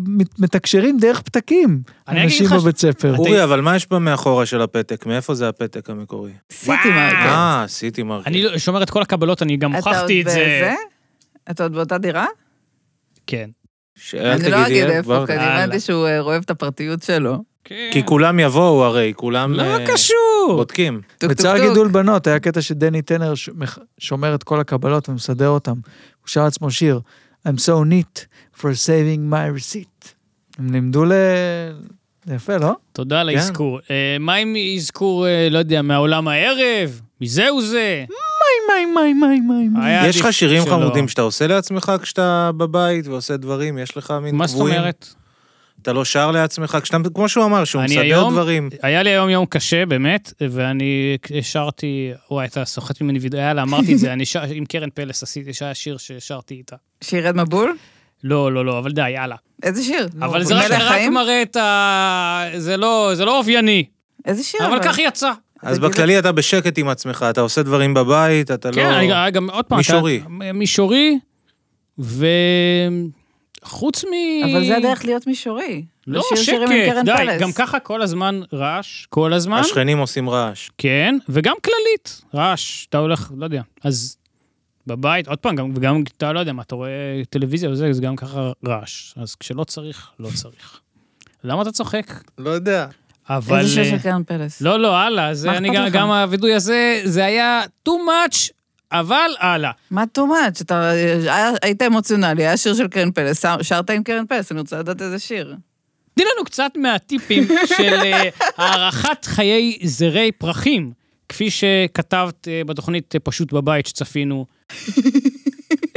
B: מת- מתקשרים דרך פתקים.
A: אני אגיד
B: אנשים
A: לך ש-
B: בבית ספר.
C: אורי, אבל מה יש במאחורה של הפתק? מאיפה זה הפתק המקורי?
D: עשיתי מה?
C: אה, עשיתי מרקט.
A: אני לא- שומר את כל הקבלות, אני גם
D: כן. אתה עוד
A: הוכחתי את זה.
D: בזה? אתה עוד באותה דירה?
A: כן.
C: ש- אל
D: אני לא
C: תגידי,
D: אגיד
C: אה,
D: איפה,
C: כבר-
D: כי אני
A: הלאה.
D: הבנתי שהוא אה, אוהב את הפרטיות שלו.
C: כי כולם יבואו הרי, כולם...
A: לא
C: אה,
A: קשור.
C: בודקים.
D: טוק טוק
B: בצער
D: טוק.
B: גידול בנות, היה קטע שדני טנר ש- מח- שומר את כל הקבלות ומסדר אותם. הוא שר לעצמו שיר, I'm so neat for saving my receipt. הם לימדו ל... זה יפה, לא?
A: תודה
C: כן.
A: על האזכור. אה, מה עם אזכור, אה, לא יודע, מהעולם הערב? מזהו זה?
B: מיי, מיי, מיי, מיי, מיי.
A: היה
C: יש לך
A: עדיף
C: שירים
A: שלא.
C: חמודים שאתה עושה לעצמך כשאתה בבית ועושה דברים? יש לך מין קבועים?
A: מה זאת אומרת?
C: אתה לא שר לעצמך כשאתה... כמו שהוא אמר, שהוא
A: אני
C: מסדר
A: היום-
C: דברים.
A: היה לי היום יום קשה, באמת, ואני שרתי, וואי, אתה סוחט ממני וידאו, יאללה, אמרתי את זה, אני שר, עם קרן פלס עשיתי, שהיה שיר ששרתי איתה.
D: שירד מבול?
A: לא, לא, לא, אבל די, יאללה.
D: איזה שיר?
A: אבל זה רק
D: מלך
A: רק
D: חיים?
A: מראה את ה... זה לא, זה לא אופייני,
D: איזה שיר?
A: אבל כך יצא.
C: אז
D: תגיד-
C: בכללי אתה בשקט עם עצמך, אתה עושה דברים בבית, אתה לא...
A: כן, אני גם- גם עוד פעם, אתה-
C: מישורי.
A: מישורי, וחוץ מ...
D: אבל זה הדרך להיות מישורי.
A: לא,
D: לשיר שירים עם
A: שקט,
D: קרן
A: די,
D: פלס.
A: גם ככה כל הזמן רעש, כל הזמן.
C: השכנים עושים רעש.
A: כן, וגם כללית, רעש, אתה הולך, לא יודע. אז בבית, עוד פעם, גם, וגם אתה לא יודע מה, אתה רואה טלוויזיה וזה, זה גם ככה רעש. אז כשלא צריך, לא צריך. למה אתה צוחק?
C: לא יודע.
A: אבל...
D: איזה שיר
A: אה,
D: של קרן פלס.
A: לא, לא, הלאה,
D: מה
A: זה אני
D: אכפת
A: גם,
D: לך?
A: גם הווידוי הזה, זה היה too much, אבל הלאה.
D: מה too much? אתה היה- היית אמוציונלי, היה שיר של קרן פלס, שר- שרת עם קרן פלס, אני רוצה לדעת איזה שיר.
A: תני לנו קצת מהטיפים של אה, הארכת חיי זרי פרחים, כפי שכתבת אה, בתוכנית אה, פשוט בבית שצפינו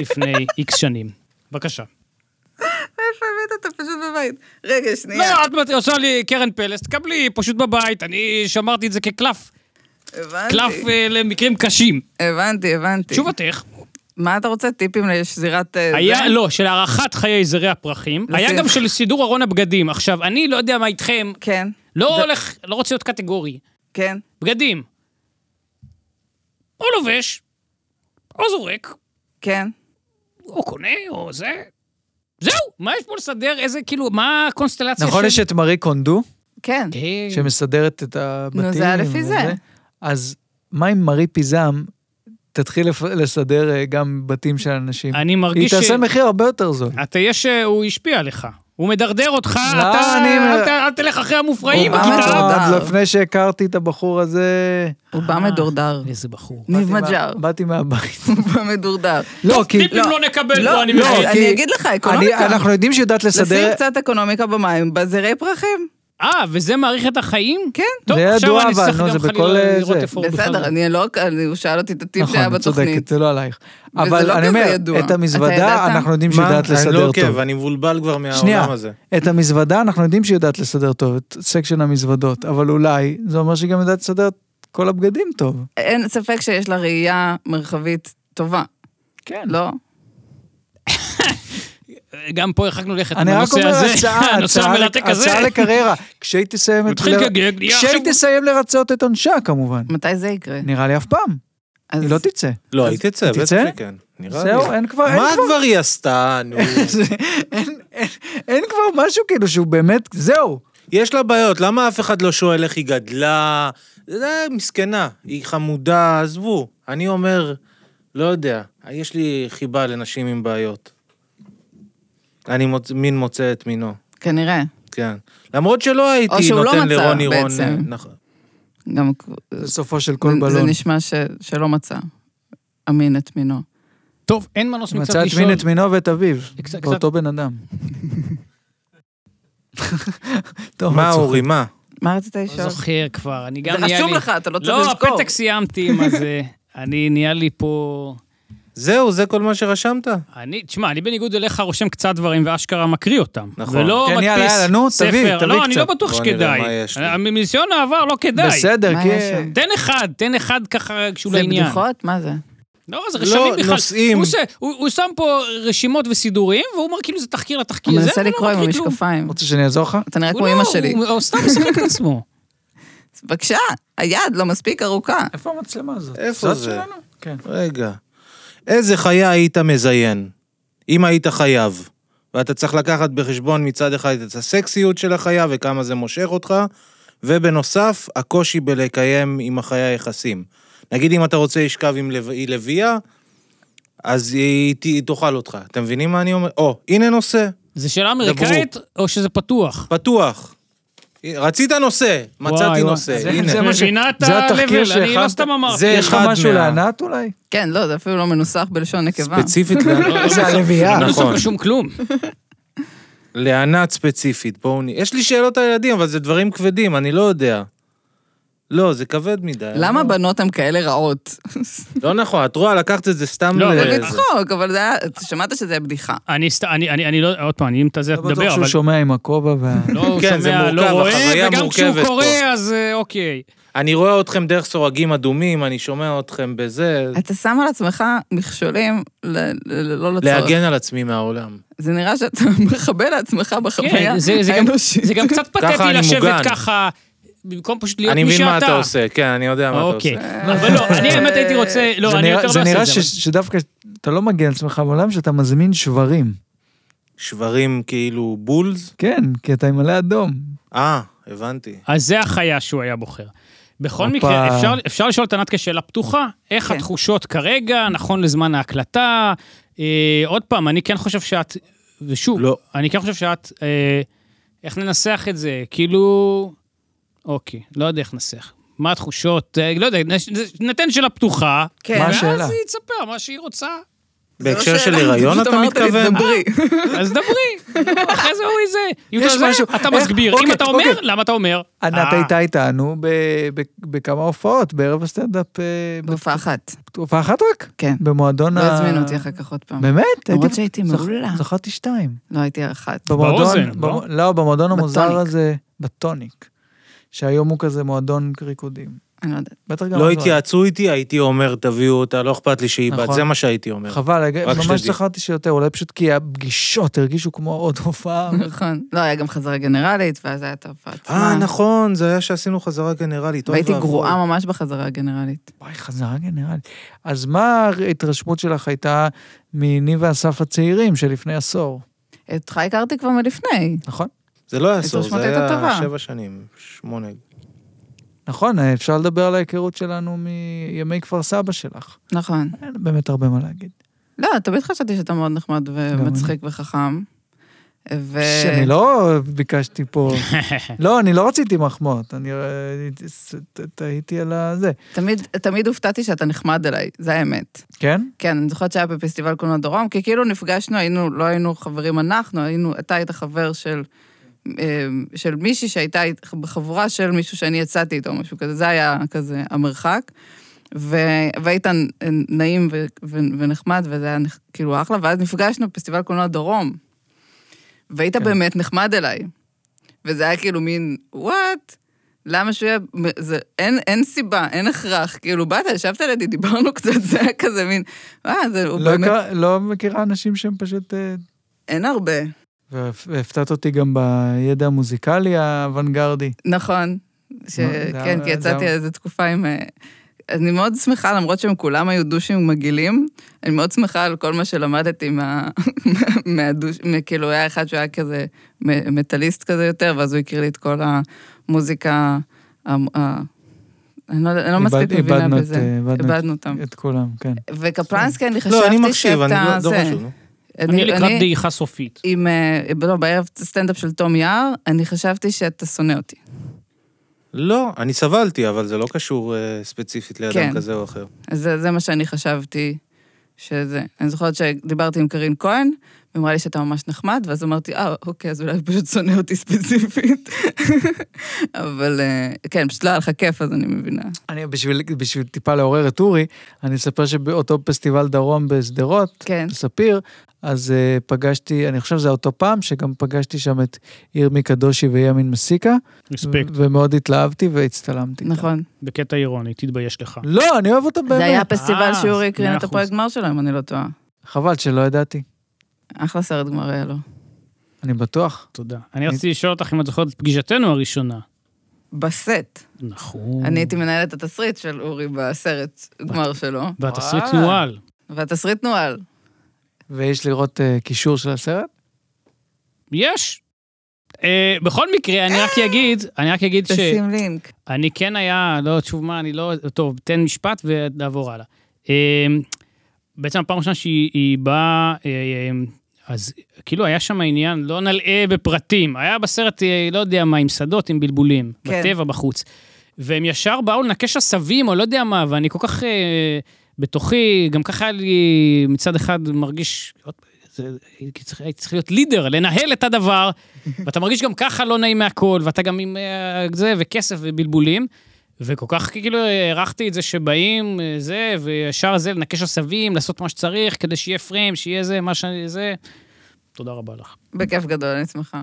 A: לפני איקס שנים. בבקשה.
D: איפה הבאת? אתה פשוט בבית. רגע, שנייה.
A: לא, את מת- עושה לי קרן פלס, תקבלי, פשוט בבית, אני שמרתי את זה כקלף, קלף
D: הבנתי,
A: אה, למקרים קשים.
D: הבנתי, הבנתי.
A: תשובתך,
D: מה אתה רוצה? טיפים לשזירת... אה, זה?
A: היה, לא, של הארכת חיי זרי הפרחים,
D: לסיום.
A: היה גם של סידור ארון הבגדים. עכשיו, אני לא יודע מה איתכם,
D: כן,
A: לא הולך, לא רוצה להיות קטגורי.
D: כן.
A: בגדים. או לובש, או זורק,
D: כן.
A: או קונה, או זה. זהו, מה יש פה לסדר? איזה, כאילו, מה הקונסטלציה אוקיי,
B: נכון, יש את מארי קונדו,
D: כן.
A: יש...
B: שמסדרת את הבתים.
D: נו, זה היה לפי
B: וזה.
D: זה.
B: אז מה אם מארי פיזם תתחיל לפ- לסדר אה, גם בתים של אנשים?
A: אני
B: היא
A: מרגיש
B: תעשה מחיר הרבה יותר זול.
A: אתה יש, הוא השפיע עליך. הוא מדרדר אותך,
B: לא,
A: אתה,
B: אני-
A: אל, ת- אל תלך אחרי המופרעים
D: הוא בא
A: בכיתה.
D: מדורדר.
B: עוד לפני שהכרתי את הבחור הזה...
D: הוא בא מדורדר.
A: איזה בחור.
D: ניב
B: באתי מה-
D: מג'אר.
B: באתי מהבית.
D: הוא בא מדורדר.
B: לא, כי...
A: טיפים לא נקבל
D: לא,
A: פה, אני
D: לא,
A: מבין.
D: אני
B: כי-
D: אגיד לך, אקונומיקה.
B: אני- אנחנו יודעים שהיא יודעת
D: לשים
B: לסדר...
D: קצת אקונומיקה במים, בזרי פרחים.
A: אה, וזה מאריך את החיים?
D: כן.
A: טוב,
B: זה
A: עכשיו
B: ידוע,
A: אני
B: אבל,
A: צריך
B: נו,
A: גם
B: זה
A: חלילה
B: בכל, אה,
A: לראות
B: זה.
A: איפה הוא בכלל.
D: בסדר, אני לא... אני- הוא שאל אותי את הטיפ
B: נכון,
D: שהיה
B: את צודקת,
D: בתוכנית.
B: זה לא עלייך.
D: וזה
B: אבל
D: לא
B: אני
D: כזה
B: אומר,
D: ידוע.
B: את
D: אתה ידעת?
B: המזוודה אנחנו יודעים שהיא
C: מה?
B: יודעת
C: אני לא
B: לסדר
C: עוקב,
B: טוב.
C: אני מבולבל כבר
B: שנייה,
C: מהעולם הזה.
B: את המזוודה אנחנו יודעים שהיא יודעת לסדר טוב, את סקשן המזוודות, אבל אולי זה אומר שהיא גם יודעת לסדר את כל הבגדים טוב.
D: אין ספק שיש לה כן,
A: כן.
D: לא ראייה מרחבית טובה,
B: כן.
D: לא?
A: גם פה הרחקנו לכת
B: אני רק
A: בנושא
B: אומר
A: הזה,
B: הצעה,
A: הנושא
B: הצעה,
A: המרתק
B: לק-
A: הזה.
B: הצעה לקריירה. כשהיא תסיים את...
A: מתחיל
B: ל-
A: לגגג, נהיה
B: כשהיא
A: עכשיו-
B: תסיים לרצות את עונשה כמובן.
D: מתי זה יקרה?
B: נראה לי אף פעם,
D: אז
B: היא לא תצא.
C: לא, היא תצא, בטח
B: תצא?
C: שכן. נראה לי.
B: זהו, אין כבר, אין
C: מה
B: כבר,
C: כבר היא עשתה? נו.
B: אין- אין- אין כבר משהו כאילו שהוא באמת, זהו.
C: יש לה בעיות, למה אף אחד לא שואל איך היא גדלה? זה מסכנה, היא חמודה, עזבו. אני אומר, לא יודע, יש לי חיבה לנשים עם בעיות. אני מוצ... מין מוצא את מינו,
D: כנראה.
C: כן. למרות שלא
D: או
C: הייתי
D: שהוא לא
C: נותן
D: מצא,
C: לרוני רון...
D: בעצם.
C: נכון.
D: גם...
B: זה סופו של
D: זה-
B: כל
D: זה
B: בלון.
D: נשמע ש- שלא מצא אמין את מינו.
A: טוב, אין מנוס מקצת
B: מצא את
A: לשאול.
B: מין את מינו ואת אביו,
A: קצת-
B: באותו בן אדם. טוב,
C: מה
B: מצחיק.
C: אורי, מה?
D: מה רצית
A: לא
D: לשאול?
A: זוכר כבר, אני
D: זה
A: גם נהיה לי...
D: רשום לך, אתה לא צריך
A: לא,
D: לזכור.
A: הפתק סיימתי עם הזה. אני, נהיה לי פה...
C: זהו, זה כל מה שרשמת?
A: אני, תשמע, אני בניגוד אליך רושם קצת דברים ואשכרה מקריא אותם.
C: נכון.
A: ולא
B: כן,
A: מדפיס
B: יאללה, יאללה, נו,
A: ספר.
B: תביא, תביא
A: לא, אני
B: קצת.
A: לא בטוח
C: בוא נראה
A: שכדאי.
C: מה יש לי.
A: אני- מניסיון העבר לא כדאי.
B: בסדר, כן.
D: מה
B: כי...
D: יש שם?
A: תן אחד, תן אחד ככה כשהוא
D: זה
A: לעניין.
D: בדיחות? מה זה?
A: לא, זה
C: לא,
A: רשמים בכלל.
C: נושאים.
A: הוא עושה- הוא הוא שם פה רשימות וסידורים, והוא אומר כאילו זה תחקיר לתחקיר.
D: הוא
A: זה,
D: מנסה
A: אבל לא
D: לקרוא עם
A: מקריא כלום.
D: המשקפיים.
B: רוצה שאני אעזור לך?
D: אתה נראה
A: הוא
D: כמו
A: לא,
D: אימא שלי.
A: הוא הוא סתם משחק את עצמו.
D: בבקשה, היד לא מספיק ארוכה.
B: איפה המצלמה הזאת?
C: איפה
B: זאת
C: זה?
B: שלנו? כן.
C: רגע. איזה חיה היית מזיין? אם היית חייב. ואתה צריך לקחת בחשבון מצד אחד את הסקסיות של החיה וכמה זה מושך אותך, ובנוסף, הקושי בלקיים עם החיה יחסים. נגיד אם אתה רוצה לשכב עם לב... היא לביאה, אז היא, ת- היא תאכל אותך. אתם מבינים מה אני אומר? או, הנה נושא,
A: זה שאלה אמריקאית, או שזה פתוח?
C: פתוח. רצית נושא, מצאתי
A: וואי, וואי.
C: נושא,
B: זה-
C: הנה. נכון.
B: זה מה ש-
A: מבינה את
B: זה התחקיר
A: ה-level, אני לא
B: שהכנת?
A: סתם אמרתי.
C: זה
B: יש לך
C: אחד
B: משהו
C: מה-
B: לענת אולי?
D: כן, לא, זה אפילו לא מנוסח בלשון נקבה.
C: ספציפית לענות.
B: זה הלוויה.
A: לא
C: נכון.
A: נכון. שום כלום.
C: לענת ספציפית, בואו נ... יש לי שאלות על ילדים, אבל זה דברים כבדים, אני לא יודע. לא, זה כבד מדי.
D: למה
C: לא,
D: בנות הן כאלה רעות?
A: אה.
C: לא נכון, את רואה, לקחת את זה סתם
A: לא,
C: ל...
A: אבל
D: זה
C: זה-
D: בצחוק, אבל זה היה... שמעת שזה היה בדיחה.
A: אני סת- אני- אני אני לא, עוד פעם, אני אם אתה זה,
B: לא בטוח
A: תדבר,
B: שהוא
A: אבל...
B: שומע עם הכובע וה...
A: לא, הוא
C: כן, זה
A: שומע, לא
C: מורכב,
A: רואה,
C: החוויה
A: וגם כשהוא
C: מורכבת
A: קורא,
C: פה.
A: אז אה, אוקיי.
C: אני רואה אתכם דרך סורגים אדומים, אני שומע אתכם בזה.
D: אתה שם על עצמך מכשולים ל- ל- לא לצורך.
C: להגן על עצמי מהעולם.
D: זה נראה שאתה מכבה לעצמך בחוויה
A: כן, זה- זה גם-
D: האנושית.
A: זה גם קצת פתטי
C: ככה אני
A: לשבת
C: מוגן.
A: ככה, במקום פשוט להיות
C: אני
A: מי
C: מבין
A: שאתה.
C: מה אתה עושה, כן, אני יודע מה אתה
A: אוקיי.
C: עושה.
A: אבל לא, אני האמת הייתי רוצה,
B: זה
A: לא, אני
B: נראה-
A: יותר לא
B: זה
A: אעשה
B: נראה
A: את זה. אבל-
B: ש- שדווקא אתה לא מגן לעצמך בעולם, שאתה מזמין שברים.
C: שברים כאילו בולס?
B: כן, כי אתה עם מלא אדום.
C: אה, הבנתי.
A: אז זה החיה שהוא היה בוחר. בכל
B: הופה.
A: מקרה, אפשר, אפשר לשאול את ענת כשאלה פתוחה, איך
D: כן.
A: התחושות כרגע, נכון לזמן ההקלטה. אה, עוד פעם, אני כן חושב שאת, ושוב,
C: לא.
A: אני כן חושב שאת, אה, איך ננסח את זה? כאילו, אוקיי, לא יודע איך ננסח. מה התחושות? אה, לא יודע, נש- נתן שאלה פתוחה,
D: כן.
B: מה
A: ואז
B: השאלה?
A: היא תספר מה שהיא רוצה.
D: זה לא
C: בהקשר של
D: שאלה,
C: הריון
D: פשוט
C: אתה
D: אמרת לי,
C: מתכוון?
D: דברי.
A: אז דברי, אחרי זה אורי זה. אם
B: יש
A: אתה זה,
B: משהו-
A: אתה
B: איך-
A: מסביר. אם
B: אוקיי,
A: אתה אומר,
B: אוקיי.
A: למה אתה אומר?
B: ענת
A: אה,
B: הייתה איתנו ב- ב- בכמה הופעות, בערב הסטנדאפ, אה,
D: בהופעה אחת,
B: בהופעה אחת רק?
D: כן.
B: במועדון
D: לא
B: ה...
D: הזמינו אותי אחר כך עוד פעם.
B: באמת?
D: למרות
B: הייתי-
D: שהייתי
B: זכ-
D: מעולה.
B: זכרתי שתיים.
D: לא הייתי אחת.
A: באוזן,
B: במועדון,
A: לא?
B: במ- לא, במועדון המוזר
D: בטוניק.
B: הזה, בטוניק, שהיום הוא כזה מועדון ריקודים.
D: אני לא יודעת.
B: בטח גם...
C: לא
B: אז
C: התייעצו איתי, הייתי אומר, תביאו אותה, לא אכפת לי שהיא בת,
B: נכון.
C: זה מה שהייתי אומר.
B: חבל,
C: רק
B: ממש
C: שתדעי.
B: זכרתי שיותר, אולי פשוט כי הפגישות הרגישו כמו עוד הופעה.
D: נכון. לא, היה גם חזרה גנרלית, ואז היה את ההופעה עצמה.
C: אה, נכון, זה היה שעשינו חזרה גנרלית. אוי
D: והייתי
C: ואבוי.
D: גרועה ממש בחזרה הגנרלית.
B: וואי, חזרה גנרלית. אז מה ההתרשמות שלך הייתה מני ואסף הצעירים שלפני עשור,
D: אותך הכרתי כבר מלפני.
B: נכון?
C: זה לא היה עשור, זה
D: ההתרשמות הייתה
C: היה
D: טובה.
C: שבע שנים, שמונה.
B: נכון, אפשר לדבר על ההיכרות שלנו מימי כפר סבא שלך.
D: נכון.
B: אין באמת הרבה מה להגיד.
D: לא, תמיד חשבתי שאתה מאוד נחמד ומצחיק וחכם. ו...
B: שאני לא ביקשתי פה... לא, אני לא רציתי מחמאות, אני אה, ת- ת- תהיתי על הזה.
D: תמיד, תמיד הופתעתי שאתה נחמד אליי, זה האמת.
B: כן?
D: כן, אני זוכרת שהיה בפסטיבל קולנוע דרום, כי כאילו נפגשנו, היינו, לא היינו חברים אנחנו, היינו, אתה היית חבר של, אה, של מישהי שהייתה אית- בחבורה של מישהו שאני יצאתי איתו, משהו כזה, זה היה כזה המרחק. ו... והיית נעים ו... ו... ונחמד, וזה היה נח- כאילו אחלה, ואז נפגשנו בפסטיבל קולנוע דרום, והיית
B: כן.
D: כן. באמת נחמד אליי. וזה היה כאילו מין, וואט? למה שהוא יהיה... זה, אין, אין סיבה, אין הכרח. כאילו, באת, ישבת לידי, דיברנו קצת, זה היה כזה מין, אה, זה, הוא
B: לא
D: באמת...
B: הכר- לא מכירה אנשים שהם פשוט... אה,
D: אין הרבה.
B: והפתעת אותי גם בידע המוזיקלי האוונגרדי.
D: נכון. ש...
B: מה, לא זה
D: כן,
B: היה-
D: כי
B: זה
D: יצאתי
B: היה-
D: איזה תקופה עם... אה, אני מאוד שמחה, למרות שהם כולם היו דושים מגעילים, אני מאוד שמחה על כל מה שלמדתי מה... מהדוש... מה- כאילו, היה אחד שהיה כזה מ- מטאליסט כזה יותר, ואז הוא הכיר לי את כל המוזיקה... ה- ה- אני לא, יודע- אני לא מספיק
B: איבד-
D: מבינה
B: איבדנו את,
D: בזה.
B: אה, איבדנו
D: איבדנו אותם.
B: את כולם, כן.
D: וקפלנסקי, אני חשבתי
C: לא,
D: שאתה...
C: אני מקשיב, אני לא- לא חשוב. נו.
A: אני לקראת דעיכה סופית.
D: עם, אה, לא, בערב סטנדאפ של תום יער, אני חשבתי שאתה שונא אותי.
C: לא, אני סבלתי, אבל זה לא קשור אה, ספציפית
D: כן.
C: לאדם כזה או אחר.
D: אז זה, זה מה שאני חשבתי שזה. אני זוכרת שדיברתי עם קרין כהן, והיא אמרה לי שאתה ממש נחמד, ואז אמרתי, אה, אוקיי, אז אולי הוא פשוט שונא אותי ספציפית. אבל אה, כן, פשוט לא היה לך כיף, אז אני מבינה.
B: אני בשביל, בשביל טיפה לעורר את אורי, אני אספר שבאותו פסטיבל דרום בשדרות,
D: כן.
B: בספיר, אז uh, פגשתי, אני חושב שזה אותו פעם, שגם פגשתי שם את ירמי קדושי וימין מסיקה,
A: רספקט.
B: ו- ומאוד התלהבתי והצטלמתי. איתם.
D: נכון.
A: בקטע אירוני, תתבייש לך.
B: לא, אני אוהב אותם באמת.
D: זה היה
A: אה,
D: פסטיבל
A: אז
D: שאורי הקרין
A: מאה
D: את
A: אחוז.
D: הפרויקט גמר שלו, אם אני לא טועה.
B: חבל שלא ידעתי,
D: אחלה סרט גמר היה לו.
B: אני בטוח.
A: תודה. אני רציתי לשאול אותך אם את זוכרת את פגישתנו הראשונה.
D: בסט.
A: נכון.
D: אני הייתי מנהלת התסריט של אורי בסרט גמר שלו,
A: והתסריט
B: וואלה.
A: נוהל.
D: והתסריט נוהל.
B: ויש לראות אה, קישור של הסרט?
A: יש. אה, בכל מקרה, אני רק אגיד, אני רק אגיד ש...
D: תשים לינק.
A: אני כן היה, לא, שוב מה, אני לא... טוב, תן משפט ונעבור הלאה. אמ, בעצם הפעם הראשונה שהיא היא באה, אמ, אז כאילו היה שם עניין, לא נלאה בפרטים. היה בסרט, אה, לא יודע מה, עם שדות, עם בלבולים.
D: כן.
A: בטבע, בחוץ. והם ישר באו לנקש עשבים, או לא יודע מה, ואני כל כך... אה, בתוכי, גם ככה היה לי מצד אחד מרגיש, זה- הייתי צריך- הייתי צריך להיות לידר, לנהל את הדבר, ואתה מרגיש גם ככה לא נעים מהכל, ואתה גם עם אה, זה, וכסף ובלבולים, וכל כך כאילו הערכתי את זה שבאים, אה, זה, וישר זה, לנקש עשבים, לעשות מה שצריך, כדי שיהיה פריים, שיהיה זה, מה שאני, זה. תודה רבה לך.
D: בכיף גדול, אני שמחה.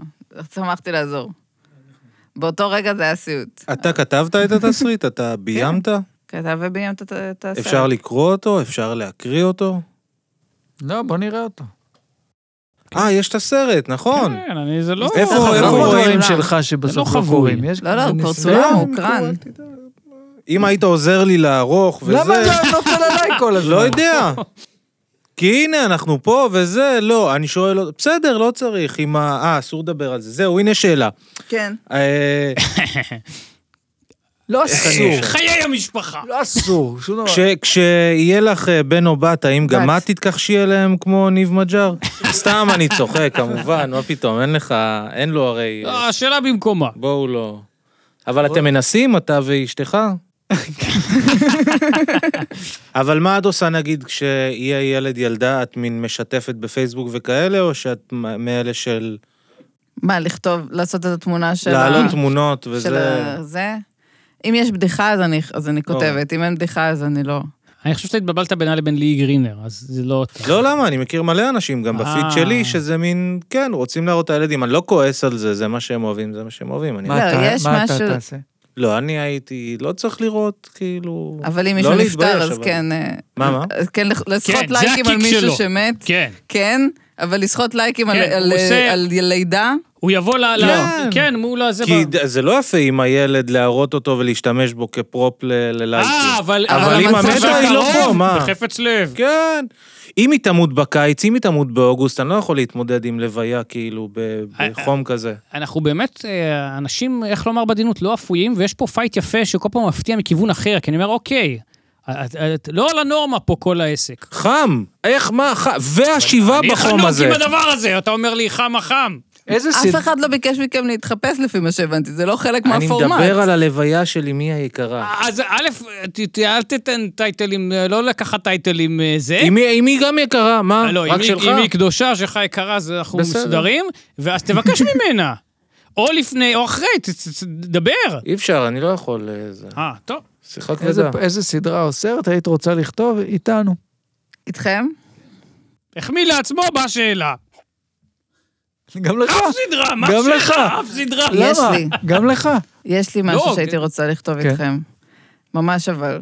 D: שמחתי לעזור. באותו רגע זה היה סיוט.
C: אתה כתבת את התסריט? אתה
D: כן,
C: ביימת?
D: כתב וביימת את- את הסרט.
C: אפשר לקרוא אותו? אפשר להקריא אותו?
B: לא, בוא נראה אותו.
C: אה, יש את הסרט, נכון.
A: כן, אני, זה לא...
C: איפה-
B: איפה
C: איפה
B: איפה
C: רואים?
B: הדברים שלך שבסוף
A: לא
B: לא
A: חבוי.
B: קורים? יש-
D: לא, לא, הוא כבר
B: ניסיון.
D: צולם, הוא הוקרן.
C: אם היית עוזר לי לערוך וזה...
B: למה אתה נופל עליי כל הזמן?
C: לא יודע. כי הנה, אנחנו פה וזה, לא, אני שואל, אותו, בסדר, לא צריך, עם ה... אה, אסור לדבר על זה. זהו, הנה שאלה.
D: כן.
C: אה,
B: לא
C: אני
B: אסור.
C: אשאל?
A: חיי המשפחה!
B: לא אסור, שום דבר.
C: כש- כשיהיה לך אה, בן או בת, האם גם
D: נכון. בת.
C: את תתכחשי אליהם כמו ניב מג'אר? סתם אני צוחק, כמובן, מה פתאום, אין לך, אין לו הרי...
A: לא,
C: אה,
A: השאלה במקומה.
C: בואו לא. אבל אתם מנסים, אתה ואשתך? אבל מה את עושה, נגיד, כשיהיה ילד ילדה, את מין משתפת בפייסבוק וכאלה, או שאת מ- מאלה של
D: מה, לכתוב, לעשות את התמונה של ה-
C: להעלות תמונות
D: של
C: וזה?
D: ה- זה? אם יש בדיחה, אז אני- אז אני כותבת. אם אין בדיחה, אז אני לא.
A: אני חושב שאתה התבלבלת בינה לבין ליהי גרינר, אז זה לא... אותה.
C: לא, למה? אני מכיר מלא אנשים, גם בפיד
A: אה.
C: שלי, שזה מין, כן, רוצים להראות את הילדים. אני לא כועס על זה, זה מה שהם אוהבים, זה מה שהם אוהבים. אני...
B: מה
D: לא,
B: אתה-
D: יש
B: מה אתה
D: משהו-
B: תעשה?
C: לא, אני הייתי, לא צריך לראות, כאילו...
D: אבל אם
C: לא
D: מישהו נפטר,
C: להתבייש,
D: אז
C: אבל-
D: כן... אה,
C: מה, מה?
D: אז כן, לח- לסחוט
A: זה
D: לייקים על
A: הקיק שלו.
D: מישהו שמת.
A: כן.
D: כן, אבל לסחוט לייקים על-
A: כן,
D: על-
A: הוא עושה-
D: על לידה.
A: הוא יבוא ל... ל- כן, מול הזה.
C: כי
A: ב-
C: ד- זה לא יפה עם הילד להראות אותו ולהשתמש בו כפרופ ל- ללייקים.
A: אה, אבל...
C: אבל
D: אם
A: המצב
D: המתה, היא
C: לא
A: הקרוב,
C: פה, מה?
A: בחפץ לב.
C: כן. אם היא תמות בקיץ, אם היא תמות באוגוסט, אני לא יכול להתמודד עם לוויה, כאילו, ב-
A: אה,
C: בחום כזה.
A: אנחנו באמת אה, אנשים, איך לומר בעדינות, לא אפויים, ויש פה פייט יפה שכל פעם מפתיע מכיוון אחר, כי אני אומר, אוקיי, את- את- לא על הנורמה פה כל העסק.
C: חם! איך, מה, חם? והשבעה לא בחום הזה.
A: אני חנוק עם הדבר הזה, אתה אומר לי חם החם.
B: איזה
D: אף
B: סדרה?
D: אחד לא ביקש מכם להתחפש לפי מה שהבנתי, זה לא חלק
C: אני
D: מהפורמט.
C: מדבר על הלוויה של אמי היקרה.
A: אז א', ת- ת- אל תיתן טייטלים, אה, לא לקחת טייטלים אה, זה.
C: אמי אמי גם יקרה, מה?
A: לא, אם
C: רק
A: היא-
C: שלך?
A: אם היא קדושה, שלך יקרה, אז אנחנו
C: בסדר.
A: מסודרים, ואז תבקש ממנה. או לפני או אחרי, ת- ת- ת- דבר.
C: אי אפשר, אני לא יכול... אה, זה-
A: אה, טוב.
C: שיחה
D: לא
B: איזה-
C: כבדה.
B: איזה סדרה או סרט היית רוצה לכתוב איתנו?
D: איתכם?
A: החמיא לעצמו בשאלה.
B: גם
C: אה,
B: לך.
A: אף סדרה, מה
B: גם
A: השאלה?
B: לך.
A: אף סדרה.
D: לא. יש
B: אה, למה?
D: לי.
B: גם לך.
D: יש לי
A: לא,
D: משהו
A: כן.
D: שהייתי רוצה לכתוב
B: כן.
D: איתכם. ממש אבל.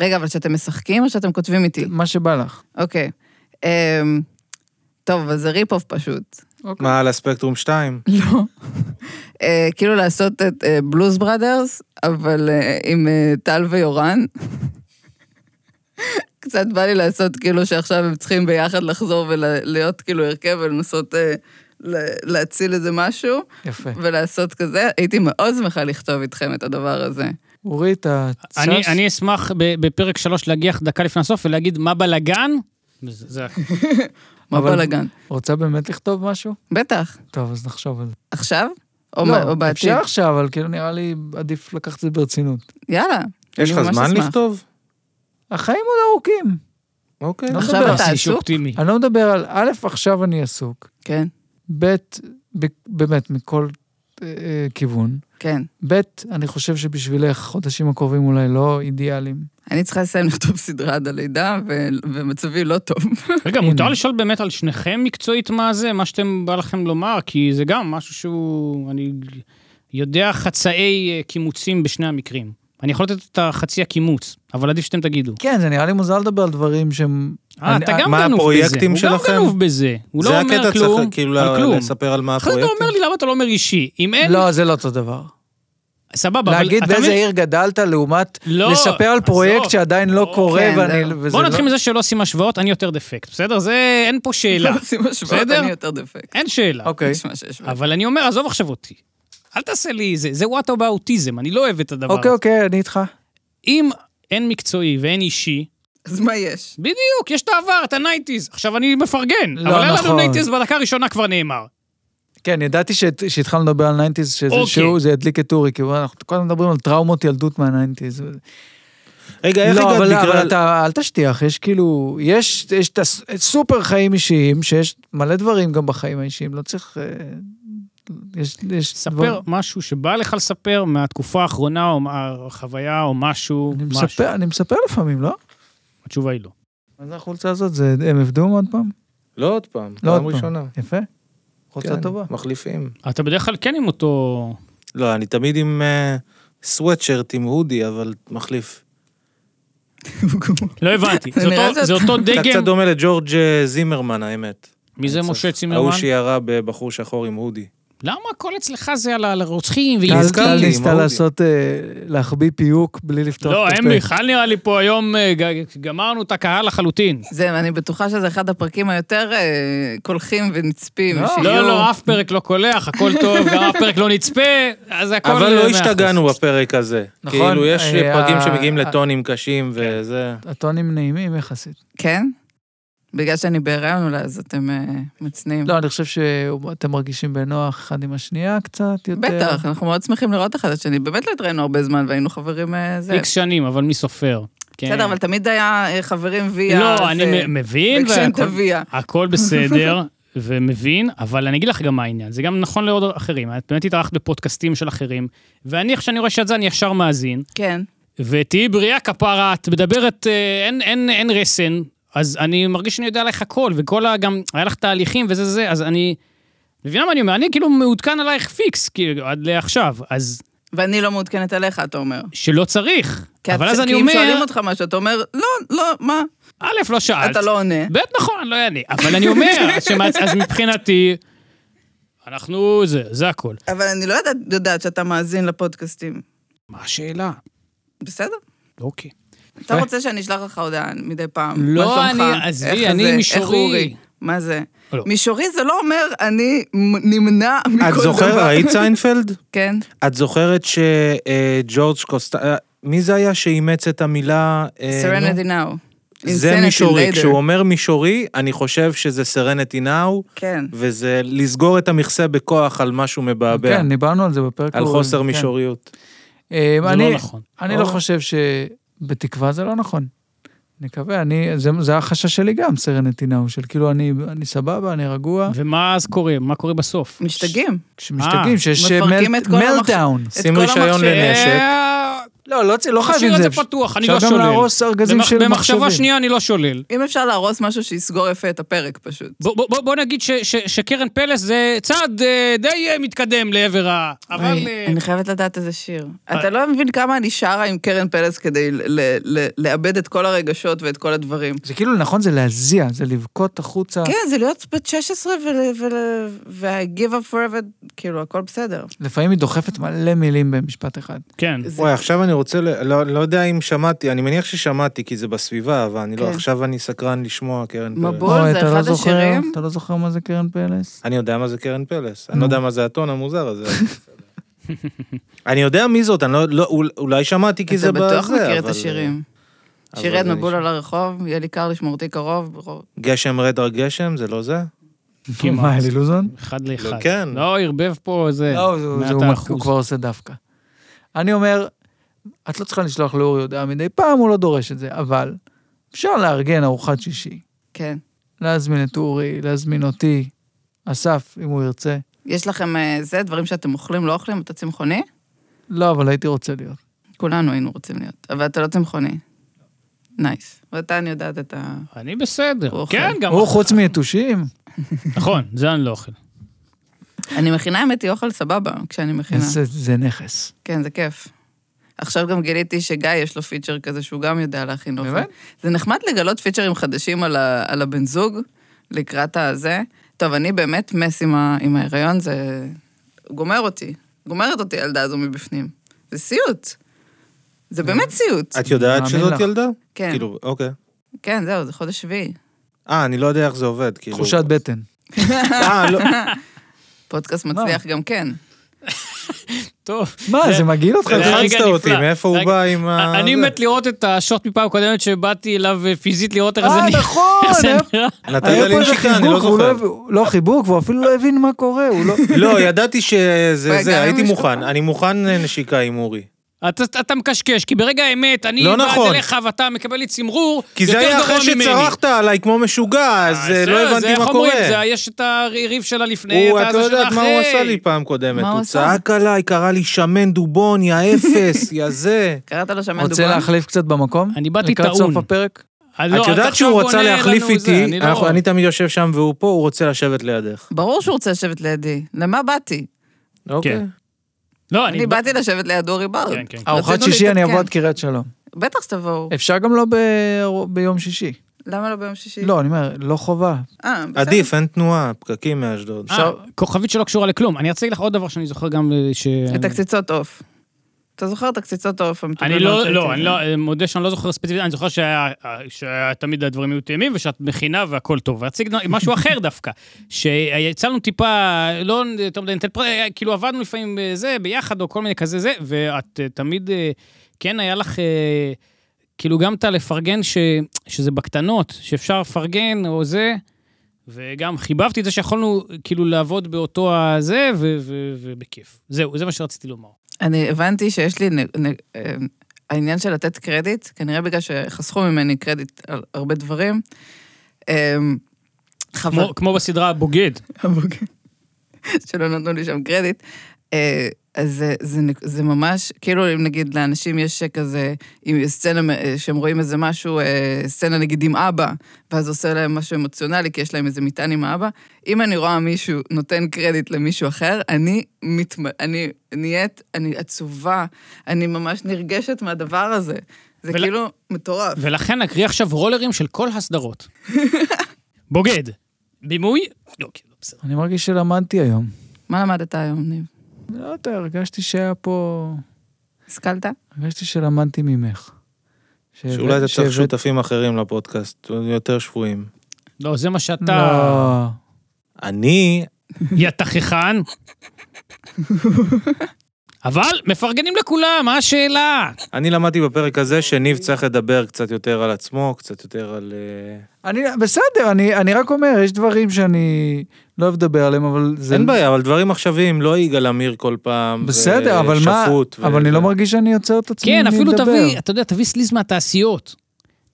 D: רגע, אבל שאתם משחקים או שאתם כותבים איתי?
B: מה שבא לך.
D: אוקיי. אמ, טוב, אבל זה ריפ-אוף פשוט.
C: מה, על הספקטרום 2?
D: לא. אה, כאילו לעשות את אה, בלוז בראדרס, אבל אה, עם אה, טל ויורן. קצת בא לי לעשות כאילו שעכשיו הם צריכים ביחד לחזור ולהיות כאילו הרכב ולנסות אה, ל- להציל איזה משהו,
B: יפה.
D: ולעשות כזה. הייתי מאוד שמחה לכתוב איתכם את הדבר הזה.
B: אורי, אתה צס?
A: אני, אני אשמח ב- בפרק שלוש להגיח דקה לפני הסוף ולהגיד מה בלאגן. זה, זה,
D: מה
B: אבל-
D: בלאגן.
B: רוצה באמת לכתוב משהו?
D: בטח.
B: טוב, אז נחשוב על זה.
D: עכשיו? או, מה- או בעתיד?
B: לא, אפשר עכשיו, אבל כאילו נראה לי עדיף לקחת את זה ברצינות.
D: יאללה.
C: יש
D: אני
C: לך
D: ממש
C: זמן
D: אשמח.
C: לכתוב?
B: החיים עוד ארוכים.
C: אוקיי.
B: לא
D: עכשיו
B: מדבר.
D: אתה
A: זה
D: עסוק?
A: אופטימי.
B: אני לא מדבר על א', עכשיו אני עסוק,
D: כן,
B: ב', ב- באמת, מכל אה, אה, כיוון.
D: כן.
B: ב', אני חושב שבשבילך חודשים הקרובים אולי לא אידיאליים.
D: אני צריכה לסיים לכתוב סדרה עד הלידה, ו- ומצבי לא טוב.
A: רגע,
B: הנה.
A: מותר לשאול באמת על שניכם מקצועית מה זה, מה שאתם בא לכם לומר, כי זה גם משהו שהוא, אני יודע חצאי אה, קימוצים בשני המקרים. אני יכול לתת את החצי הקימוץ, אבל עדיף שאתם תגידו.
B: כן, זה נראה לי מוזר לדבר על דברים שהם...
A: אה,
B: אני-
A: אתה גם
C: מה
A: גנוב בזה,
C: הפרויקטים
A: הוא גם
C: שלכם?
A: גנוב בזה, הוא לא
C: זה
A: אומר
C: הקטע,
A: כלום,
C: צריך כאילו
A: על כלום.
C: לספר על מה
A: אחרי זה אתה
C: הפרויקטים.
A: אומר לי למה אתה לא אומר אישי, אם אין,
B: לא, זה לא אותו דבר.
A: סבבה, אבל
B: להגיד
A: אתה
B: באיזה
A: מבין-
B: עיר גדלת לעומת
A: לא,
B: לספר על
A: עזוב.
B: פרויקט שעדיין לא
A: אוקיי,
B: קורה,
D: כן,
B: ואני-
D: זהו.
B: וזה
A: בוא
B: לא-
A: נתחיל מזה שלא עושים השוואות, אני יותר דפקט, בסדר? זה, אין פה שאלה,
D: לא עושים השוואות,
A: בסדר?
D: אני יותר דפק.
A: אין שאלה.
B: אוקיי.
D: נשמע שיש בעיה.
A: אבל אני אומר, עזוב עכשיו אותי. אל תעשה לי זה, זה וואט אבאוטיזם, אני לא אוהב את הדבר
B: אוקיי,
A: הזה.
B: אוקיי, אני איתך.
A: אם אין מקצועי ואין אישי,
D: אז מה יש?
A: בדיוק, יש את העבר, את הנייטיז. עכשיו אני מפרגן,
B: לא,
A: אבל היה לנו
B: נכון.
A: נייטיז בדקה הראשונה כבר נאמר.
B: כן, ידעתי שאת- שהתחלנו לדבר על ניינטיז, שזה
A: אוקיי.
B: שהוא, זה ידליק את אורי, כי הוא- אנחנו כל הזמן מדברים על טראומות ילדות מהניינטיז.
C: רגע, איך
B: לא,
C: הגעת
B: אבל, אבל
C: בגלל...
B: אתה, אל תשטיח, יש כאילו, יש, יש את הסופר חיים אישיים, שיש מלא דברים גם בחיים האישיים, לא צריך... אה, יש, יש
A: ספר
B: דבר-
A: משהו שבא לך לספר מהתקופה האחרונה, או מה- החוויה, או משהו,
B: אני
A: משהו.
B: מספר, אני מספר לפעמים, לא?
A: התשובה היא לא.
B: מה זה החולצה הזאת? זה הם עבדום עוד פעם?
C: לא עוד פעם,
B: לא עוד
C: פעם
B: פעם.
C: ראשונה.
B: יפה. חולצה
C: כן,
B: טובה.
C: מחליפים.
A: אתה בדרך כלל כן עם אותו...
C: לא, אני תמיד עם אה, סוואטשרט, עם הודי, אבל מחליף.
A: לא הבנתי, זה
D: זה נראה
A: אותו-
D: זה
A: זה אותו
C: אתה
A: דגם.
C: קצת דומה לג'ורג' אה, זימרמן, האמת.
A: מי זה
C: אני
A: משה
C: צריך-
A: צימרמן?
C: ההוא שירה בבחור שחור עם הודי.
A: למה הכל אצלך זה על הרוצחים
B: טל-
A: ועסקי?
B: טל
C: לי,
B: ניסתה
C: מהודי.
B: לעשות, אה, להחביא פיוק בלי לפתוח
A: לא,
B: את הפה.
A: אין מיכל נראה לי פה היום, אה, ג- גמרנו את הקהל לחלוטין.
D: זה, אני בטוחה שזה אחד הפרקים היותר אה, קולחים ונצפים.
B: לא,
D: שיהיו.
A: לא, לא, אף פרק לא קולח, הכל טוב, גם אף פרק לא נצפה, אז הכל... אה,
C: אבל
A: מאה
C: לא
A: אחוז.
C: השתגענו בפרק הזה.
B: נכון,
C: כאילו, יש
B: אה,
C: פרקים
B: ה-
C: שמגיעים
B: ה-
C: לטונים קשים וזה.
B: הטונים נעימים יחסית.
D: כן? בגלל שאני בהיריון אולי, אז אתם אה, מצניעים.
B: לא, אני חושב שאתם מרגישים בנוח אחד עם השנייה קצת יותר.
D: בטח, אנחנו מאוד שמחים לראות אחד את השני. באמת לא התראינו הרבה זמן והיינו חברים אה, זה.
A: איקס שנים, אבל מי סופר. כן.
D: בסדר, אבל תמיד היה אה, חברים ויה.
A: לא,
D: זה-
A: אני מ- מבין,
D: וכשאין
A: והכל-
D: תביע.
A: הכל בסדר. ומבין, אבל אני אגיד לך גם מה העניין, זה גם נכון לעוד אחרים, את באמת התארחת בפודקאסטים של אחרים, ואני, איך שאני רואה שאת זה, אני ישר מאזין,
D: כן.
A: ותהיי בריאה כפרה, את מדברת, אה, אין, אין, אין רסן, אז אני מרגיש שאני יודע עלייך הכל, וכל ה... גם, היה לך תהליכים וזה זה, אז אני... מבינה מה אני אומר? אני כאילו מעודכן עלייך פיקס, כאילו, עד לעכשיו, אז
D: ואני לא מעודכנת עליך, אתה אומר.
A: שלא צריך.
D: כי
A: אבל
D: את-
A: אז אני
D: כי אם שואלים
A: אומר,
D: אותך משהו, אתה אומר, לא, לא, מה?
A: א', לא שאלת.
D: אתה לא עונה.
A: ב', נכון, אני לא אענה. אבל אני אומר, אז שמה- אז מבחינתי, אנחנו, זה, זה הכל.
D: אבל אני לא יודעת, יודעת שאתה מאזין לפודקאסטים.
A: מה השאלה?
D: בסדר?
A: אוקיי.
D: אתה רוצה שאני אשלח לך הודעה מדי פעם.
A: לא,
D: מה שלומך?
A: אני- עזבי,
D: איך
A: אני
D: זה? איך
A: מישורי.
D: אורי? מה זה?
A: לא.
D: מישורי זה לא אומר אני מ- נמנע מכל דבר.
C: את זוכרת, ראית סיינפלד?
D: כן.
C: את זוכרת שג'ורג' קוסט... אה, מי זה היה שאימץ את המילה... אה, נו?
D: Serenity now.
C: זה
D: Insanity
C: מישורי.
D: later.
C: כשהוא אומר מישורי, אני חושב שזה סרנטי נאו,
D: כן.
C: וזה לסגור את המכסה בכוח על משהו מבעבע.
B: כן, דיברנו על זה בפרק.
C: על
B: הקודם,
C: חוסר
B: כן.
C: מישוריות.
B: אה,
A: זה
B: אני-
A: לא נכון.
B: אני לא חושב ש... בתקווה זה לא נכון. נקווה, אני... זה- זה החשש שלי גם, סרן נתינהו, של כאילו אני אני סבבה, אני רגוע.
A: ומה אז קורה? מה קורה בסוף?
D: משתגעים.
A: אה.
B: כשמשתגעים, שיש אה,
D: מפרקים את כל המחשב.
B: מלדאון.
D: את
C: שים
D: כל
C: רישיון
D: המחשב.
C: לנשק.
A: אה,
B: לא, לא צ- לא חייבים
A: תשאיר את
B: זה.
A: זה
B: אפשר-
A: פתוח, אני
B: אפשר
A: לא
B: גם
A: שולל.
B: להרוס ארגזים
A: במח-
B: של
A: במחשבה
B: מחשבים.
A: שנייה אני לא שולל.
D: אם אפשר להרוס משהו שיסגור יפה את הפרק פשוט.
A: בוא, בוא, בוא, בוא נגיד ש, ש, שקרן פלס זה צעד אה, די אה, מתקדם לעבר ה... אבל...
D: אני-
A: אה,
D: אני חייבת לדעת איזה שיר.
C: אה.
D: אתה לא מבין כמה אני שרה עם קרן פלס כדי ל- ל- ל- לאבד את כל הרגשות ואת כל הדברים.
C: אה.
B: זה כאילו, נכון, זה להזיע, זה לבכות החוצה,
D: כן, זה להיות בת 16 וה-give up forever, כאילו, הכל בסדר.
B: לפעמים היא דוחפת מלא מילים במשפט אחד.
A: כן.
D: זה-
C: וואי, עכשיו אני רוצה, ל- לא לא יודע אם שמעתי, אני מניח ששמעתי, כי זה בסביבה, אבל אני לא,
D: כן.
C: עכשיו אני סקרן לשמוע קרן פלס.
D: מבול. בול,
B: אוי,
D: זה
B: אתה לא
D: אחד
B: זוכר-
D: השירים.
B: אתה לא זוכר מה זה קרן פלס?
C: אני יודע מה זה קרן פלס, אני לא יודע מה זה הטון המוזר הזה. אבל בסדר. אני יודע מי זאת, אני לא, לא, אול- אולי שמעתי כי זה
D: אתה
C: בזה,
D: בטוח מכיר את
C: אבל- אה,
D: השירים.
C: אבל
D: שירי עד
C: זה
D: מבול
C: נשמע-
D: על הרחוב, יהיה לי קר לשמורתי קרוב. ברוב-
C: גשם רד רק גשם, זה לא זה?
A: כמעט.
B: מה, אלי לוזון?
A: אחד לאחד.
C: לא, כן.
A: לא, ערבב פה איזה...
B: לא, זה- זה-
A: מעט
B: הוא מק-
A: האחוז.
B: הוא כבר עושה דווקא. אני אומר, את לא צריכה לשלוח לאורי הודעה מדי פעם, הוא לא דורש את זה, אבל אפשר לארגן ארוחת שישי.
D: כן.
B: להזמין את אורי, להזמין אותי, אסף, אם הוא ירצה.
D: יש לכם אה, זה, דברים שאתם אוכלים, לא אוכלים? אתה צמחוני?
B: לא, אבל הייתי רוצה להיות.
D: כולנו היינו רוצים להיות, אבל אתה לא צמחוני.
C: אה.
D: נייס. ואתה, אני יודעת, אתה...
A: אני בסדר.
D: הוא אוכל.
A: כן, גם...
B: הוא, חוץ מיתושים,
A: נכון, זה אני לא אוכל.
D: אני מכינה, האמת היא, אוכל סבבה כשאני מכינה.
B: זה- זה נכס.
D: כן, זה כיף. עכשיו גם גיליתי שגיא יש לו פיצ'ר כזה שהוא גם יודע להכין אוכל.
B: באמת?
D: זה נחמד לגלות פיצ'רים חדשים על, ה, על הבן זוג לקראת הזה. טוב, אני באמת מס עם, ה, עם ההיריון, זה גומר אותי. גומרת אותי הילדה הזו מבפנים. זה סיוט. זה באמת סיוט.
C: את יודעת
B: מאמין
C: שזאת
B: לך.
C: ילדה?
D: כן,
C: אה, כאילו, אוקיי.
D: כן, זהו, זה חודש שביעי.
C: אה, אני לא יודע איך זה עובד, כאילו.
B: תחושת בטן.
C: אה, לא.
D: פודקאסט מצליח גם כן.
A: טוב.
B: מה,
A: זה-
B: זה מגעיל אותך?
A: זה רגע
C: הלחצת אותי,
A: נפלא.
C: מאיפה הוא
A: רגע,
C: בא עם ה...
A: אני
C: זה?
A: מת לראות את השוט מפעם קודמת שבאתי אליו אה, פיזית לראות איך זה
B: אה,
A: נראה.
B: נכון!
A: איך זה
B: היה-
A: נראה.
C: נתת
B: היה פה
C: לי
B: איזה
C: נשיקה, אני לא
B: חיבוק, והוא
C: זוכר.
B: הב- לא חיבוק, והוא אפילו לא הבין מה קורה, הוא לא...
C: לא, ידעתי שזה
D: וגם
C: זה, הייתי
D: המשפחה.
C: מוכן, אני מוכן אה, נשיקה עם אורי.
A: אתה אתה מקשקש, כי ברגע האמת, אני
C: לא
A: בא
C: נכון.
A: אליך ואתה מקבל לי צמרור,
C: כי זה
A: יותר
C: היה
A: גרוע
C: אחרי
A: ממני.
C: שצרחת עליי כמו משוגע, אז אה, לא
A: זהו,
C: הבנתי
A: זה
C: מה
A: איך
C: קורה.
A: אומרים, זה, יש את הריב שלה לפני,
C: הוא,
A: את
C: את לא
A: הזה שלה
C: יודעת מה הוא
A: אחרי.
C: עשה לי פעם קודמת.
D: מה הוא
C: הוא
D: עשה?
C: צעק עליי, קרא לי שמן דובון, יא אפס, יא זה.
D: קראת לו שמן
B: רוצה
D: דובון?
B: להחליף קצת במקום?
A: אני באתי
B: לקראת
A: טעון.
B: סוף הפרק? אה,
A: אז לא,
C: את
A: אז
C: יודעת
A: עכשיו
C: שהוא
A: הוא
C: רצה
A: עונה
C: להחליף
A: לנו זה,
C: איתי,
A: אני לא-
C: אנחנו- אני תמיד יושב שם והוא פה, הוא רוצה לשבת לידך.
D: ברור שהוא רוצה לשבת לידי. למה באתי?
C: אוקיי.
A: כן. לא,
D: אני באתי לשבת ליד אורי בר.
A: כן, כן.
B: ארוחת
D: רצינו
B: שישי אני אבוא
D: להתעדכן.
B: עד קריית שלום.
D: בטח שתבואו.
B: אפשר גם לא ב- ביום שישי.
D: למה לא ביום שישי?
B: לא, אני אומר, לא חובה.
D: אה, בסדר.
C: עדיף, אין תנועה, פקקים מאשדוד.
A: אה, כוכבית שלא קשורה לכלום. אני אציג לך עוד דבר שאני זוכר גם אה, ש...
D: את הקציצות עוף. אתה זוכר את הקציצות עוף?
A: אני
D: המטוגנות
A: לא,
D: של
A: לא,
D: קרן?
A: אני לא, אה, מודה שאני לא זוכר ספציפית, אני זוכר שהיה- שהיה תמיד הדברים היו תאימים ושאת מכינה והכל טוב. ואציג משהו אחר דווקא, שיצאנו טיפה, לא יותר מדי, נתן פר- אה, כאילו עבדנו לפעמים אה, זה, ביחד או כל מיני כזה זה, ואת אה, תמיד, אה, כן היה לך, אה, כאילו גם את הלפרגן ש- שזה בקטנות, שאפשר לפרגן או זה. וגם חיבבתי את זה שיכולנו אה, כאילו לעבוד באותו הזה, ו- ו- ובכיף. זהו, זה מה שרציתי לומר.
D: אני הבנתי שיש לי... נ- נ- אה, העניין של לתת קרדיט, כנראה בגלל שחסכו ממני קרדיט על הרבה דברים. אה, חבר...
A: כמו- כמו בסדרה הבוגד.
D: הבוקר, שלא נתנו לי שם קרדיט. אה, אז זה, זה, נק- זה ממש, כאילו אם נגיד לאנשים יש כזה, אם יש סצנה אה, שהם רואים איזה משהו, אה, סצנה נגיד עם אבא, ואז עושה להם משהו אמוציונלי, כי יש להם איזה מטען עם האבא, אם אני רואה מישהו נותן קרדיט למישהו אחר, אני, מתמ... אני נהיית, אני עצובה, אני ממש נרגשת מהדבר הזה. זה
A: ול-
D: כאילו מטורף.
A: ולכן נקריא עכשיו רולרים של כל הסדרות. בוגד. בימוי? לא, כן, לא בסדר.
B: אני מרגיש שלמדתי היום.
D: מה למדת היום, ניב?
B: לא יודע, הרגשתי שהיה פה...
D: השכלת?
B: הרגשתי שלמדתי ממך.
D: אה,
B: שהבאת-
C: שאולי אתה צריך
B: שהבאת-
C: שותפים אחרים לפודקאסט, יותר שפויים.
A: לא, זה מה שאתה...
B: לא.
C: אני,
A: יא תככן. אבל מפרגנים לכולם, מה השאלה?
C: אני למדתי בפרק הזה שניב צריך לדבר קצת יותר על עצמו, קצת יותר על... אה,
B: אני, בסדר, אני, אני רק אומר, יש דברים שאני לא אוהב לדבר עליהם, אבל זה...
C: אין בעיה, אבל דברים עכשוויים, לא יגאל עמיר כל פעם.
B: בסדר, אבל מה...
C: ושפוט ו-
B: אבל אני לא מרגיש שאני יוצר את עצמי
A: כן, אפילו
B: מלדבר.
A: תביא, אתה יודע, תביא סליז מהתעשיות.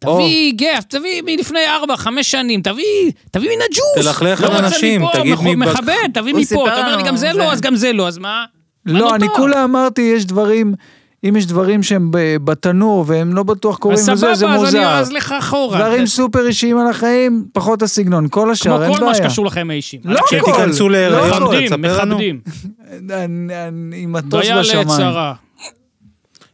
B: או.
A: תביא גף, תביא מלפני 4-5 שנים, תביא, תביא מן הג'וס.
C: תלכלך
A: לא
C: על
A: רוצה
C: אנשים,
A: מפה,
C: תגיד
A: מח-
C: מי בק-
A: מכבד, תביא
D: הוא
A: מפה,
D: סיפר
A: אתה אומר לי
D: לנו
A: גם זה
D: זה.
A: לא, אז גם זה לא, אז מה? מה
B: לא, אני
A: נותר?
B: כולה אמרתי, יש דברים אם יש דברים שהם ב- בתנור והם לא בטוח קורים
A: אז
B: וזה, זה
A: סבבה, אז לא אני
B: מוזר.
A: ארז לך אחורה. כן.
B: דברים
A: זה-
B: סופר אישיים על החיים, פחות הסגנון. כל
A: כמו
B: השאר, אין בעיה.
A: כל מה שקשור לחיים האישיים.
B: לא
A: אנשים
B: הכל.
C: כשתיכנסו
B: לא
C: להיריון,
B: הכל.
A: מכבדים,
C: תספר לנו.
A: מכבדים.
B: אני- אני- עם מטוס
A: דיה
B: בשמיים.
A: לצרה.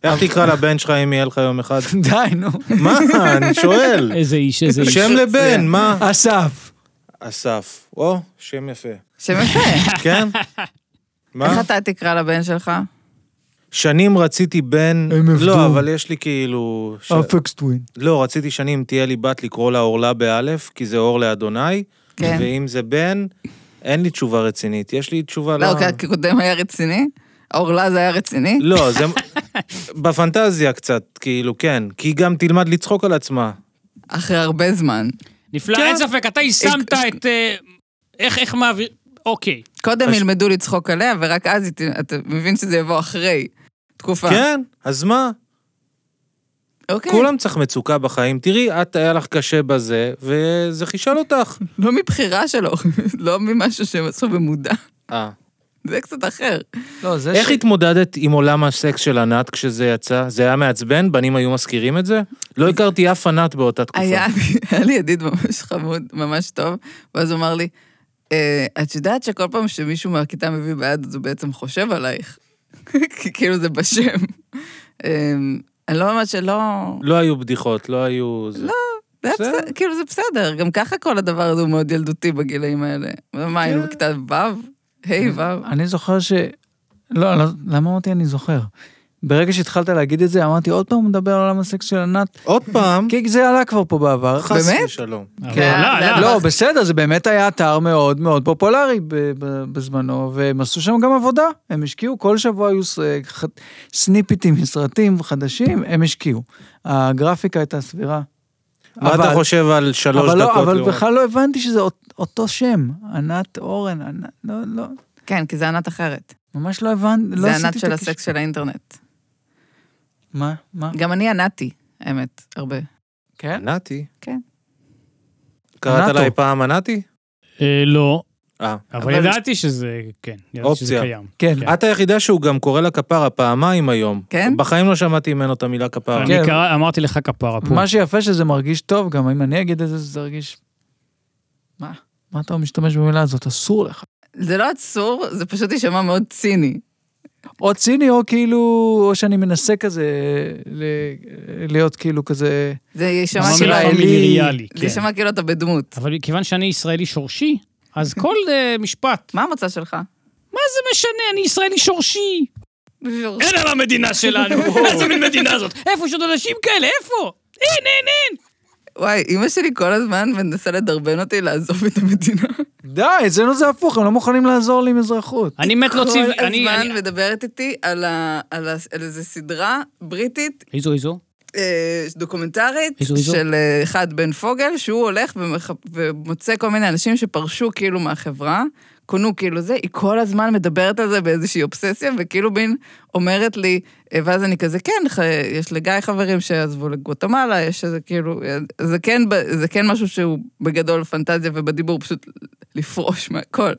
C: איך תקרא לבן שלך אם יהיה לך יום אחד?
B: די, נו.
C: מה? אני שואל.
A: איזה איש, איזה איש.
C: שם לבן, מה?
B: אסף.
C: אסף. או, שם יפה.
D: שם יפה.
C: כן?
D: איך
C: מה?
D: אתה תקרא לבן שלך?
C: שנים רציתי בן...
B: הם עבדו. אוקיי.
C: לא, אבל יש לי כאילו... ש-
B: אפקס טווין.
C: לא, רציתי שנים תהיה לי בת לקרוא לה אורלה באלף, כי זה אור לאדוני.
D: כן.
C: ואם זה בן, אין לי תשובה רצינית. יש לי תשובה
D: לא, כי הקודם היה רציני? האורלה זה היה רציני?
C: לא, זה... בפנטזיה קצת, כאילו, כן. כי היא גם תלמד לצחוק על עצמה.
D: אחרי הרבה זמן.
A: נפלא,
C: כן.
A: אין ספק, אתה יישמת את... אה, איך, איך מעביר... אוקיי.
D: קודם
C: אז-
D: ילמדו לצחוק עליה, ורק אז היא ת- אתה מבין שזה יבוא אחרי תקופה.
C: כן, אז מה?
D: אוקיי.
C: כולם צריך מצוקה בחיים. תראי, את, היה לך קשה בזה, וזה חישל אותך.
D: לא מבחירה שלו, לא ממשהו שהם עשו במודע.
C: אה.
D: זה קצת אחר.
B: לא, זה
C: איך התמודדת עם עולם הסקס של ענת כשזה יצא? זה היה מעצבן? בנים היו מזכירים את זה? לא הכרתי אף ענת באותה תקופה.
D: היה, היה לי ידיד ממש חמוד, ממש טוב, ואז הוא אמר לי, "אה, את יודעת שכל פעם שמישהו מהכיתה מביא ביד, אז הוא בעצם חושב עלייך. כי כאילו זה בשם. אה, אני לא אומרת שלא...
C: לא היו בדיחות, לא היו... לא.
D: זה היה
C: בסדר.
D: בסדר, כאילו זה בסדר, גם ככה כל הדבר הזה הוא מאוד ילדותי בגילאים האלה. מה, היינו
A: כן.
D: בכיתה ו'? ה' ו'?
B: אני זוכר ש... לא, לא, למה אמרתי אני זוכר? ברגע שהתחלת להגיד את זה, אמרתי, עוד פעם הוא מדבר על עולם הסקס של ענת?
C: עוד פעם,
B: כי זה עלה כבר פה בעבר.
C: חס
D: באמת?
C: ושלום.
A: אבל
D: כן,
A: לא, לא.
D: זה-
B: לא, בסדר, זה באמת היה אתר מאוד מאוד פופולרי ב- ב- בזמנו, והם עשו שם גם עבודה. הם השקיעו, כל שבוע היו ס- ח- סניפיטים מסרטים חדשים, הם השקיעו. הגרפיקה הייתה סבירה.
C: מה
B: אבל-
C: אתה חושב על שלוש
B: אבל לא,
C: דקות?
B: אבל
C: לעומת-
B: בכלל לא הבנתי שזה אות- אותו שם, ענת אורן, ענת, לא, לא,
D: כן, כי זה ענת אחרת.
B: ממש לא הבנתי, לא
D: זה
B: עשיתי את
D: ענת של
B: הקשר.
D: הסקס של האינטרנט.
B: מה, מה?
D: גם אני ענתי, האמת, הרבה.
B: כן?
C: ענתי?
D: כן.
C: קראת
B: ענתו.
C: עליי פעם ענתי?
A: אה, לא,
C: אה.
A: אבל
D: אבל-
A: ידעתי שזה, כן, ידעתי שזה
C: אופציה.
A: קיים.
B: כן.
A: כן.
C: את היחידה שהוא גם קורא לה כפרה פעמיים היום.
D: כן?
C: בחיים לא שמעתי ממנו את המילה כפרה.
A: אני
B: כן.
A: קרא- אמרתי לך כפרה פה.
B: מה שיפה שזה מרגיש טוב, גם אם אני אגיד את זה, זה ירגיש... מה? מה אתה משתמש במילה הזאת? אסור לך.
D: זה לא אסור, זה פשוט יישמע מאוד ציני.
B: או ציני, או כאילו, או שאני מנסה כזה ל... להיות כאילו כזה...
D: זה יישמע
A: ממש
D: כאילו...
B: ישראלי.
A: פמיליאלי,
D: זה
A: כן.
D: יישמע כאילו אתה בדמות.
A: אבל כיוון שאני ישראלי שורשי, אז כל אה, משפט,
D: מה המוצא שלך?
A: מה זה משנה, אני ישראלי שורשי. אין על המדינה שלנו, איזה מין מדינה זאת? איפה יש עוד אנשים כאלה, איפה? אין, אין, אין.
D: וואי, אימא שלי כל הזמן מנסה לדרבן אותי לעזוב את המדינה.
B: די, אצלנו זה הפוך, הם לא מוכנים לעזור לי עם אזרחות.
A: אני מת להוציא,
D: כל
A: אני... אני-
D: הזמן מדברת איתי על ה- על ה- על איזה סדרה בריטית
A: איזו, איזו?
D: אה, דוקומנטרית
A: איזו, איזו?
D: של אה, אחד בן פוגל, שהוא הולך ומח... ומוצא כל מיני אנשים שפרשו כאילו מהחברה, קונו כאילו זה, היא כל הזמן מדברת על זה באיזושהי אובססיה, וכאילו בין אומרת לי, אה, ואז אני כזה, כן, ח... יש לגיא חברים שעזבו לגואטמלה, יש איזה כאילו, אה, זה כן, ב- זה כן משהו שהוא בגדול פנטזיה ובדיבור פשוט לפרוש מהכל.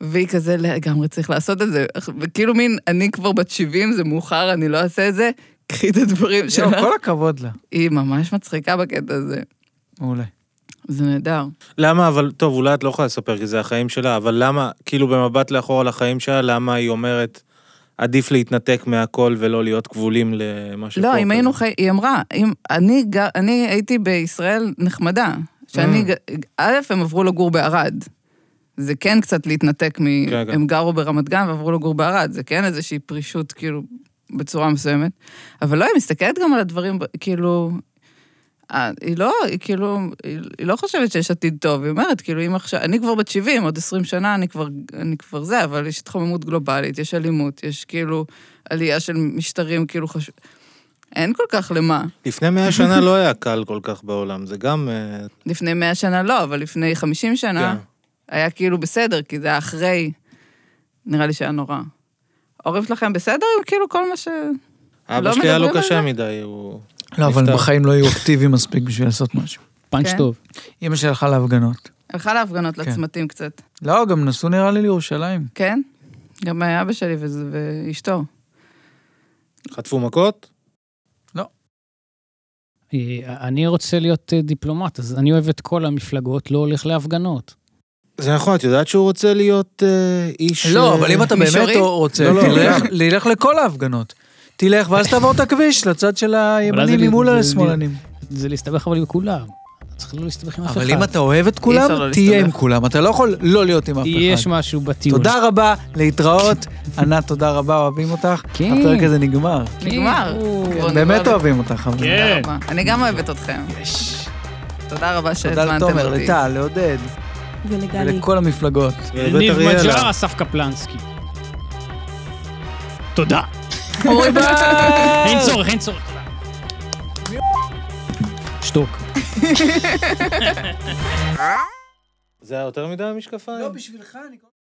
D: והיא כזה "לא, לגמרי צריך לעשות את זה, וכאילו מין, אני כבר בת 70, זה מאוחר, אני לא אעשה את זה. קחי את הדברים
B: יואו,
D: שלך.
B: כל הכבוד לה.
D: היא ממש מצחיקה בקטע הזה.
B: מעולה.
D: זה נהדר.
C: למה, אבל, טוב, אולי את לא יכולה לספר כי זה החיים שלה, אבל למה, כאילו במבט לאחור על החיים שלה, למה היא אומרת, עדיף להתנתק מהכל ולא להיות כבולים למה שפה?
D: לא, אם
C: כזה?
D: היינו חי... היא אמרה, אם... אני, גר... אני הייתי בישראל נחמדה. שאני... ג... א', הם עברו לגור בערד. זה כן קצת להתנתק מ...
C: כן, כן.
D: הם גרו ברמת גן ועברו לגור בערד. זה כן איזושהי פרישות, כאילו, בצורה מסוימת. אבל לא, היא מסתכלת גם על הדברים, ב- כאילו... אה, היא לא, היא כאילו, היא היא לא חושבת שיש עתיד טוב, היא אומרת, כאילו, אם עכשיו, אני כבר בת 70, עוד 20 שנה אני כבר, אני כבר זה, אבל יש התחוממות גלובלית, יש אלימות, יש כאילו עלייה של משטרים, כאילו חשוב... אין כל כך למה.
C: לפני מאה שנה לא היה קל כל כך בעולם, זה גם... אה,
D: לפני 100 שנה לא, אבל לפני 50
C: כן.
D: שנה היה כאילו בסדר, כי זה היה אחרי, נראה לי שהיה נורא. ההורים שלכם בסדר עם כאילו כל מה ש...
C: אבא
D: לא
C: שלי היה לו
D: מדברים על
C: קשה
D: זה?
C: מדי, הוא...
B: לא, אבל
C: נפטר.
B: בחיים לא יהיו אקטיביים מספיק בשביל לעשות משהו.
A: פאנץ'
D: כן.
A: טוב.
B: אמא שלי הלכה להפגנות.
D: הלכה להפגנות
B: כן.
D: לצמתים קצת,
B: לא, גם נסעו נראה לי לירושלים.
D: כן? גם אבא שלי וזה- ואשתו.
C: חטפו מכות?
A: אה, אני רוצה להיות אה, דיפלומט, אז אני אוהב את כל המפלגות, לא הולך להפגנות.
C: זה נכון, את יודעת שהוא רוצה להיות אה, איש...
B: לא,
C: אה,
B: אבל אם אתה באמת
D: מישורי?
B: רוצה,
C: לא, לא,
B: תלך-
C: גם.
B: לילך לכל ההפגנות. תלך, ואז תעבור את הכביש לצד של הימנים
A: זה-
B: ממול
A: זה-
B: השמאלנים.
A: זה להסתבך אבל עם כולם. צריך לא להסתבך עם אף אחד.
B: אבל אם אתה אוהב את
D: אי
B: כולם,
D: אפשר לא
B: תהיה
D: להסתבך.
B: עם כולם. אתה לא יכול לא להיות עם אף
A: יש
B: אחד.
A: משהו בטיעון.
B: תודה אה, רבה, להתראות. ענת, תודה רבה, אוהבים אותך.
A: כן.
B: הפרק הזה נגמר.
D: נגמר. בוא נגמר
B: באמת
D: ב-
B: אוהבים אותך, אבל.
A: כן.
D: תודה רבה. אני גם אוהבת אתכם. תודה רבה
B: תודה
D: שהזמנתם אותי.
B: לתומר, לטל, לעודד,
E: ולגלי.
B: ולכל המפלגות.
C: לבית
A: ניב
C: אריאלה.
A: מג'אר, אסף קפלנסקי. תודה.
B: אוי
C: אה.
B: ביי!
A: אין צורך, אין צורך. תודה. שתוק.
C: זה היה יותר מדי המשקפיים?
B: לא, בשבילך אני...